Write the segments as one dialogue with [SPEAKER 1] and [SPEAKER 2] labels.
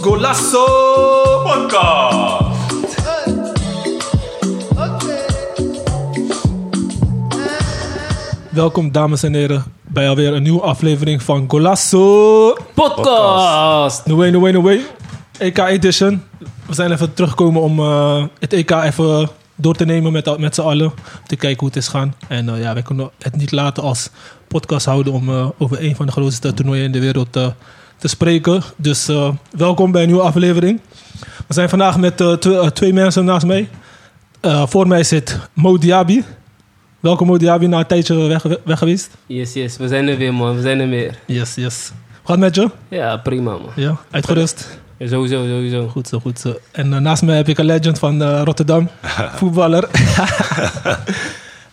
[SPEAKER 1] Golasso Podcast.
[SPEAKER 2] Welkom dames en heren bij alweer een nieuwe aflevering van Golasso.
[SPEAKER 3] Podcast.
[SPEAKER 2] No way, no way, no way. EK Edition. We zijn even teruggekomen om eh, het EK even door te nemen met, met z'n allen. Om te kijken hoe het is gaan. En eh, ja, wij kunnen het niet laten als podcast houden om eh, over een van de grootste toernooien in de wereld eh, te spreken. Dus eh, welkom bij een nieuwe aflevering. We zijn vandaag met eh, tw- eh, twee mensen naast mij. Eh, voor mij zit Mo Diaby. Welkom Mo Diaby, na een tijdje weg, weg geweest.
[SPEAKER 3] Yes, yes, we zijn er weer, man. We zijn er weer.
[SPEAKER 2] Yes, yes. Hoe gaat het met je?
[SPEAKER 3] Ja, prima, man.
[SPEAKER 2] Ja, uitgerust.
[SPEAKER 3] Ja, Sowieso, sowieso.
[SPEAKER 2] Goed zo, goed zo. En eh, naast mij heb ik een legend van eh, Rotterdam, voetballer.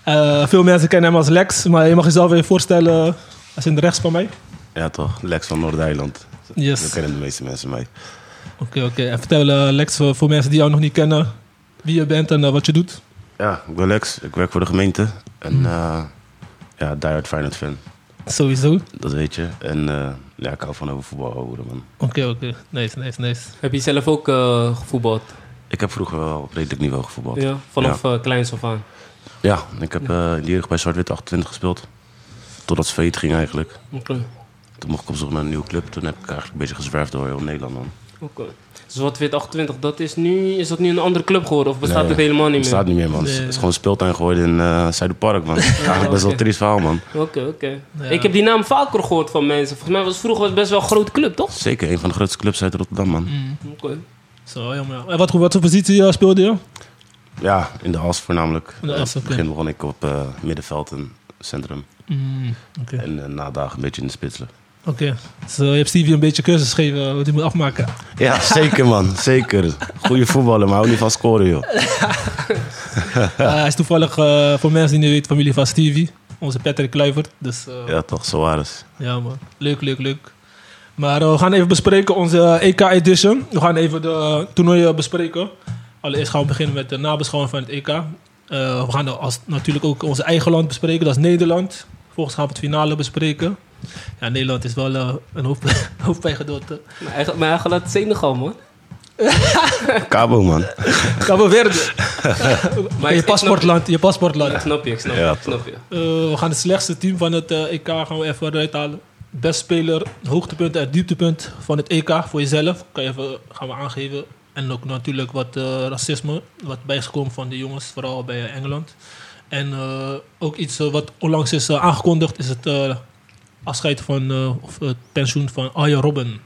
[SPEAKER 2] Eh, veel mensen kennen hem als Lex, maar je mag jezelf even voorstellen. Hij is in de rechts van mij.
[SPEAKER 4] Ja, toch? Lex van Noord-Eiland.
[SPEAKER 2] Yes.
[SPEAKER 4] Dat kennen de meeste mensen mij.
[SPEAKER 2] Oké, oké. En vertel eh, Lex, voor, voor mensen die jou nog niet kennen, wie je bent en eh, wat je doet.
[SPEAKER 4] Ja, ik ben Lex. Ik werk voor de gemeente. En eh, ja, diehard Feyenoord fan.
[SPEAKER 2] Sowieso. Oké,
[SPEAKER 4] Dat weet je. En eh, ja, ik hou van over voetbal houden, man.
[SPEAKER 2] oké. Nice, nice, nice.
[SPEAKER 3] Heb je zelf ook eh, gevoetbald?
[SPEAKER 4] Ik heb vroeger wel op redelijk niveau gevoetbald. Ja,
[SPEAKER 3] Ja, vanaf eh, kleins af aan.
[SPEAKER 4] ik heb eh, in de jeugd bij Zwart-Wit 28 gespeeld. Totdat het failliet ging eigenlijk.
[SPEAKER 3] Oké.
[SPEAKER 4] Toen mocht ik op zoek naar een nieuwe club. Toen heb ik eigenlijk een beetje gezwerfd door heel Nederland, man.
[SPEAKER 3] Oké. Dus wat wit 28, dat is, nu, is dat nu een andere club geworden? Of bestaat
[SPEAKER 4] Nee,
[SPEAKER 3] het helemaal
[SPEAKER 4] Het
[SPEAKER 3] niet meer?
[SPEAKER 4] staat
[SPEAKER 3] Oké,
[SPEAKER 4] niet meer, man. Het is-
[SPEAKER 2] Nee.
[SPEAKER 4] Het is gewoon een speeltuin geworden in eh Zuiderpark, man. Eigenlijk best wel een
[SPEAKER 3] oké.
[SPEAKER 4] triest verhaal, man.
[SPEAKER 3] oké. Ik heb die naam vaker gehoord van mensen. Volgens mij was vroeger was het best wel een grote club, toch?
[SPEAKER 4] Zeker een van de grootste clubs uit Rotterdam, man.
[SPEAKER 3] Oké.
[SPEAKER 2] Zo, jammer. ja. En wat, wat voor positie eh, speelde je?
[SPEAKER 4] Ja, in de as voornamelijk.
[SPEAKER 2] In de as,
[SPEAKER 4] In het
[SPEAKER 2] oké.
[SPEAKER 4] begin begon ik op eh, middenveld en centrum.
[SPEAKER 2] Mm, Oké,
[SPEAKER 4] En eh, na dagen een beetje in de spitsen.
[SPEAKER 2] Oké. dus eh, je hebt Stevie een beetje cursus gegeven eh, wat hij moet afmaken.
[SPEAKER 4] Ja, zeker man. Zeker. Goeie voetballer, maar hou niet van scoren, joh.
[SPEAKER 2] Eh, hij is toevallig, eh, voor mensen die niet weten, familie van Stevie. Onze Patrick Kluivert. Dus eh, ja.
[SPEAKER 4] Ja, toch, Soares.
[SPEAKER 2] man, leuk, leuk, leuk. Maar eh, we gaan even bespreken onze eh, EK Edition. We gaan even de eh, toernooien bespreken. Allereerst gaan we beginnen met de nabeschouwing van het EK. Eh, we gaan dan als, natuurlijk ook onze eigen land bespreken, dat is Nederland. Vervolgens gaan we het finale bespreken. Ja, Nederland is wel eh, een hoop, hoofdpijgedote.
[SPEAKER 3] Mijn eigen, mijn eigen laat Senegal, man.
[SPEAKER 4] Cabo, man.
[SPEAKER 2] Cabo Verde.
[SPEAKER 3] Maar
[SPEAKER 2] je paspoortland, je paspoortland.
[SPEAKER 3] Ik snap je, ik snap je,
[SPEAKER 4] Ja,
[SPEAKER 3] ik snap je.
[SPEAKER 2] Eh, we gaan het slechtste team van het eh, EK gaan we even eruit halen. Best speler, hoogtepunten en dieptepunt van het EK voor jezelf. Kan je even, gaan we aangeven. En ook natuurlijk wat eh, racisme, wat bijgekomen van de jongens, vooral bij eh, Engeland. En eh, ook iets eh, wat onlangs is eh, aangekondigd, is het eh, afscheid van, eh, of het pensioen van Arjen Robben.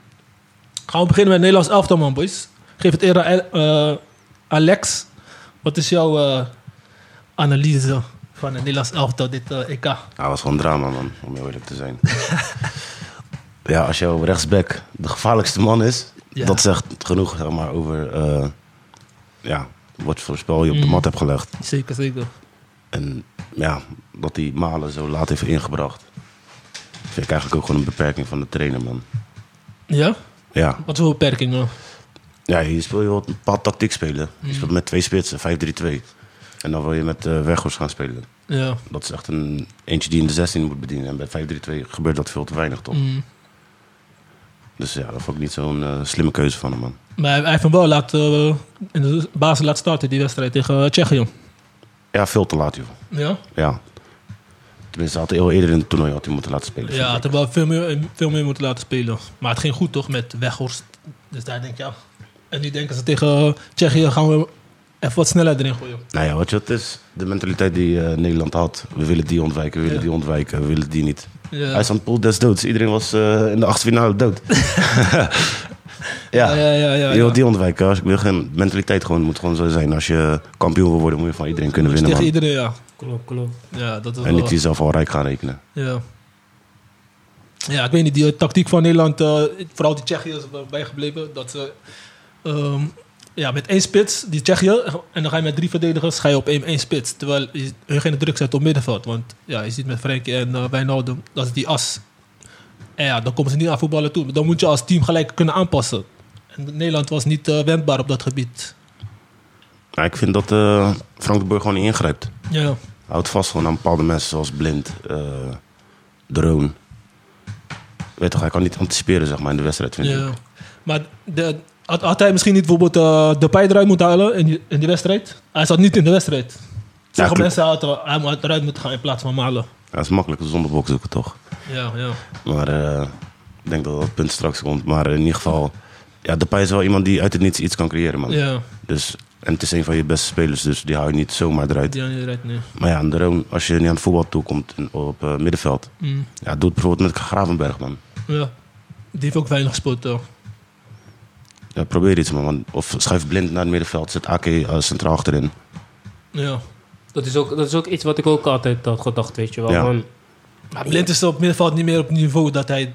[SPEAKER 2] Gaan we beginnen met het Nederlands elftal, man, boys. Geef het eerder aan eh, Alex. Wat is jouw eh, analyse van het Nederlands elftal, dit eh, EK?
[SPEAKER 4] Hij was gewoon drama, man. Om heel eerlijk te zijn. ja, als jouw rechtsback de gevaarlijkste man is...
[SPEAKER 2] Ja.
[SPEAKER 4] Dat zegt genoeg, zeg maar, over... eh, ja, wat voor spel je op de
[SPEAKER 2] Mm.
[SPEAKER 4] mat hebt gelegd.
[SPEAKER 2] Zeker, zeker.
[SPEAKER 4] En ja, dat hij Malen zo laat heeft ingebracht. Vind ik eigenlijk ook gewoon een beperking van de trainer, man.
[SPEAKER 2] Ja?
[SPEAKER 4] Ja,
[SPEAKER 2] Wat voor beperkingen?
[SPEAKER 4] ja hier speel je wel een bepaald tactiek spelen. Je speelt met twee spitsen, 5-3-2. En dan wil je met eh Weghorst gaan spelen.
[SPEAKER 2] Ja.
[SPEAKER 4] Dat is echt een eentje die in de 16 moet bedienen. En bij 5-3-2 gebeurt dat veel te weinig, toch?
[SPEAKER 2] Mm.
[SPEAKER 4] Dus ja, dat vond ik niet zo'n eh, slimme keuze van hem, man.
[SPEAKER 2] Maar hij hij heeft hem wel laten, eh, in de basis laten starten, die wedstrijd tegen eh, Tsjechië.
[SPEAKER 4] Ja, veel te laat, joh.
[SPEAKER 2] Ja?
[SPEAKER 4] Ja. Tenminste, hij had hij heel eerder in het toernooi had hij moeten laten spelen.
[SPEAKER 2] Ja, had
[SPEAKER 4] vind ik.
[SPEAKER 2] hem wel veel meer, eh, veel meer moeten laten spelen. Maar het ging goed toch, met Weghorst. Dus daar denk je, ja. En nu denken ze tegen eh, Tsjechië gaan we even wat sneller erin gooien.
[SPEAKER 4] Nou ja, wat je, het is de mentaliteit die eh, Nederland had. We willen die ontwijken, we willen
[SPEAKER 2] Ja.
[SPEAKER 4] die ontwijken, we willen die niet.
[SPEAKER 2] Ja.
[SPEAKER 4] Hij is aan het poel des doods. Iedereen was eh, in de achtste finale dood. ja.
[SPEAKER 2] Ja, ja, ja. ja,
[SPEAKER 4] Je wil
[SPEAKER 2] ja.
[SPEAKER 4] die ontwijken. Als ik wil geen mentaliteit gewoon moet gewoon zo zijn. Als je kampioen wil worden, moet je van iedereen kunnen
[SPEAKER 2] Dus
[SPEAKER 4] winnen.
[SPEAKER 2] tegen
[SPEAKER 4] Man.
[SPEAKER 2] iedereen, ja.
[SPEAKER 3] Klopt, klopt.
[SPEAKER 2] Ja, dat is
[SPEAKER 4] En
[SPEAKER 2] wel...
[SPEAKER 4] niet jezelf al rijk gaan rekenen.
[SPEAKER 2] Ja. Ja, ik weet niet. Die eh, tactiek van Nederland, eh, vooral die Tsjechië is wel bijgebleven. Dat ze ehm, ja, met één spits, die Tsjechië, en dan ga je met drie verdedigers, ga je op één, één spits. Terwijl je hun geen druk zet op middenveld. Want ja, je ziet met Frenkie en eh, Wijnaldum, dat is die as. En ja, dan komen ze niet aan voetballen toe. Maar Dan moet je als team gelijk kunnen aanpassen. En Nederland was niet eh, wendbaar op dat gebied.
[SPEAKER 4] Maar ik vind dat eh, Frank de Boer gewoon niet ingrijpt.
[SPEAKER 2] Ja,
[SPEAKER 4] Houd vast gewoon aan bepaalde mensen zoals Blind, eh, Drone. Weet toch, hij kan niet anticiperen zeg maar, in de wedstrijd, vind
[SPEAKER 2] Ja.
[SPEAKER 4] ik.
[SPEAKER 2] Maar de, had, had hij misschien niet bijvoorbeeld eh, de pij eruit moeten halen in die, in die wedstrijd? Hij zat niet in de wedstrijd. Sommige
[SPEAKER 4] klopt.
[SPEAKER 2] mensen hadden hij moet eruit moeten gaan in plaats van Malen.
[SPEAKER 4] Ja, dat is makkelijk zonder bok zoeken, toch?
[SPEAKER 2] Ja, ja.
[SPEAKER 4] Maar eh, ik denk dat dat punt straks komt. Maar in ieder geval, ja, Depay is wel iemand die uit het niets iets kan creëren, man.
[SPEAKER 2] Ja,
[SPEAKER 4] Dus, en het is een van je beste spelers, dus die hou je niet zomaar eruit.
[SPEAKER 2] die had niet eruit, nee.
[SPEAKER 4] Maar ja, en Drone, als je niet aan het voetbal toekomt in- op eh, middenveld,
[SPEAKER 2] Mm,
[SPEAKER 4] ja, doe het bijvoorbeeld met Gravenberg, man.
[SPEAKER 2] ja. Die heeft ook weinig gespeeld, toch?
[SPEAKER 4] Ja, probeer iets, man. Want- Of schuif blind naar het middenveld, zet AK eh, centraal achterin.
[SPEAKER 2] Ja.
[SPEAKER 3] Dat is, ook, dat is ook iets wat ik ook altijd had gedacht, weet je wel.
[SPEAKER 4] Ja.
[SPEAKER 3] man.
[SPEAKER 2] Maar Blind is op middenveld niet meer op het niveau dat hij...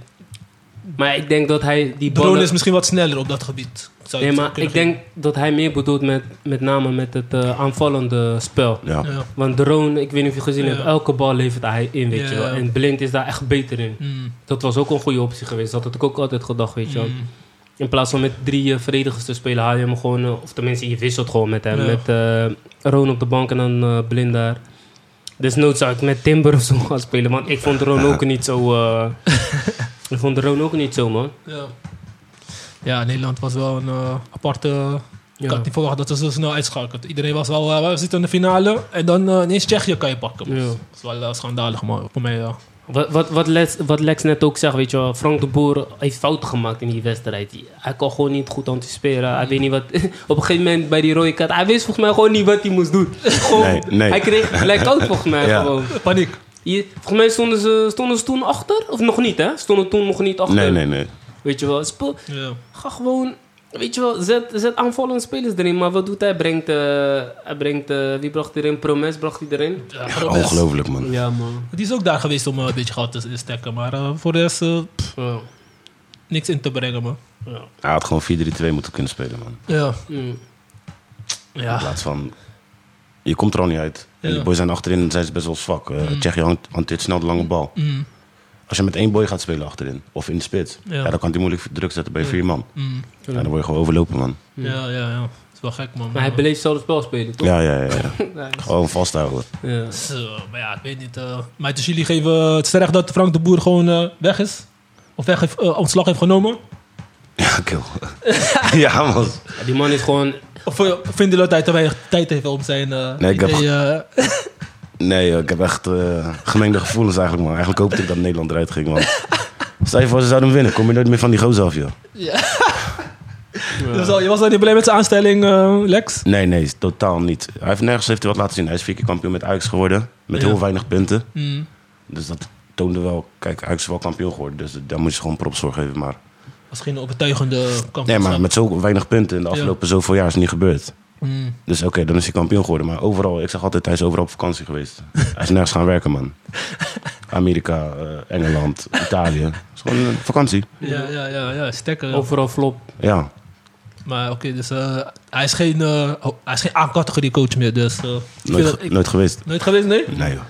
[SPEAKER 3] Maar ik denk dat hij die
[SPEAKER 2] Drone
[SPEAKER 3] ballen...
[SPEAKER 2] is misschien wat sneller op dat gebied. Zou je
[SPEAKER 3] nee,
[SPEAKER 2] het
[SPEAKER 3] maar
[SPEAKER 2] kunnen
[SPEAKER 3] ik denk dat hij meer bedoelt met, met name met het eh, aanvallende spel.
[SPEAKER 4] Ja.
[SPEAKER 2] geven. Ja.
[SPEAKER 3] Want drone, ik weet niet of je gezien
[SPEAKER 2] Ja.
[SPEAKER 3] hebt, elke bal levert hij in, weet
[SPEAKER 2] Ja,
[SPEAKER 3] je wel.
[SPEAKER 2] ja.
[SPEAKER 3] En blind is daar echt beter in.
[SPEAKER 2] Mm,
[SPEAKER 3] Dat was ook een goede optie geweest. Dat had ik ook altijd gedacht, weet je wel.
[SPEAKER 2] mm.
[SPEAKER 3] In plaats van met drie eh, verdedigers te spelen, haal je hem gewoon... eh, of tenminste, je wisselt gewoon met hem.
[SPEAKER 2] Ja.
[SPEAKER 3] Met eh Roon op de bank en dan eh Blind daar. Dus nooit zou ik met Timber of zo gaan spelen. Want ik vond Roon ook niet zo... eh, ik vond Roon ook niet zo, man.
[SPEAKER 2] Ja. Ja, Nederland was wel een eh, aparte... Ik
[SPEAKER 3] Ja.
[SPEAKER 2] had niet verwacht dat ze zo snel uitschakelt. Iedereen was wel, eh, we zitten in de finale en dan eh, ineens Tsjechië kan je pakken.
[SPEAKER 3] Ja.
[SPEAKER 2] Dat is wel eh, schandalig man, voor mij. ja.
[SPEAKER 3] Wat, wat, wat, Lex, wat Lex net ook zegt, weet je wel. Frank de Boer heeft fout gemaakt in die wedstrijd. Hij kon gewoon niet goed anticiperen. Hij weet niet wat... Op een gegeven moment bij die rode kaart... Hij wist volgens mij gewoon niet wat hij moest doen. Gewoon,
[SPEAKER 4] Nee, nee.
[SPEAKER 3] Hij kreeg blackout volgens mij
[SPEAKER 4] Ja.
[SPEAKER 3] gewoon.
[SPEAKER 2] Paniek.
[SPEAKER 3] Je- volgens mij stonden ze, stonden ze toen achter. Of nog niet, hè? Stonden toen nog niet achter.
[SPEAKER 4] Nee, nee, nee.
[SPEAKER 3] Weet je wel, speel-
[SPEAKER 2] Ja.
[SPEAKER 3] ga gewoon... Weet je wel, zet, zet aanvallende spelers erin. Maar wat doet hij? Brengt, eh, hij brengt eh, wie bracht hij erin? Promes bracht hij erin.
[SPEAKER 2] Ja,
[SPEAKER 4] Ja,
[SPEAKER 2] Robes.
[SPEAKER 4] ongelooflijk, man.
[SPEAKER 3] Ja, man.
[SPEAKER 2] Die is ook daar geweest om eh, een beetje goud te te stekken, maar eh, voor de rest eh, pff,
[SPEAKER 3] Ja.
[SPEAKER 2] niks in te brengen man.
[SPEAKER 4] Hij had gewoon 4-3-2 moeten kunnen spelen, man.
[SPEAKER 2] Ja,
[SPEAKER 3] Mm.
[SPEAKER 4] In
[SPEAKER 2] ja.
[SPEAKER 4] plaats van, je komt er al niet uit. En
[SPEAKER 2] Ja.
[SPEAKER 4] die boys zijn achterin en zijn ze best wel zwak. Eh Tsjechië hangt- hanteert snel de lange bal.
[SPEAKER 2] Mm,
[SPEAKER 4] Als je met één boy gaat spelen achterin, of in de spits,
[SPEAKER 2] Ja.
[SPEAKER 4] ja. dan kan hij moeilijk druk zetten bij vier man.
[SPEAKER 2] mm.
[SPEAKER 4] Ja, dan word je gewoon overlopen, man.
[SPEAKER 2] Ja, ja, ja. Dat is wel gek man.
[SPEAKER 3] Maar hij bleef hetzelfde spel spelen, toch?
[SPEAKER 4] Ja, ja, ja. ja.
[SPEAKER 3] Ja.
[SPEAKER 4] gewoon vasthouden.
[SPEAKER 3] Ja.
[SPEAKER 2] Zo, maar ja, ik weet niet. eh maar dus jullie geven het is terecht dat Frank de Boer gewoon eh, weg is? Of weg heeft, eh, ontslag heeft genomen?
[SPEAKER 4] Ja, kill. ja, man.
[SPEAKER 3] Die man is gewoon...
[SPEAKER 2] Of eh, vinden jullie dat hij te weinig tijd heeft om zijn eh
[SPEAKER 4] Nee, ik heb-
[SPEAKER 2] idee, eh,
[SPEAKER 4] Nee, joh, ik heb echt eh, gemengde gevoelens eigenlijk, man. Eigenlijk hoopte ik dat Nederland eruit ging, man. Stel je voor, ze zouden hem winnen. Kom je nooit meer van die gozer af, joh.
[SPEAKER 2] Dus al- je was al niet blij met zijn aanstelling, eh, Lex?
[SPEAKER 4] Nee, nee, totaal niet. Hij heeft nergens heeft hij wat laten zien. Hij is vier keer kampioen met Ajax geworden. Met
[SPEAKER 2] Ja.
[SPEAKER 4] heel weinig punten.
[SPEAKER 2] Mm.
[SPEAKER 4] Dus dat toonde wel... Kijk, Ajax is wel kampioen geworden. Dus daar moet je gewoon props voor geven, maar...
[SPEAKER 2] Was geen overtuigende kant.
[SPEAKER 4] Nee, maar met zo weinig punten in de
[SPEAKER 2] Ja.
[SPEAKER 4] afgelopen zoveel jaar is het niet gebeurd.
[SPEAKER 2] Mm.
[SPEAKER 4] Dus oké, dan is hij kampioen geworden. Maar overal, ik zeg altijd, hij is overal op vakantie geweest. hij is nergens gaan werken, man. Amerika, eh, Engeland, Italië. Het is gewoon een vakantie.
[SPEAKER 2] Ja, ja, ja, ja, stekker.
[SPEAKER 3] eh, Overal flop.
[SPEAKER 4] Ja,
[SPEAKER 2] Maar oké, dus eh, hij is geen, eh, oh, hij is geen A-categorie coach meer, dus... eh, ik vind
[SPEAKER 4] nooit,
[SPEAKER 2] dat-
[SPEAKER 4] ge-
[SPEAKER 2] ik-
[SPEAKER 4] nooit geweest.
[SPEAKER 2] nooit geweest, nee?
[SPEAKER 4] Nee, joh.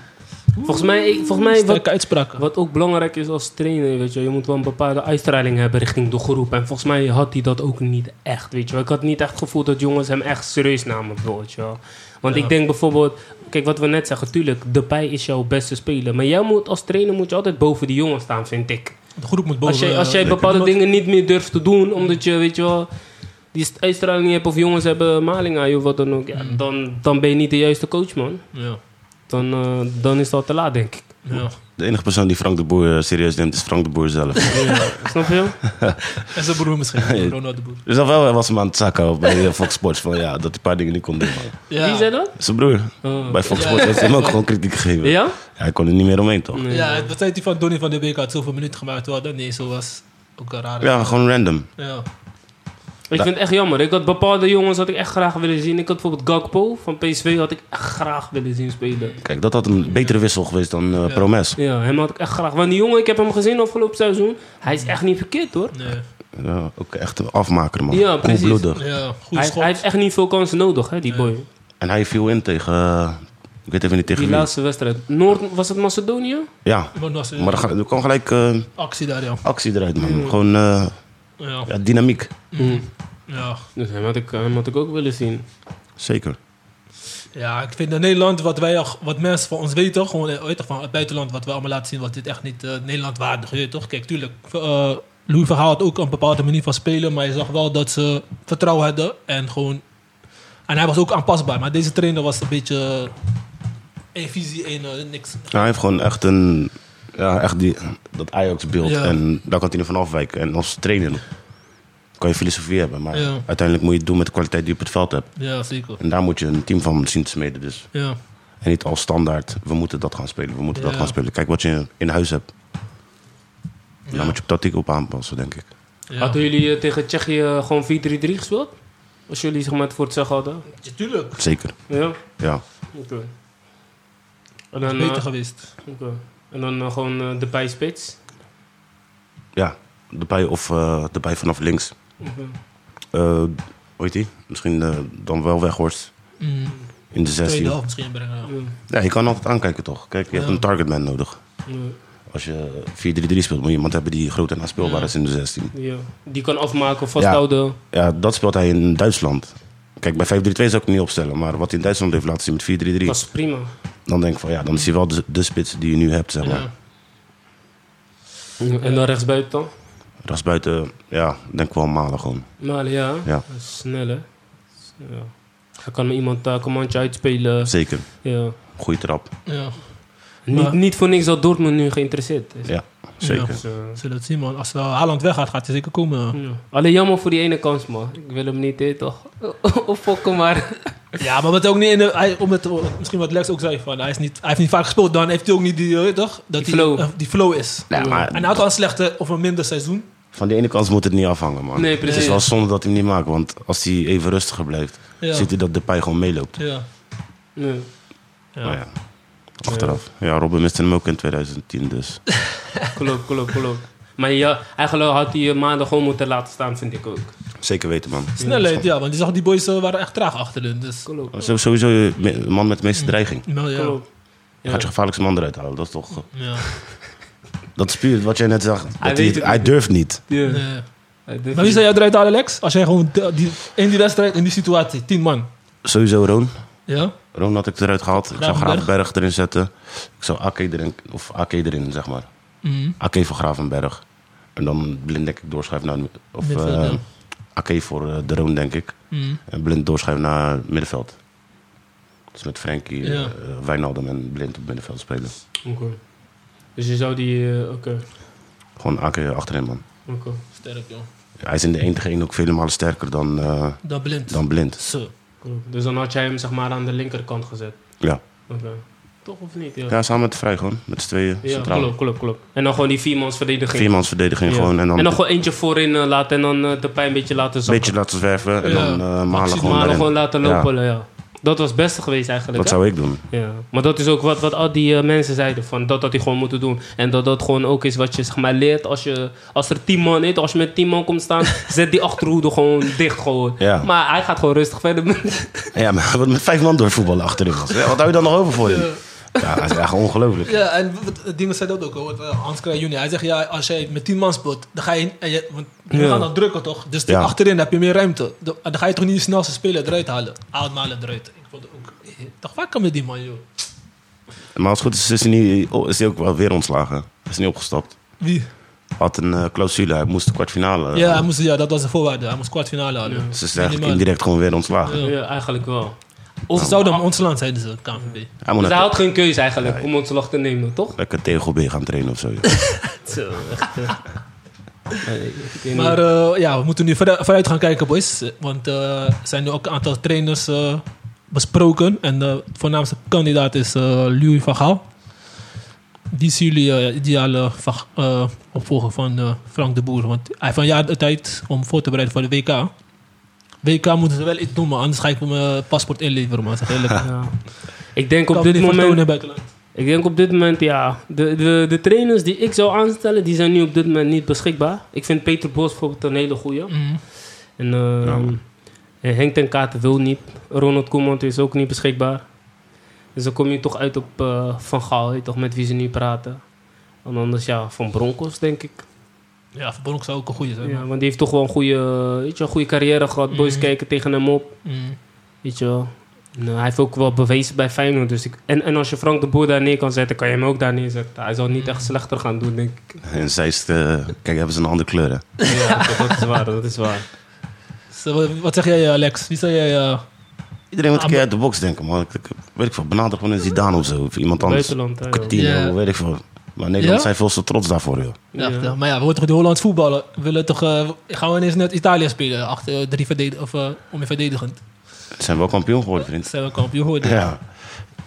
[SPEAKER 3] Volgens mij, ik- volgens mij wat,
[SPEAKER 2] Sterke uitspraken.
[SPEAKER 3] Wat ook belangrijk is als trainer, weet je, je moet wel een bepaalde uitstraling hebben richting de groep. En volgens mij had hij dat ook niet echt, weet je wel. Ik had niet echt het gevoel dat jongens hem echt serieus namen, weet je wel. Want ik denk bijvoorbeeld, kijk wat we net zeggen, tuurlijk, Depay is jouw beste speler. Maar jij moet als trainer moet je altijd boven die jongens staan, vind ik.
[SPEAKER 2] De groep moet boven...
[SPEAKER 3] Als jij, als
[SPEAKER 2] eh,
[SPEAKER 3] jij bepaalde
[SPEAKER 2] iemand-
[SPEAKER 3] dingen niet meer durft te doen, omdat je, weet je wel, die st- uitstraling niet hebt of jongens hebben maling aan je of wat dan ook. Ja,
[SPEAKER 2] Mm.
[SPEAKER 3] dan, dan ben je niet de juiste coach, man.
[SPEAKER 2] Ja,
[SPEAKER 3] Dan, eh, dan is dat te laat, denk ik.
[SPEAKER 2] ja.
[SPEAKER 4] De enige persoon die Frank de Boer eh, serieus neemt, is Frank de Boer zelf.
[SPEAKER 3] Snap je?
[SPEAKER 2] En zijn broer misschien, Ronald de Boer.
[SPEAKER 4] dus dan wel was hem aan het zakken op bij eh, Fox Sports. Van, ja, dat hij een paar dingen niet kon doen. man.
[SPEAKER 2] Ja.
[SPEAKER 3] Wie zei dat?
[SPEAKER 4] Zijn broer
[SPEAKER 3] Oh.
[SPEAKER 4] bij Fox Sports heeft hem ook gewoon kritiek gegeven.
[SPEAKER 3] Ja?
[SPEAKER 4] Hij kon er niet meer omheen, toch?
[SPEAKER 2] Ja, dat zei hij van Donny van de Beek had zoveel minuten gemaakt, terwijl dat niet zo was. Ook een rare...
[SPEAKER 4] Ja, gewoon random.
[SPEAKER 2] Ja.
[SPEAKER 3] Ik vind het echt jammer. Ik had bepaalde jongens had ik echt graag willen zien. Ik had bijvoorbeeld Gakpo van PSV had ik echt graag willen zien spelen.
[SPEAKER 4] Kijk, dat had een betere wissel geweest dan eh,
[SPEAKER 2] Ja.
[SPEAKER 4] Promes.
[SPEAKER 3] Ja, hem had ik echt graag. Want die jongen, ik heb hem gezien afgelopen seizoen. Hij is echt niet verkeerd hoor.
[SPEAKER 2] Nee.
[SPEAKER 4] Ja, ook echt een afmaker, man.
[SPEAKER 3] Ja, precies.
[SPEAKER 4] Koelbloedig.
[SPEAKER 2] Ja, goed
[SPEAKER 3] Hij,
[SPEAKER 2] schot.
[SPEAKER 3] hij heeft echt niet veel kansen nodig, hè, die boy.
[SPEAKER 4] En hij viel in tegen... eh, ik weet even niet tegen
[SPEAKER 3] Die
[SPEAKER 4] wie.
[SPEAKER 3] laatste wedstrijd. Noord, was het Macedonië?
[SPEAKER 4] Ja,
[SPEAKER 2] Iemand was een
[SPEAKER 4] maar er, ga- er kwam gelijk eh,
[SPEAKER 2] actie daar, ja.
[SPEAKER 4] actie eruit, man.
[SPEAKER 2] Hmm.
[SPEAKER 4] Gewoon eh,
[SPEAKER 2] Ja,
[SPEAKER 4] ja, dynamiek.
[SPEAKER 3] Mm.
[SPEAKER 2] ja.
[SPEAKER 3] Dus hem had, ik, hem had ik ook willen zien.
[SPEAKER 4] Zeker.
[SPEAKER 2] Ja, ik vind in Nederland, wat, wij, wat mensen van ons weten, gewoon eh, weet je, van het buitenland, wat we allemaal laten zien, wat dit echt niet eh, Nederland waardig is, toch? Kijk, tuurlijk, eh Louis Verhaal had ook een bepaalde manier van spelen, maar je zag wel dat ze vertrouwen hadden en gewoon... En hij was ook aanpasbaar, maar deze trainer was een beetje eh, één visie, één eh, niks.
[SPEAKER 4] Ja, hij heeft gewoon echt een... Ja, echt die, dat Ajax-beeld.
[SPEAKER 2] Ja.
[SPEAKER 4] En daar kan hij ervan afwijken. En als trainer kan je filosofie hebben. Maar
[SPEAKER 2] Ja.
[SPEAKER 4] uiteindelijk moet je het doen met de kwaliteit die je op het veld hebt.
[SPEAKER 2] Ja, zeker.
[SPEAKER 4] En daar moet je een team van zien te smeden. Dus.
[SPEAKER 2] Ja,
[SPEAKER 4] En niet als standaard, we moeten dat gaan spelen. We moeten dat
[SPEAKER 2] Ja.
[SPEAKER 4] gaan spelen. Kijk wat je in huis hebt.
[SPEAKER 2] Ja.
[SPEAKER 4] Daar moet je op tactiek op aanpassen, denk ik.
[SPEAKER 2] ja.
[SPEAKER 3] Hadden jullie eh, tegen Tsjechië eh, gewoon 4-3-3 gespeeld? Als jullie zeg maar, het voor het zeggen hadden?
[SPEAKER 2] Ja, tuurlijk.
[SPEAKER 4] Zeker,
[SPEAKER 3] Ja?
[SPEAKER 4] ja.
[SPEAKER 3] Oké. En dan, eh,
[SPEAKER 2] Beter geweest.
[SPEAKER 3] oké. en dan eh, gewoon eh, de bijspits?
[SPEAKER 4] Ja, erbij of eh erbij vanaf links.
[SPEAKER 2] Mhm.
[SPEAKER 3] Oké.
[SPEAKER 4] Eh hoe heet die? Misschien eh, dan wel Weghorst
[SPEAKER 2] Mm,
[SPEAKER 4] in
[SPEAKER 2] tweede
[SPEAKER 4] de 16.
[SPEAKER 2] helft misschien brengen. ja.
[SPEAKER 3] Ja.
[SPEAKER 4] Ja, je kan altijd aankijken, toch? Kijk, je hebt
[SPEAKER 2] Ja.
[SPEAKER 4] een targetman nodig.
[SPEAKER 3] Ja.
[SPEAKER 4] Als je 4-3-3 speelt, moet je iemand hebben die groot en aanspeelbaar
[SPEAKER 2] Ja.
[SPEAKER 4] is in de 16.
[SPEAKER 3] Ja. Die kan afmaken, vasthouden.
[SPEAKER 4] Ja, dat speelt hij in Duitsland. Kijk, bij 5-3-2 zou ik het niet opstellen. Maar wat hij in Duitsland heeft laten zien
[SPEAKER 3] Dat
[SPEAKER 4] met 4-3-3...
[SPEAKER 3] is prima.
[SPEAKER 4] Dan denk ik van, ja, dan is hij wel de, de spits die je nu hebt, zeg maar.
[SPEAKER 2] Ja.
[SPEAKER 3] En dan rechtsbuiten dan?
[SPEAKER 4] Rasbuiten, ja, denk ik wel malen gewoon.
[SPEAKER 3] Maar ja,
[SPEAKER 4] Ja.
[SPEAKER 3] dat is snel hè. Ja. Hij kan iemand daar commandje uitspelen.
[SPEAKER 4] Zeker.
[SPEAKER 3] Ja.
[SPEAKER 4] Goeie trap.
[SPEAKER 2] Ja,
[SPEAKER 3] Niet, niet voor niks dat Dortmund nu geïnteresseerd is.
[SPEAKER 4] Ja, zeker.
[SPEAKER 3] Dus, eh,
[SPEAKER 2] zullen we het zien, man. Als eh, Haaland weggaat, gaat hij zeker komen.
[SPEAKER 3] ja. Alleen jammer voor die ene kans, man. Ik wil hem niet, hè, toch? of fokken maar.
[SPEAKER 2] Ja, maar wat ook niet in de, hij, om het, misschien wat Lex ook zei, van, hij, is niet, hij heeft niet vaak gespeeld, dan heeft hij ook niet die, eh, toch? Dat
[SPEAKER 3] Die flow.
[SPEAKER 2] eh, die flow is.
[SPEAKER 4] Ja, maar-
[SPEAKER 2] en hij had al een slechte of een minder seizoen.
[SPEAKER 4] Van die ene kans moet het niet afhangen, man.
[SPEAKER 3] Nee, precies.
[SPEAKER 4] Het is wel zonde dat hij hem niet maakt. Want als hij even rustiger blijft,
[SPEAKER 2] Ja.
[SPEAKER 4] ziet hij dat Depay gewoon meeloopt.
[SPEAKER 2] Ja.
[SPEAKER 3] Ja.
[SPEAKER 2] Ja.
[SPEAKER 4] Maar ja, achteraf. Ja, Robin miste hem ook in 2010, dus...
[SPEAKER 3] Klopt, klopt, klopt. Maar ja, eigenlijk had hij je maandag gewoon moeten laten staan, vind ik ook.
[SPEAKER 4] Zeker weten, man.
[SPEAKER 2] Snelheid, ja, want je zag die boys eh, waren echt traag achterin. Dus,
[SPEAKER 3] Klopt.
[SPEAKER 4] Zo- Sowieso een man met de meeste dreiging.
[SPEAKER 2] nou, ja.
[SPEAKER 3] klopt.
[SPEAKER 4] Je
[SPEAKER 3] Ja.
[SPEAKER 4] gaat je gevaarlijkste man eruit halen. Dat is toch...
[SPEAKER 2] Ja.
[SPEAKER 4] Dat is puur wat jij net zag. Dat hij,
[SPEAKER 3] weet het
[SPEAKER 4] hij
[SPEAKER 3] niet.
[SPEAKER 4] durft niet.
[SPEAKER 3] Ja.
[SPEAKER 2] Nee.
[SPEAKER 3] Hij
[SPEAKER 2] Maar wie
[SPEAKER 3] durft
[SPEAKER 2] zou jij eruit halen, Lex? Als jij gewoon de- die, in die wedstrijd, in die situatie, tien man.
[SPEAKER 4] Sowieso Roon.
[SPEAKER 2] Ja?
[SPEAKER 4] Roon had ik eruit gehaald. Ik zou
[SPEAKER 2] Gravenberg.
[SPEAKER 4] Gravenberg erin zetten. Ik zou Ake erin... Of Ake erin, zeg maar.
[SPEAKER 2] Mhm.
[SPEAKER 4] Ake voor Gravenberg. En dan blind denk ik doorschuiven naar... Of
[SPEAKER 2] Middenveld,
[SPEAKER 4] eh,
[SPEAKER 2] ja.
[SPEAKER 4] Ake voor eh, de Roon, denk ik.
[SPEAKER 2] Mhm.
[SPEAKER 4] En blind doorschuiven naar middenveld. Dus met Frenkie,
[SPEAKER 2] Ja.
[SPEAKER 4] eh, Wijnaldum en blind op middenveld spelen.
[SPEAKER 3] hij. Oké. Dus je zou die... eh, Oké,
[SPEAKER 4] Gewoon Ake achterin, man.
[SPEAKER 3] oké.
[SPEAKER 2] Sterk, joh.
[SPEAKER 4] Hij is in de 1 tegen 1 ook vele malen sterker dan, eh,
[SPEAKER 2] Dan blind.
[SPEAKER 4] dan blind.
[SPEAKER 2] Zo.
[SPEAKER 3] Klopt. Dus dan had jij hem zeg maar aan de linkerkant gezet.
[SPEAKER 4] Ja.
[SPEAKER 3] Oké. Toch of niet? Ja,
[SPEAKER 4] ja, samen met de Vrij gewoon. Met z'n tweeën
[SPEAKER 3] ja
[SPEAKER 4] centraal.
[SPEAKER 3] klopt, klopt, klopt. En dan gewoon die viermans verdediging.
[SPEAKER 4] Viermans verdediging
[SPEAKER 3] Ja.
[SPEAKER 4] gewoon. En dan,
[SPEAKER 3] gewoon eentje voorin eh, laten en dan eh, de pijn een beetje laten
[SPEAKER 4] een
[SPEAKER 3] zakken.
[SPEAKER 4] beetje laten zwerven. En
[SPEAKER 2] Ja.
[SPEAKER 4] dan eh
[SPEAKER 2] Maxi-
[SPEAKER 4] Malen gewoon
[SPEAKER 3] maar
[SPEAKER 4] erin.
[SPEAKER 3] gewoon laten lopen, ja. Dat was het beste geweest eigenlijk.
[SPEAKER 4] Dat
[SPEAKER 3] hè?
[SPEAKER 4] zou ik doen.
[SPEAKER 3] ja. Maar dat is ook wat, wat al die eh, mensen zeiden, van dat had hij gewoon moeten doen. En dat dat gewoon ook is wat je zeg maar, leert als, je, als er tien man is. Als je met tien man komt staan, zet die achterhoede gewoon dicht. Gewoon.
[SPEAKER 4] Ja.
[SPEAKER 3] Maar hij gaat gewoon rustig verder. met-
[SPEAKER 4] Ja, maar wat met vijf man doorvoetballen achterin was. Ja, wat hou je dan nog over voor hem? Ja, dat is echt ongelooflijk.
[SPEAKER 2] Ja, en wat- wat Dingen zei dat ook, hoor. Wat, eh, Hans Kraaij junior. Hij zegt, ja, als jij met 10 man speelt, dan ga je... En je want je
[SPEAKER 3] Ja.
[SPEAKER 2] gaat dan drukken, toch? Dus die
[SPEAKER 4] Ja.
[SPEAKER 2] achterin heb je meer ruimte. Dan dan ga je toch niet de snelste speler eruit halen. Haal Malen eruit. Ik vond het ook... eh, Toch vaak kan met die man, joh.
[SPEAKER 4] Maar als het goed is, is hij, niet, oh, is hij ook wel weer ontslagen. Hij is niet opgestapt.
[SPEAKER 2] Wie?
[SPEAKER 4] Had een eh, clausule, hij moest de kwartfinale.
[SPEAKER 2] Ja, hij moest, ja, dat was de voorwaarde. Hij moest kwartfinale halen.
[SPEAKER 4] Dus is
[SPEAKER 2] Minimaal.
[SPEAKER 4] eigenlijk indirect gewoon weer ontslagen.
[SPEAKER 2] Ja.
[SPEAKER 3] ja, eigenlijk wel.
[SPEAKER 2] Of ze zouden hem ontslaan, zeiden ze, KNVB.
[SPEAKER 4] Hij moet
[SPEAKER 3] Dus hij
[SPEAKER 4] naar
[SPEAKER 3] had geen keuze eigenlijk om ontslag te nemen, toch?
[SPEAKER 4] lekker tegel B gaan trainen of zo. joh.
[SPEAKER 3] Zo, echt. eh. Nee, ik weet
[SPEAKER 2] Maar
[SPEAKER 3] niet.
[SPEAKER 2] eh, ja, we moeten nu verder- vooruit gaan kijken, boys. Want eh, er zijn nu ook een aantal trainers eh, besproken. En eh, de voornaamste kandidaat is eh Louis van Gaal. Die is jullie eh, ideale va- eh, opvolger van eh, Frank de Boer. Want hij heeft een jaar de tijd om voor te bereiden voor de WK. WK moeten ze wel iets doen, maar anders ga ik mijn eh, paspoort inleveren. Man. Zeg eerlijk.
[SPEAKER 3] Ja. Ik denk
[SPEAKER 2] eh, Kan
[SPEAKER 3] op dit
[SPEAKER 2] niet vertonen in
[SPEAKER 3] moment
[SPEAKER 2] het buitenland.
[SPEAKER 3] Ik denk op dit moment, ja. De, de, de trainers die ik zou aanstellen, die zijn nu op dit moment niet beschikbaar. Ik vind Peter Bos bijvoorbeeld een hele goeie.
[SPEAKER 2] Mhm.
[SPEAKER 3] En, eh, en Henk ten Katen wil niet. Ronald Koeman is ook niet beschikbaar. Dus dan kom je toch uit op eh, Van Gaal, weet je toch, met wie ze nu praten. En anders, ja, Van Broncos, denk ik.
[SPEAKER 2] Ja, Van Bommel zou ook een goede zijn.
[SPEAKER 3] Ja,
[SPEAKER 2] man.
[SPEAKER 3] want die heeft toch wel een goede, weet je, een goede carrière gehad. Boys
[SPEAKER 2] Mhm.
[SPEAKER 3] kijken tegen hem op,
[SPEAKER 2] Mhm.
[SPEAKER 3] weet je wel. Nou, hij heeft ook wel bewezen bij Feyenoord. Dus ik, en, en als je Frank de Boer daar neer kan zetten, kan je hem ook daar neerzetten. Hij zal niet echt slechter gaan doen, denk ik.
[SPEAKER 4] En zij is, eh, kijk, hebben ze een andere kleur. hè.
[SPEAKER 3] Ja, dat is waar, dat is waar.
[SPEAKER 2] Zo, wat- Wat zeg jij, eh, Lex? Wie zei jij? eh,
[SPEAKER 4] Iedereen moet een
[SPEAKER 2] Ah,
[SPEAKER 4] keer uit de box denken, man. Ik, ik- weet ik veel, benader gewoon een Zidane of zo. Of iemand anders.
[SPEAKER 3] Buitenland, eh, hè, joh.
[SPEAKER 4] Coutinho,
[SPEAKER 2] Ja.
[SPEAKER 4] weet ik veel. Maar Nederland
[SPEAKER 2] Ja?
[SPEAKER 4] zijn veel te trots daarvoor, joh.
[SPEAKER 2] ja,
[SPEAKER 3] Ja.
[SPEAKER 2] vertel. Maar ja, we worden toch door Holland voetballen. We willen toch, eh, gaan we ineens net Italië spelen? Achter eh, drie verdedig of, eh, om je verdedigend.
[SPEAKER 4] Zijn wel kampioen geworden, vriend.
[SPEAKER 2] Zijn we kampioen geworden?
[SPEAKER 4] Ja.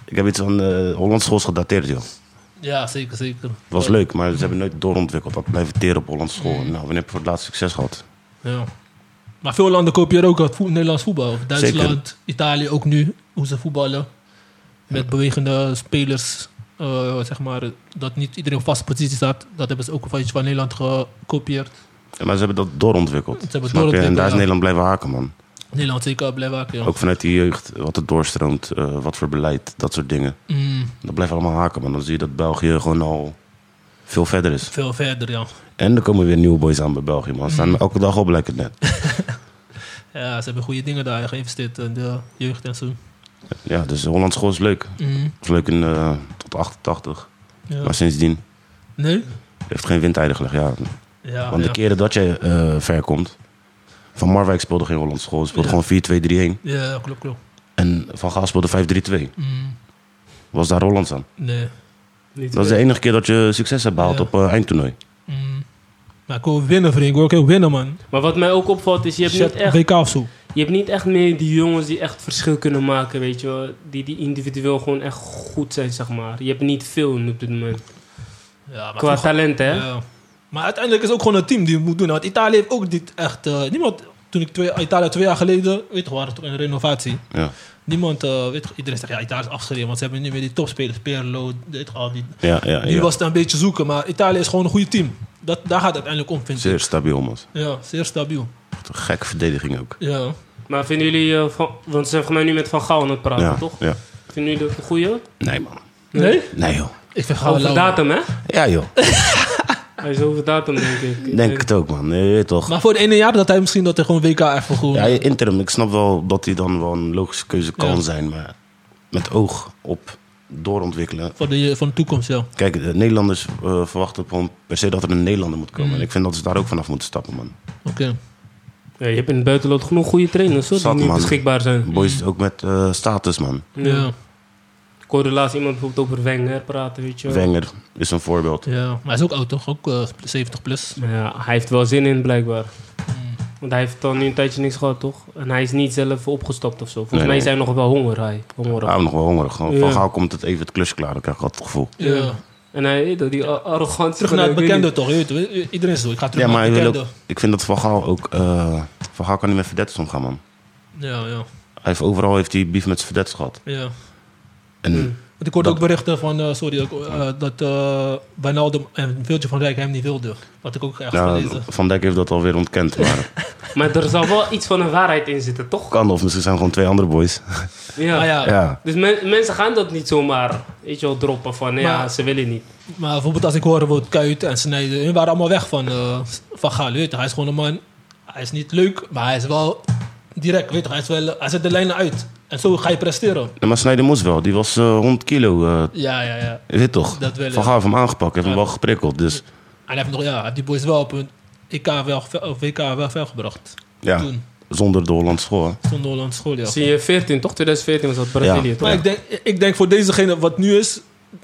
[SPEAKER 4] Ik heb iets van eh Hollands schools gedateerd, joh.
[SPEAKER 2] Ja, zeker, zeker.
[SPEAKER 4] Het was leuk, maar ze hebben nooit doorontwikkeld. Dat blijven teren op Hollandse school.
[SPEAKER 2] Mm.
[SPEAKER 4] Nou, wanneer heb je voor het laatst succes gehad?
[SPEAKER 2] Ja. Maar veel landen kopieeren ook het voet- Nederlands voetbal. Duitsland, Italië ook nu, hoe ze voetballen. Met bewegende spelers, eh, zeg maar, dat niet iedereen op vaste positie staat. Dat hebben ze ook van iets van Nederland gekopieerd.
[SPEAKER 4] Ja, maar ze hebben dat doorontwikkeld.
[SPEAKER 2] Ze hebben het
[SPEAKER 4] Snap je? En
[SPEAKER 2] doorontwikkeld,
[SPEAKER 4] daar is
[SPEAKER 2] ja.
[SPEAKER 4] Nederland blijven haken, man.
[SPEAKER 2] Nederland zeker blijven haken. ja.
[SPEAKER 4] Ook vanuit de jeugd, wat er doorstroomt, eh, wat voor beleid, dat soort dingen.
[SPEAKER 2] Mm,
[SPEAKER 4] Dat blijft allemaal haken, man. Dan zie je dat België gewoon al veel verder is.
[SPEAKER 2] veel verder, ja.
[SPEAKER 4] En er komen weer nieuwe boys aan bij België, man. Ze
[SPEAKER 2] Mm.
[SPEAKER 4] staan elke dag op, lijkt het net.
[SPEAKER 2] Ja, ze hebben goede dingen daar geïnvesteerd in de jeugd en zo.
[SPEAKER 4] Ja, dus Hollands school is leuk.
[SPEAKER 2] Mm,
[SPEAKER 4] Het was leuk in, eh, tot 88.
[SPEAKER 2] ja.
[SPEAKER 4] Maar sindsdien
[SPEAKER 2] Nee?
[SPEAKER 4] heeft geen windeider gelegd. Ja.
[SPEAKER 2] Ja,
[SPEAKER 4] Want de
[SPEAKER 2] Ah, ja.
[SPEAKER 4] keren dat je eh, ver komt... Van Marwijk speelde geen Hollands school. Ze speelde gewoon 4-2-3-1.
[SPEAKER 2] ja klopt, klopt.
[SPEAKER 4] En Van Gaal speelde 5-3-2.
[SPEAKER 2] Mm,
[SPEAKER 4] Was daar Hollands aan.
[SPEAKER 2] nee.
[SPEAKER 3] Niet
[SPEAKER 4] Dat is de enige keer dat je succes hebt behaald
[SPEAKER 2] Ja.
[SPEAKER 4] op eh, eindtoernooi.
[SPEAKER 2] Mm. Maar ik wil winnen, vriend. Ik wil ook heel winnen, man.
[SPEAKER 3] Maar wat mij ook opvalt is, je hebt, niet
[SPEAKER 2] Zet
[SPEAKER 3] echt,
[SPEAKER 2] WK of zo.
[SPEAKER 3] je hebt niet echt meer die jongens die echt verschil kunnen maken, weet je wel. Die, die individueel gewoon echt goed zijn, zeg maar. Je hebt niet veel nu op dit moment.
[SPEAKER 2] Ja, maar
[SPEAKER 3] Qua
[SPEAKER 2] vroeger-
[SPEAKER 3] talent, hè.
[SPEAKER 2] Ja. Maar uiteindelijk is het ook gewoon een team die het moet doen. Want Italië heeft ook niet echt... eh, niemand, toen ik twee, Italië twee jaar geleden... Weet je, waren toch in renovatie.
[SPEAKER 4] Ja.
[SPEAKER 2] Niemand, eh, weet je, iedereen zegt ja, Italië is afgeschreven. Want ze hebben niet meer die topspelers. Perlo, dit, al die...
[SPEAKER 4] Ja, ja,
[SPEAKER 2] Nu
[SPEAKER 4] ja.
[SPEAKER 2] was het een beetje zoeken. Maar Italië is gewoon een goede team. Dat, daar gaat het uiteindelijk om, vind ik.
[SPEAKER 4] Zeer stabiel, man.
[SPEAKER 2] Ja, zeer stabiel.
[SPEAKER 4] Echt een gekke verdediging ook.
[SPEAKER 2] Ja.
[SPEAKER 3] Maar vinden jullie, eh, van, want ze zijn voor mij nu met Van Gaal aan het
[SPEAKER 2] Ah,
[SPEAKER 3] praten,
[SPEAKER 4] Ja,
[SPEAKER 3] toch?
[SPEAKER 4] ja.
[SPEAKER 3] Vinden jullie dat een goeie?
[SPEAKER 4] Nee, man.
[SPEAKER 2] Nee?
[SPEAKER 4] Nee, joh.
[SPEAKER 2] Ik vind Gauw
[SPEAKER 3] Over
[SPEAKER 2] lauw.
[SPEAKER 3] datum, hè?
[SPEAKER 4] Ja, joh.
[SPEAKER 3] Hij is over datum, denk ik.
[SPEAKER 4] Denk het ook, man. Nee, je weet toch.
[SPEAKER 2] Maar voor het ene jaar dat hij misschien dat hij gewoon WK even gewoon...
[SPEAKER 4] Ja, interim. Ik snap wel dat hij dan wel een logische keuze kan
[SPEAKER 2] Ja.
[SPEAKER 4] zijn. Maar met oog op doorontwikkelen.
[SPEAKER 2] Voor de, voor de toekomst, ja.
[SPEAKER 4] Kijk, de Nederlanders eh, verwachten gewoon per se dat er een Nederlander moet komen. En ik vind dat ze daar ook vanaf moeten stappen, man.
[SPEAKER 2] Oké.
[SPEAKER 3] Ja, je hebt in het buitenland genoeg goede trainers, hoor,
[SPEAKER 4] Zat,
[SPEAKER 3] die nu
[SPEAKER 4] man.
[SPEAKER 3] beschikbaar zijn.
[SPEAKER 4] Boys ook met eh, status, man.
[SPEAKER 2] Ja.
[SPEAKER 3] Ik hoorde laatst iemand bijvoorbeeld over Wenger praten, weet je wel.
[SPEAKER 4] Wenger is een voorbeeld.
[SPEAKER 2] ja. Maar hij is ook oud, toch? Ook eh, 70 plus.
[SPEAKER 3] Maar Ja, hij heeft wel zin in, blijkbaar.
[SPEAKER 2] Hmm.
[SPEAKER 3] Want hij heeft al nu een tijdje niks gehad, toch? En hij is niet zelf opgestapt of zo. Volgens
[SPEAKER 4] Nee,
[SPEAKER 3] mij
[SPEAKER 4] nee.
[SPEAKER 3] zijn nog wel honger, hij. Hongerig.
[SPEAKER 4] Ah, nog wel hongerig. Gewoon, Van
[SPEAKER 3] Ja.
[SPEAKER 4] Gaal komt het even het klus klaar. Dan krijg ik altijd het gevoel.
[SPEAKER 2] ja.
[SPEAKER 3] En hij, dat die ar- arrogantie...
[SPEAKER 2] Terug
[SPEAKER 3] van,
[SPEAKER 2] naar het
[SPEAKER 3] ik weet
[SPEAKER 2] bekende toch? Je weet, het, iedereen is zo. Ik ga terug
[SPEAKER 4] Ja, maar
[SPEAKER 2] naar het
[SPEAKER 4] hij wil
[SPEAKER 2] bekende.
[SPEAKER 4] ook, ik vind dat Van Gaal ook... eh, Van Gaal kan niet met verdetters omgaan, man.
[SPEAKER 2] Ja, ja,
[SPEAKER 4] Hij heeft, overal heeft hij beef met zijn verdetters gehad.
[SPEAKER 2] ja.
[SPEAKER 4] En
[SPEAKER 2] Want ik hoorde
[SPEAKER 4] Dat-
[SPEAKER 2] ook berichten van, eh, sorry, dat ik, eh, dat eh Wijnaldum en Wiltje van Rijk hem niet wilden. Wat ik ook echt
[SPEAKER 4] nou,
[SPEAKER 2] gelezen.
[SPEAKER 4] Van Dijk heeft dat alweer ontkend. Maar
[SPEAKER 3] niet. Maar er zal wel iets van een waarheid in zitten, toch?
[SPEAKER 4] kan, of misschien zijn gewoon twee andere boys.
[SPEAKER 3] Ja.
[SPEAKER 2] Maar Ah, ja,
[SPEAKER 4] Ja.
[SPEAKER 3] Dus men- mensen gaan dat niet zomaar, weet je wel, droppen van... Ja,
[SPEAKER 2] Maar-
[SPEAKER 3] ze willen niet.
[SPEAKER 2] maar bijvoorbeeld als ik hoor wordt Kuit en Snijden, hun waren allemaal weg van, eh van Gaal. Weet je, hij is gewoon een man, hij is niet leuk, maar hij is wel direct. Weet je, hij, is wel, hij zet de lijnen uit. En zo ga je presteren.
[SPEAKER 4] Nee, maar Snijder moest wel. Die was eh 100 kilo. eh
[SPEAKER 2] Ja, ja, ja.
[SPEAKER 4] je weet toch?
[SPEAKER 2] Dat wel, ja.
[SPEAKER 4] Van Gaal heeft hem aangepakt. heeft hem wel geprikkeld. Dus
[SPEAKER 2] En hij heeft nog, ja, hij heeft die boys wel op een EK wel, ver- of WK wel ver gebracht.
[SPEAKER 4] ja,
[SPEAKER 2] Toen,
[SPEAKER 4] zonder de Hollandse school. hè.
[SPEAKER 2] toen de Hollandse school, ja.
[SPEAKER 3] Zie je, 14, toch? 2014 was dat Brazilië,
[SPEAKER 4] Ja.
[SPEAKER 3] toch?
[SPEAKER 2] Maar ik, denk, ik denk voor dezegene wat nu is,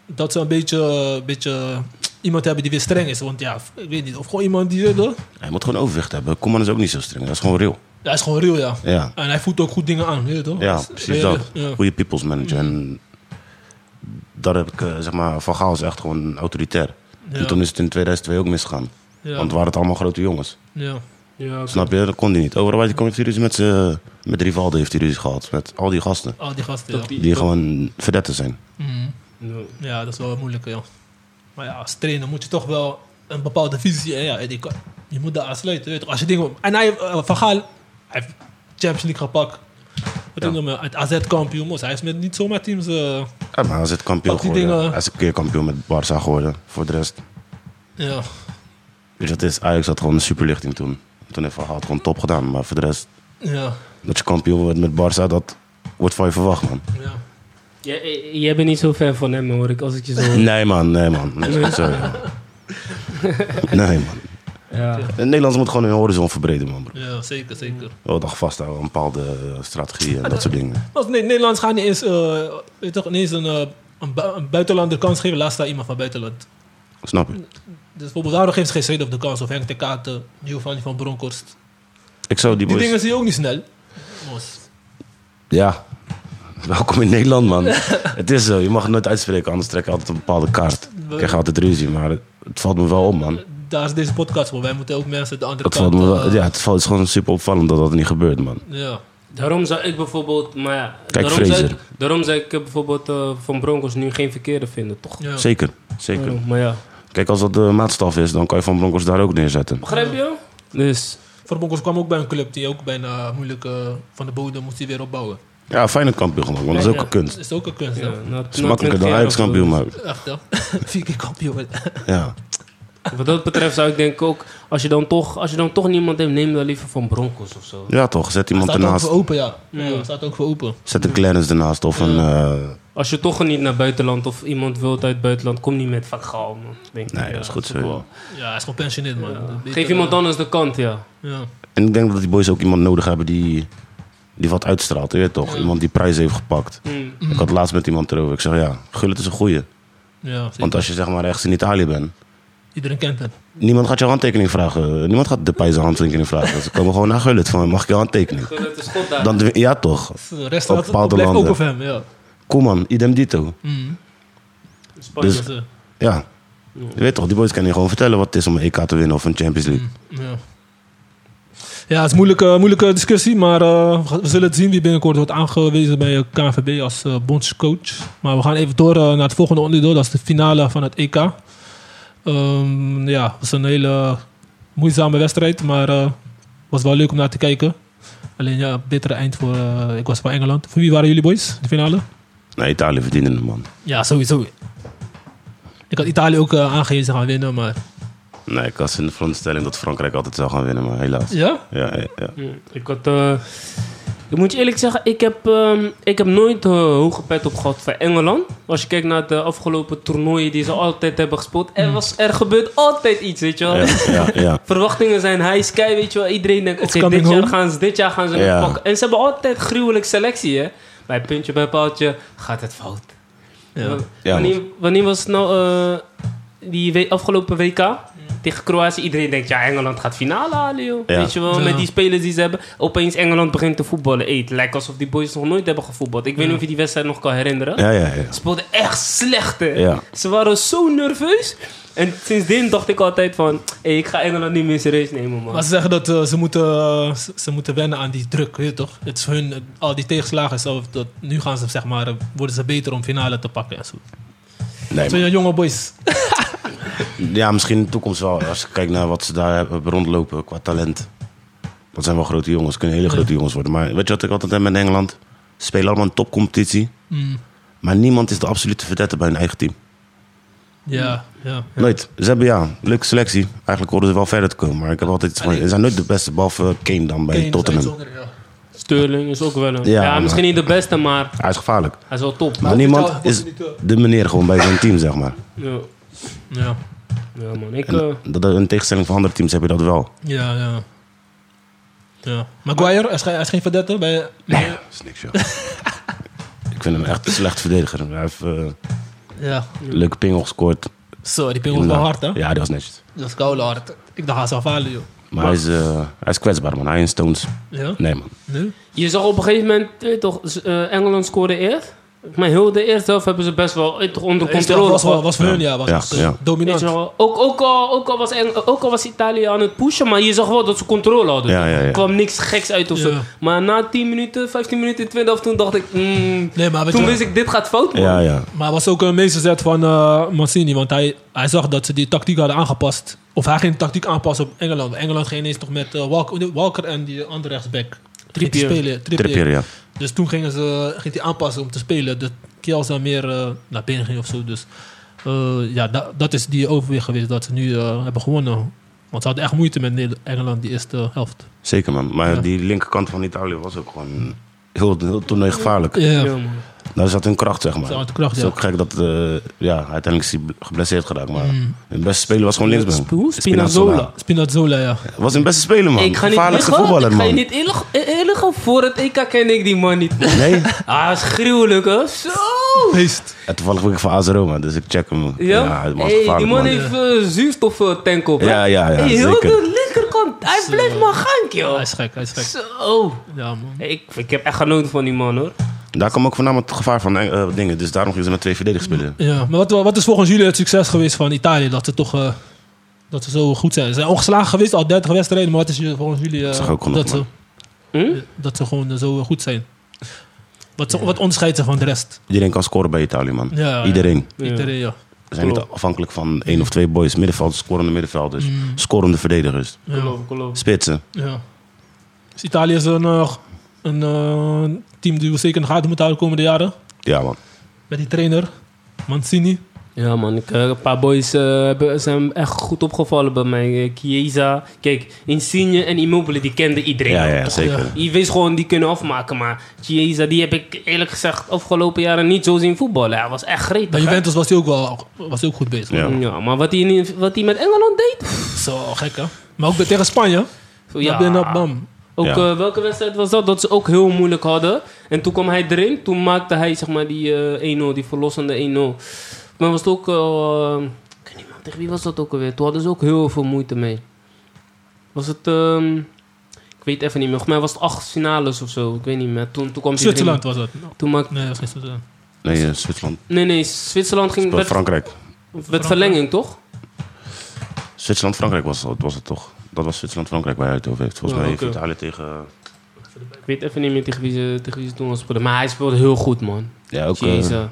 [SPEAKER 2] dat ze een beetje, eh, beetje iemand hebben die weer streng is. Want ja, ik weet niet. Of gewoon iemand die. eh,
[SPEAKER 4] Hij moet gewoon overwicht hebben. Koeman is ook niet zo streng. Dat is gewoon real.
[SPEAKER 2] Hij is gewoon real, ja.
[SPEAKER 4] Ja,
[SPEAKER 2] En hij voelt ook goed dingen aan, weet je toch?
[SPEAKER 4] ja Mm.
[SPEAKER 2] Dus, eh,
[SPEAKER 4] precies dat.
[SPEAKER 2] Ja.
[SPEAKER 4] Goede people's manager. En daar heb ik, eh, zeg maar, Van Gaal is echt gewoon autoritair.
[SPEAKER 2] Ja.
[SPEAKER 4] En toen is het in 2002 ook misgegaan.
[SPEAKER 2] Ja.
[SPEAKER 4] Want waren het allemaal grote jongens.
[SPEAKER 2] ja.
[SPEAKER 3] Ja, oké.
[SPEAKER 4] Snap je? Dat kon hij niet. Overal waar hij kwam heeft hij ruzie met zijn... Met Rivaldo heeft hij ruzie gehad. Met al die gasten.
[SPEAKER 2] Al die gasten. Ja.
[SPEAKER 3] Tot die-
[SPEAKER 4] Die
[SPEAKER 3] tot-
[SPEAKER 4] gewoon verdetten zijn.
[SPEAKER 2] Mhm.
[SPEAKER 3] Ja.
[SPEAKER 2] ja, dat is wel moeilijk, ja. Maar ja, als trainer moet je toch wel een bepaalde visie. En ja, die kan- je moet daar aansluiten, weet je toch? Als je dingen. En hij, eh, Van Gaal, hij heeft Champions League gepakt. Wat
[SPEAKER 4] Ja.
[SPEAKER 2] ik noem, het AZ-kampioen. moest. Hij is met niet zomaar teams. eh,
[SPEAKER 4] Ja, maar hij is het kampioen
[SPEAKER 2] Pak die
[SPEAKER 4] geworden.
[SPEAKER 2] dingen.
[SPEAKER 4] Hij is een keer kampioen met Barça geworden. Voor de rest.
[SPEAKER 2] ja.
[SPEAKER 4] Dus dat is... Ajax had gewoon een superlichting toen. Toen heeft Van Gaal het gewoon top gedaan. Maar voor de rest...
[SPEAKER 2] Ja,
[SPEAKER 4] Dat je kampioen wordt met Barça, dat wordt van je verwacht, man.
[SPEAKER 2] Ja.
[SPEAKER 3] J- eh, Jij bent niet zo fan van hem, hoor ik, als ik je zo...
[SPEAKER 4] Nee, man, nee, man. Nee, man. Sorry, man. Nee, man.
[SPEAKER 3] Ja.
[SPEAKER 4] De Nederlanders moeten gewoon hun horizon verbreden, man. Bro.
[SPEAKER 2] ja, zeker, zeker.
[SPEAKER 4] Wel dag vasthouden aan bepaalde eh, strategieën en dat soort dingen.
[SPEAKER 2] Als nee, Nederlands gaan niet eens, eh, weet toch, niet eens een, eh, een, bu- een buitenlander kans geven, laat staan iemand van buitenland.
[SPEAKER 4] Snap je?
[SPEAKER 2] Dus bijvoorbeeld, daarom geeft ze geen Seedorf de kans. Of Henk de Katen, Giovanni van Bronckhorst.
[SPEAKER 4] Ik zou die
[SPEAKER 2] Die
[SPEAKER 4] boys...
[SPEAKER 2] dingen zie je ook niet snel. Mos.
[SPEAKER 4] Ja. Welkom in Nederland, man. het is zo. Je mag het nooit uitspreken, anders trek je altijd een bepaalde kaart. Ik krijg altijd ruzie, maar het, het valt me wel op, man.
[SPEAKER 2] Daar is deze podcast voor. Wij moeten ook mensen de andere
[SPEAKER 4] Het,
[SPEAKER 2] kant...
[SPEAKER 4] valt me wel,
[SPEAKER 2] eh,
[SPEAKER 4] ja, het, valt, het is gewoon super opvallend dat dat niet gebeurt, man.
[SPEAKER 2] ja.
[SPEAKER 3] Daarom zou ik bijvoorbeeld... Maar ja,
[SPEAKER 4] Kijk,
[SPEAKER 3] daarom, zou ik,
[SPEAKER 4] Fraser.
[SPEAKER 3] daarom zou ik eh, bijvoorbeeld eh, Van Broncos nu geen verkeerde vinden, toch?
[SPEAKER 2] Ja.
[SPEAKER 4] Zeker, zeker.
[SPEAKER 3] Ja, maar ja.
[SPEAKER 4] Kijk, als dat de maatstaf is, dan kan je Van Broncos daar ook neerzetten.
[SPEAKER 3] Begrijp je? Dus...
[SPEAKER 2] Verbonkers kwam ook bij een club die ook bijna moeilijk eh, van de bodem moest hij weer opbouwen.
[SPEAKER 4] Ja, Feyenoord kampioen geworden, want dat is ook een kunst.
[SPEAKER 2] Dat is ook een kunst,
[SPEAKER 3] Ja,
[SPEAKER 2] hè?
[SPEAKER 3] nou,
[SPEAKER 4] Het is makkelijker dan Ajax kampioen maken.
[SPEAKER 2] Echt, hè? Vier keer kampioen.
[SPEAKER 4] Ja.
[SPEAKER 3] Wat dat betreft zou ik denk ook... Als je dan toch, als je dan toch niemand neemt, neem dan liever Van Broncos of zo.
[SPEAKER 4] ja, toch. Zet iemand
[SPEAKER 2] Staat ook
[SPEAKER 4] ernaast.
[SPEAKER 2] voor open, ja.
[SPEAKER 3] Ja.
[SPEAKER 2] ja. Staat ook voor open.
[SPEAKER 4] Zet een Clarence ernaast of een... eh,
[SPEAKER 3] Als je toch niet naar buitenland of iemand wilt uit buitenland, kom niet met Van Gaal, man. Denk ik.
[SPEAKER 4] Nee,
[SPEAKER 3] Ja,
[SPEAKER 4] dat is goed
[SPEAKER 3] ook
[SPEAKER 4] zo,
[SPEAKER 3] wel-
[SPEAKER 2] Ja, hij is gepensioneerd, man. Dat beter,
[SPEAKER 3] Geef iemand
[SPEAKER 2] eh,
[SPEAKER 3] anders de kant, ja.
[SPEAKER 2] Ja.
[SPEAKER 4] En ik denk dat die boys ook iemand nodig hebben die, die wat uitstraalt, je weet toch? Iemand die prijs heeft gepakt. Ik had laatst met iemand erover. Ik zeg, ja, Gullit is een goeie.
[SPEAKER 2] Ja, zeker.
[SPEAKER 4] Want als je zeg maar ergens in Italië bent,
[SPEAKER 2] Iedereen kent hem.
[SPEAKER 4] niemand gaat jouw handtekening vragen. Niemand gaat de prijs zijn handtekening vragen. Ze komen gewoon naar Gullit van, mag ik jouw handtekening?
[SPEAKER 3] Het is goed daar.
[SPEAKER 4] Dan, de- ja toch,
[SPEAKER 2] Dus De rest
[SPEAKER 4] Op
[SPEAKER 2] staat,
[SPEAKER 4] bepaalde
[SPEAKER 2] blijft ook
[SPEAKER 4] landen.
[SPEAKER 2] op hem, ja.
[SPEAKER 4] Koeman, idem dito.
[SPEAKER 2] Mm.
[SPEAKER 3] Spanje.
[SPEAKER 2] Dus, eh,
[SPEAKER 4] Ja, je weet toch, die boys kunnen je gewoon vertellen wat het is om een EK te winnen of een Champions
[SPEAKER 2] Mm.
[SPEAKER 4] League.
[SPEAKER 2] ja. Ja, het is een moeilijke, moeilijke discussie, maar eh, we zullen het zien wie binnenkort wordt aangewezen bij eh, KNVB als eh, bondscoach. Maar we gaan even door eh, naar het volgende onderdeel, dat is de finale van het EK. Ehm, ja, het was een hele moeizame wedstrijd, maar eh, was wel leuk om naar te kijken. Alleen ja, bittere eind voor, eh, ik was van Engeland. Voor wie waren jullie boys, de finale?
[SPEAKER 4] Nee, Italië verdiende hem, man.
[SPEAKER 2] Ja, sowieso. Ik had Italië ook eh, aangewezen gaan winnen, maar...
[SPEAKER 4] Nee, ik was in de veronderstelling dat Frankrijk altijd zou gaan winnen, maar helaas.
[SPEAKER 2] Ja?
[SPEAKER 4] Ja, ja, ja.
[SPEAKER 3] Ja, Ik had. eh, ik moet je eerlijk zeggen, ik heb, ehm, ik heb nooit eh, hoge pet op gehad voor Engeland. Als je kijkt naar de afgelopen toernooien die ze altijd hebben gespeeld, er, was, er gebeurt altijd iets, weet je wel.
[SPEAKER 4] ja, ja, ja.
[SPEAKER 3] Verwachtingen zijn high sky, weet je wel. Iedereen denkt,
[SPEAKER 2] It's
[SPEAKER 3] oké, dit,
[SPEAKER 2] coming
[SPEAKER 3] jaar
[SPEAKER 2] home.
[SPEAKER 3] gaan ze- dit jaar gaan ze
[SPEAKER 4] Ja.
[SPEAKER 3] het pakken. En ze hebben altijd gruwelijk selectie, hè. Bij puntje bij paaltje gaat het fout.
[SPEAKER 2] Ja.
[SPEAKER 4] Ja,
[SPEAKER 3] wanneer, wanneer was het nou eh, die we- afgelopen WK? Tegen Kroatië, iedereen denkt, ja, Engeland gaat finale halen, joh.
[SPEAKER 4] Ja.
[SPEAKER 3] Weet je wel,
[SPEAKER 2] Ja.
[SPEAKER 3] met die spelers die ze hebben. Opeens Engeland begint te voetballen. Eet, lijkt alsof die boys nog nooit hebben gevoetbald. Ik weet niet of je die wedstrijd nog kan herinneren.
[SPEAKER 4] ja, ja, ja.
[SPEAKER 3] Ze speelden echt slecht, hè.
[SPEAKER 4] Ja.
[SPEAKER 3] Ze waren zo nerveus. En sindsdien dacht ik altijd van, hey, ik ga Engeland niet meer serieus nemen, man.
[SPEAKER 2] Maar ze zeggen dat eh, ze, moeten, eh, ze- ze moeten wennen aan die druk, weet je toch? Het is hun, eh, al die tegenslagen, zo, dat, nu gaan ze, zeg maar, eh, worden ze beter om finale te pakken en zo.
[SPEAKER 4] Nee,
[SPEAKER 2] Zo, ja, jonge boys.
[SPEAKER 4] Ja, misschien in de toekomst wel. Als ik kijk naar wat ze daar hebben rondlopen qua talent. Dat zijn wel grote jongens. Kunnen hele grote jongens worden. Maar weet je wat ik altijd heb met Engeland? Ze spelen allemaal een topcompetitie.
[SPEAKER 2] Mm,
[SPEAKER 4] Maar niemand is de absolute verdette bij hun eigen team.
[SPEAKER 2] ja, ja.
[SPEAKER 4] Nooit. Ze hebben ja, leuke selectie. Eigenlijk hoorden ze wel verder te komen. Maar ik heb altijd iets van... Ze zijn nooit de beste, behalve Kane dan
[SPEAKER 2] Ah,
[SPEAKER 4] bij
[SPEAKER 2] Kane is
[SPEAKER 4] Tottenham.
[SPEAKER 2] uitzondering, ja.
[SPEAKER 3] Sterling is ook wel een... Ja,
[SPEAKER 4] Ja, maar-
[SPEAKER 3] misschien niet de beste, maar
[SPEAKER 4] Hij is gevaarlijk.
[SPEAKER 3] hij is wel top.
[SPEAKER 4] Maar
[SPEAKER 2] wel-
[SPEAKER 4] niemand
[SPEAKER 2] wordt
[SPEAKER 4] is
[SPEAKER 2] niet, eh,
[SPEAKER 4] de meneer gewoon bij zijn team, zeg maar.
[SPEAKER 3] Ja,
[SPEAKER 2] Ja,
[SPEAKER 3] ja man. Ik, eh,
[SPEAKER 4] En dat, in tegenstelling van andere teams heb je dat wel.
[SPEAKER 2] ja, ja. ja. Maguire, hij is, geen- hij is geen verdette bij...
[SPEAKER 4] Dat is niks, joh. ik vind hem echt een slecht verdediger. Hij heeft... eh,
[SPEAKER 2] Ja,
[SPEAKER 4] Leuke pingel gescoord.
[SPEAKER 2] zo, die pingel was wel hard, hè?
[SPEAKER 4] Ja, die was netjes.
[SPEAKER 2] Dat is koude hard. Ik dacht, hij zou falen, joh.
[SPEAKER 4] Maar hij is, eh, hij is kwetsbaar, man. Hij en Stones.
[SPEAKER 2] Ja?
[SPEAKER 4] Nee, man.
[SPEAKER 2] Nee?
[SPEAKER 3] Je zag op een gegeven moment, eh, toch, z- eh, Engeland scoorde eerst. Maar heel de eerste helft hebben ze best wel eh, toch onder controle.
[SPEAKER 2] was, wel-
[SPEAKER 3] gehad.
[SPEAKER 2] was voor hun, ja. Was
[SPEAKER 4] Ja,
[SPEAKER 2] echt, eh,
[SPEAKER 4] ja.
[SPEAKER 2] Dominant.
[SPEAKER 3] Weet je wel, Ook, ook, al, ook, al was Eng- ook al was Italië aan het pushen, maar je zag wel dat ze controle hadden.
[SPEAKER 4] Ja, ja, ja.
[SPEAKER 3] Er kwam niks geks uit of zo.
[SPEAKER 2] Ja.
[SPEAKER 3] Maar na 10 minuten, 15 minuten, 20 helft, toen dacht ik... mm,
[SPEAKER 2] Nee, maar weet
[SPEAKER 3] toen
[SPEAKER 2] je-
[SPEAKER 3] wist ik, dit gaat fout,
[SPEAKER 2] Oh.
[SPEAKER 3] man.
[SPEAKER 4] Ja, ja.
[SPEAKER 2] Maar het was ook een meesterzet van eh, Mancini. Want hij, hij zag dat ze die tactiek hadden aangepast. Of hij ging de tactiek aanpassen op Engeland. Engeland ging ineens nog met eh, Walker, Walker en die andere rechtsback. Ging die
[SPEAKER 3] Trippier.
[SPEAKER 2] Spelen, Trippier.
[SPEAKER 4] Trippier, ja.
[SPEAKER 2] Dus toen gingen ze, ging hij aanpassen om te spelen. Dat Kjels dan meer eh, naar binnen ging of zo. Dus eh, ja, da- dat is die overweg geweest dat ze nu eh, hebben gewonnen. Want ze hadden echt moeite met Nederland- Engeland die eerste helft.
[SPEAKER 4] Zeker, man. Maar
[SPEAKER 2] Ja.
[SPEAKER 4] die linkerkant van Italië was ook gewoon heel, heel het toernooi gevaarlijk.
[SPEAKER 2] Ja,
[SPEAKER 3] Ja, man.
[SPEAKER 4] Daar zat hun kracht, zeg maar.
[SPEAKER 2] Zat hun kracht,
[SPEAKER 4] Het
[SPEAKER 2] ja.
[SPEAKER 4] is ook gek dat eh, ja, uiteindelijk is hij geblesseerd geraakt. Maar hun beste speler was gewoon linksback.
[SPEAKER 3] Hoe? Spinazzola.
[SPEAKER 2] Mm. Spinazzola, ja.
[SPEAKER 4] Was hun beste speler, man.
[SPEAKER 3] Ik ga niet
[SPEAKER 4] Gevaarlijkste
[SPEAKER 3] liegen,
[SPEAKER 4] voetballer,
[SPEAKER 3] ik ga
[SPEAKER 4] man.
[SPEAKER 3] je niet eerlijk- eerlijk gaan, voor het EK ken ik die man niet.
[SPEAKER 4] Nee?
[SPEAKER 3] Ah, dat is gruwelijk, hè? Zo!
[SPEAKER 2] Feest.
[SPEAKER 4] En toevallig ben ik van AS Roma, dus ik check hem.
[SPEAKER 3] Ja,
[SPEAKER 4] hij was
[SPEAKER 3] hey,
[SPEAKER 4] gevaarlijk,
[SPEAKER 3] die man
[SPEAKER 4] man.
[SPEAKER 3] heeft eh, zuurstof eh, tank op. hè?
[SPEAKER 4] Ja, ja, ja,
[SPEAKER 3] hey, heel
[SPEAKER 4] zeker.
[SPEAKER 3] de linkerkant, hij blijft maar gaan, joh.
[SPEAKER 2] Hij is gek, hij is gek.
[SPEAKER 3] Zo!
[SPEAKER 2] Ja, man.
[SPEAKER 3] Hey, ik, ik heb echt genoten van die man, hoor.
[SPEAKER 4] Daar kwam ook voornamelijk het gevaar van eh, eh, dingen. Dus daarom gingen ze met twee verdedigers spelen.
[SPEAKER 2] Ja, maar wat, wat is volgens jullie het succes geweest van Italië? Dat ze toch eh, dat ze zo goed zijn. Ze zijn ongeslagen geweest, al 30 wedstrijden. Maar wat is je- volgens jullie eh,
[SPEAKER 4] is toch ook genoeg,
[SPEAKER 2] dat, ze,
[SPEAKER 3] Hm?
[SPEAKER 2] dat ze gewoon eh, zo eh, goed zijn? Wat, ze- wat onderscheidt ze van de rest?
[SPEAKER 4] Iedereen kan scoren bij Italië, man.
[SPEAKER 2] Ja,
[SPEAKER 4] Iedereen.
[SPEAKER 3] Ja.
[SPEAKER 2] Iedereen, ja.
[SPEAKER 4] Ze zijn niet
[SPEAKER 3] Klopt.
[SPEAKER 4] afhankelijk van één of twee boys. Middenvelders, scorende middenvelders.
[SPEAKER 2] Mm.
[SPEAKER 4] Scorende verdedigers.
[SPEAKER 2] Ja.
[SPEAKER 3] Geloof, geloof.
[SPEAKER 4] Spitsen.
[SPEAKER 2] ja. Dus Italië is een, eh, een eh, team die we zeker in de gaten moeten houden de komende jaren.
[SPEAKER 4] Ja, man.
[SPEAKER 2] Met die trainer, Mancini.
[SPEAKER 3] Ja, man. Ik, eh, een paar boys eh, hebben- zijn echt goed opgevallen bij mij. Eh, Chiesa. Kijk, Insigne en Immobile, die kende iedereen.
[SPEAKER 4] Ja,
[SPEAKER 3] al,
[SPEAKER 4] ja,
[SPEAKER 3] toch?
[SPEAKER 4] zeker.
[SPEAKER 2] Ja.
[SPEAKER 3] Je wist gewoon, die kunnen afmaken. Maar Chiesa, die heb ik eerlijk gezegd afgelopen jaren niet zo zien voetballen. Hij was echt
[SPEAKER 2] Bij
[SPEAKER 3] gretig. hè?
[SPEAKER 2] Juventus was hij ook wel was hij ook goed bezig.
[SPEAKER 4] Ja.
[SPEAKER 3] Ja, maar wat hij, in- wat hij met Engeland deed... pff,
[SPEAKER 2] Zo gek, hè? Maar ook bij- tegen Spanje. Ja. Bam,
[SPEAKER 3] nou
[SPEAKER 2] bam.
[SPEAKER 3] Ook
[SPEAKER 4] Ja.
[SPEAKER 3] eh, welke wedstrijd was dat? Dat ze ook heel moeilijk hadden. En toen kwam hij erin. Toen maakte hij zeg maar die eh, 1-0, die verlossende 1-0. Maar was het ook... eh, ik weet niet man, tegen wie was dat ook alweer? Toen hadden ze ook heel veel moeite mee. Was het... ehm, ik weet even niet meer. Volgens mij was het acht finales of zo. Ik weet niet meer. Toen, toen kwam hij erin.
[SPEAKER 2] Zwitserland was dat.
[SPEAKER 3] Toen maakte...
[SPEAKER 2] Nee, dat was geen Zwitserland.
[SPEAKER 4] Nee, eh, Zwitserland.
[SPEAKER 3] Nee, nee. Zwitserland ging...
[SPEAKER 4] Speelt
[SPEAKER 3] Werd,
[SPEAKER 4] Frankrijk.
[SPEAKER 3] werd verlenging, toch?
[SPEAKER 4] Zwitserland-Frankrijk was, het- was het toch? Dat was Zwitserland-Frankrijk waar hij het over heeft. Volgens
[SPEAKER 3] Ja, eh,
[SPEAKER 4] mij
[SPEAKER 3] oké.
[SPEAKER 4] heeft Italië tegen...
[SPEAKER 3] Ik weet even niet meer tegen wie ze, tegen wie ze toen was speelden. Maar hij speelde heel goed, man.
[SPEAKER 4] Ja, ook eh,
[SPEAKER 3] Jezus.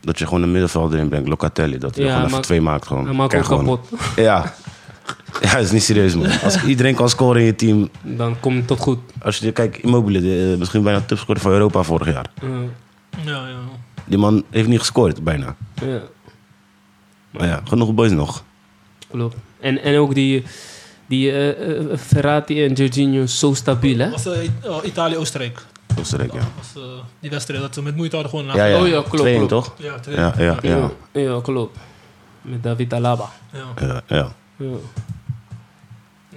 [SPEAKER 4] dat je gewoon een middenveld erin brengt. Locatelli. Dat hij
[SPEAKER 3] Ja,
[SPEAKER 4] er gewoon
[SPEAKER 3] maar-
[SPEAKER 4] even twee maakt. Gewoon.
[SPEAKER 3] Hij maakt
[SPEAKER 4] Krijg
[SPEAKER 3] ons
[SPEAKER 4] gewoon-
[SPEAKER 3] kapot.
[SPEAKER 4] Ja. Ja, dat is niet serieus, man. Als iedereen kan scoren in je team.
[SPEAKER 3] Dan komt het tot goed.
[SPEAKER 4] Als je kijkt, Immobile, de, eh, misschien bijna topscorer van Europa vorig jaar.
[SPEAKER 3] Eh,
[SPEAKER 2] Ja, ja.
[SPEAKER 4] Die man heeft niet gescoord, bijna.
[SPEAKER 3] Ja,
[SPEAKER 4] Maar ja, genoeg boys nog.
[SPEAKER 3] klopt. En, en ook die, die eh, eh, Ferrati en Jorginho zo stabiel, hè?
[SPEAKER 2] Was eh, It- eh, Italië-Oostenrijk.
[SPEAKER 4] Oostenrijk, ja.
[SPEAKER 2] Was, eh, die wedstrijd dat ze met moeite hadden gewoon.
[SPEAKER 4] Ja, ja.
[SPEAKER 3] Oh ja, klopt,
[SPEAKER 4] 2-1,
[SPEAKER 3] klopt.
[SPEAKER 4] toch?
[SPEAKER 2] ja, twee.
[SPEAKER 4] Ja, ja, ja.
[SPEAKER 3] ja. klopt. Met David Alaba.
[SPEAKER 2] ja.
[SPEAKER 4] ja, ja.
[SPEAKER 3] Ja.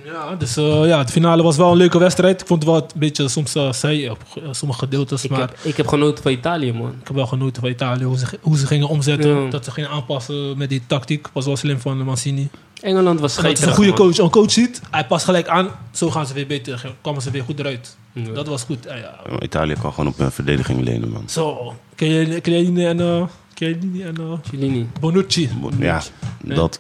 [SPEAKER 2] Ja, dus eh, ja, de finale was wel een leuke wedstrijd. Ik vond het wel een beetje soms eh saai op eh, sommige gedeeltes.
[SPEAKER 3] Ik,
[SPEAKER 2] maar
[SPEAKER 3] heb, ik heb genoten van Italië, man.
[SPEAKER 2] ik heb wel genoten van Italië. Hoe ze, hoe ze gingen omzetten.
[SPEAKER 3] Ja.
[SPEAKER 2] Dat ze gingen aanpassen met die tactiek. Was wel slim van eh, Mancini.
[SPEAKER 3] Engeland was
[SPEAKER 2] Dat is
[SPEAKER 3] scheidsrechter.
[SPEAKER 2] een goede coach. Een coach ziet, hij past gelijk aan. Zo gaan ze weer beter. Kwamen ze weer goed eruit.
[SPEAKER 3] Ja.
[SPEAKER 2] Dat was goed. Ja, ja.
[SPEAKER 4] Maar Italië kan gewoon op een verdediging lenen, man.
[SPEAKER 2] Zo. Chiellini en, eh Chiellini en eh,
[SPEAKER 3] Cellini.
[SPEAKER 2] Bonucci.
[SPEAKER 4] Ja, dat.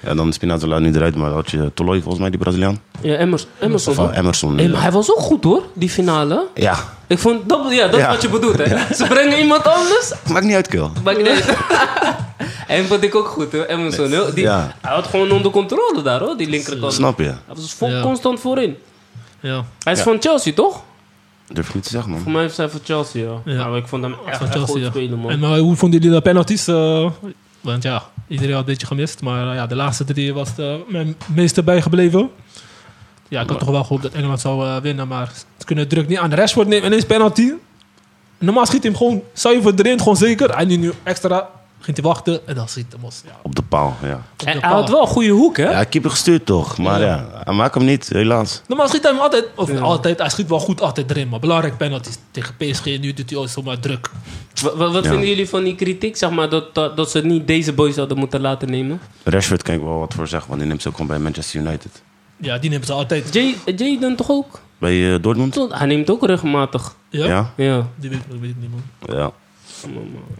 [SPEAKER 4] En dan Spinazzola nu eruit, maar dan had je Toloi volgens mij, die Braziliaan.
[SPEAKER 3] Ja, Emmers, Emerson.
[SPEAKER 4] Of
[SPEAKER 3] hoor.
[SPEAKER 4] eh, Emerson.
[SPEAKER 3] Hey, maar hij was ook goed, hoor, die finale.
[SPEAKER 4] Ja,
[SPEAKER 3] Ik vond, dat, ja, dat
[SPEAKER 4] Ja.
[SPEAKER 3] is wat je bedoelt, hè? Ze brengen iemand anders
[SPEAKER 4] maakt niet uit, Kul.
[SPEAKER 3] Maar ik en vond ik ook goed hoor, Emerson. hoor. Die,
[SPEAKER 4] Ja.
[SPEAKER 3] Hij had gewoon onder controle daar hoor, die linkerkant.
[SPEAKER 4] Snap je?
[SPEAKER 3] Hij was vol
[SPEAKER 2] Ja.
[SPEAKER 3] constant voorin.
[SPEAKER 2] Ja.
[SPEAKER 3] Hij is van Chelsea toch?
[SPEAKER 4] Durf ik niet te zeggen,
[SPEAKER 3] Voor
[SPEAKER 4] man.
[SPEAKER 3] mij is hij van Chelsea ja.
[SPEAKER 2] Ja.
[SPEAKER 3] Maar ik vond hem echt,
[SPEAKER 2] van
[SPEAKER 3] echt
[SPEAKER 2] Chelsea,
[SPEAKER 3] goed
[SPEAKER 2] ja.
[SPEAKER 3] spelen man.
[SPEAKER 2] En maar hoe vonden jullie de penalties? eh? want ja, iedereen had een beetje gemist. Maar eh, ja, de laatste drie was de, mijn meeste bijgebleven. Ja, ik had toch wel gehoopt dat Engeland zou eh, winnen. Maar ze kunnen het druk niet aan. Rashford neemt ineens penalty. Normaal schiet hij hem gewoon zuiver erin. Gewoon zeker. Hij nu, nu extra. Ging hij wachten. En dan schiet hij hem los. Ja,
[SPEAKER 4] Op de paal, ja.
[SPEAKER 3] En hij had wel een goede hoek hè?
[SPEAKER 4] Ja, keeper gestuurd toch, maar ja, hij maakt hem niet, helaas.
[SPEAKER 2] Normaal schiet hij hem altijd. Of altijd. Hij schiet wel goed altijd erin. Maar belangrijk penalties. Tegen PSG. Nu doet hij ook zomaar druk.
[SPEAKER 3] Wa- wa- Wat
[SPEAKER 4] Ja.
[SPEAKER 3] vinden jullie van die kritiek zeg maar dat, dat, dat ze niet deze boys hadden moeten laten nemen?
[SPEAKER 4] Rashford kan ik wel wat voor zeggen, want die neemt ze ook gewoon bij Manchester United.
[SPEAKER 2] Ja, die nemen ze altijd.
[SPEAKER 3] Jay- Jaden toch ook?
[SPEAKER 4] Bij eh, Dortmund?
[SPEAKER 3] Tot- Hij neemt ook regelmatig.
[SPEAKER 2] Ja?
[SPEAKER 4] Ja?
[SPEAKER 3] Ja.
[SPEAKER 2] Die weet, dat weet ik niet man.
[SPEAKER 4] Ja.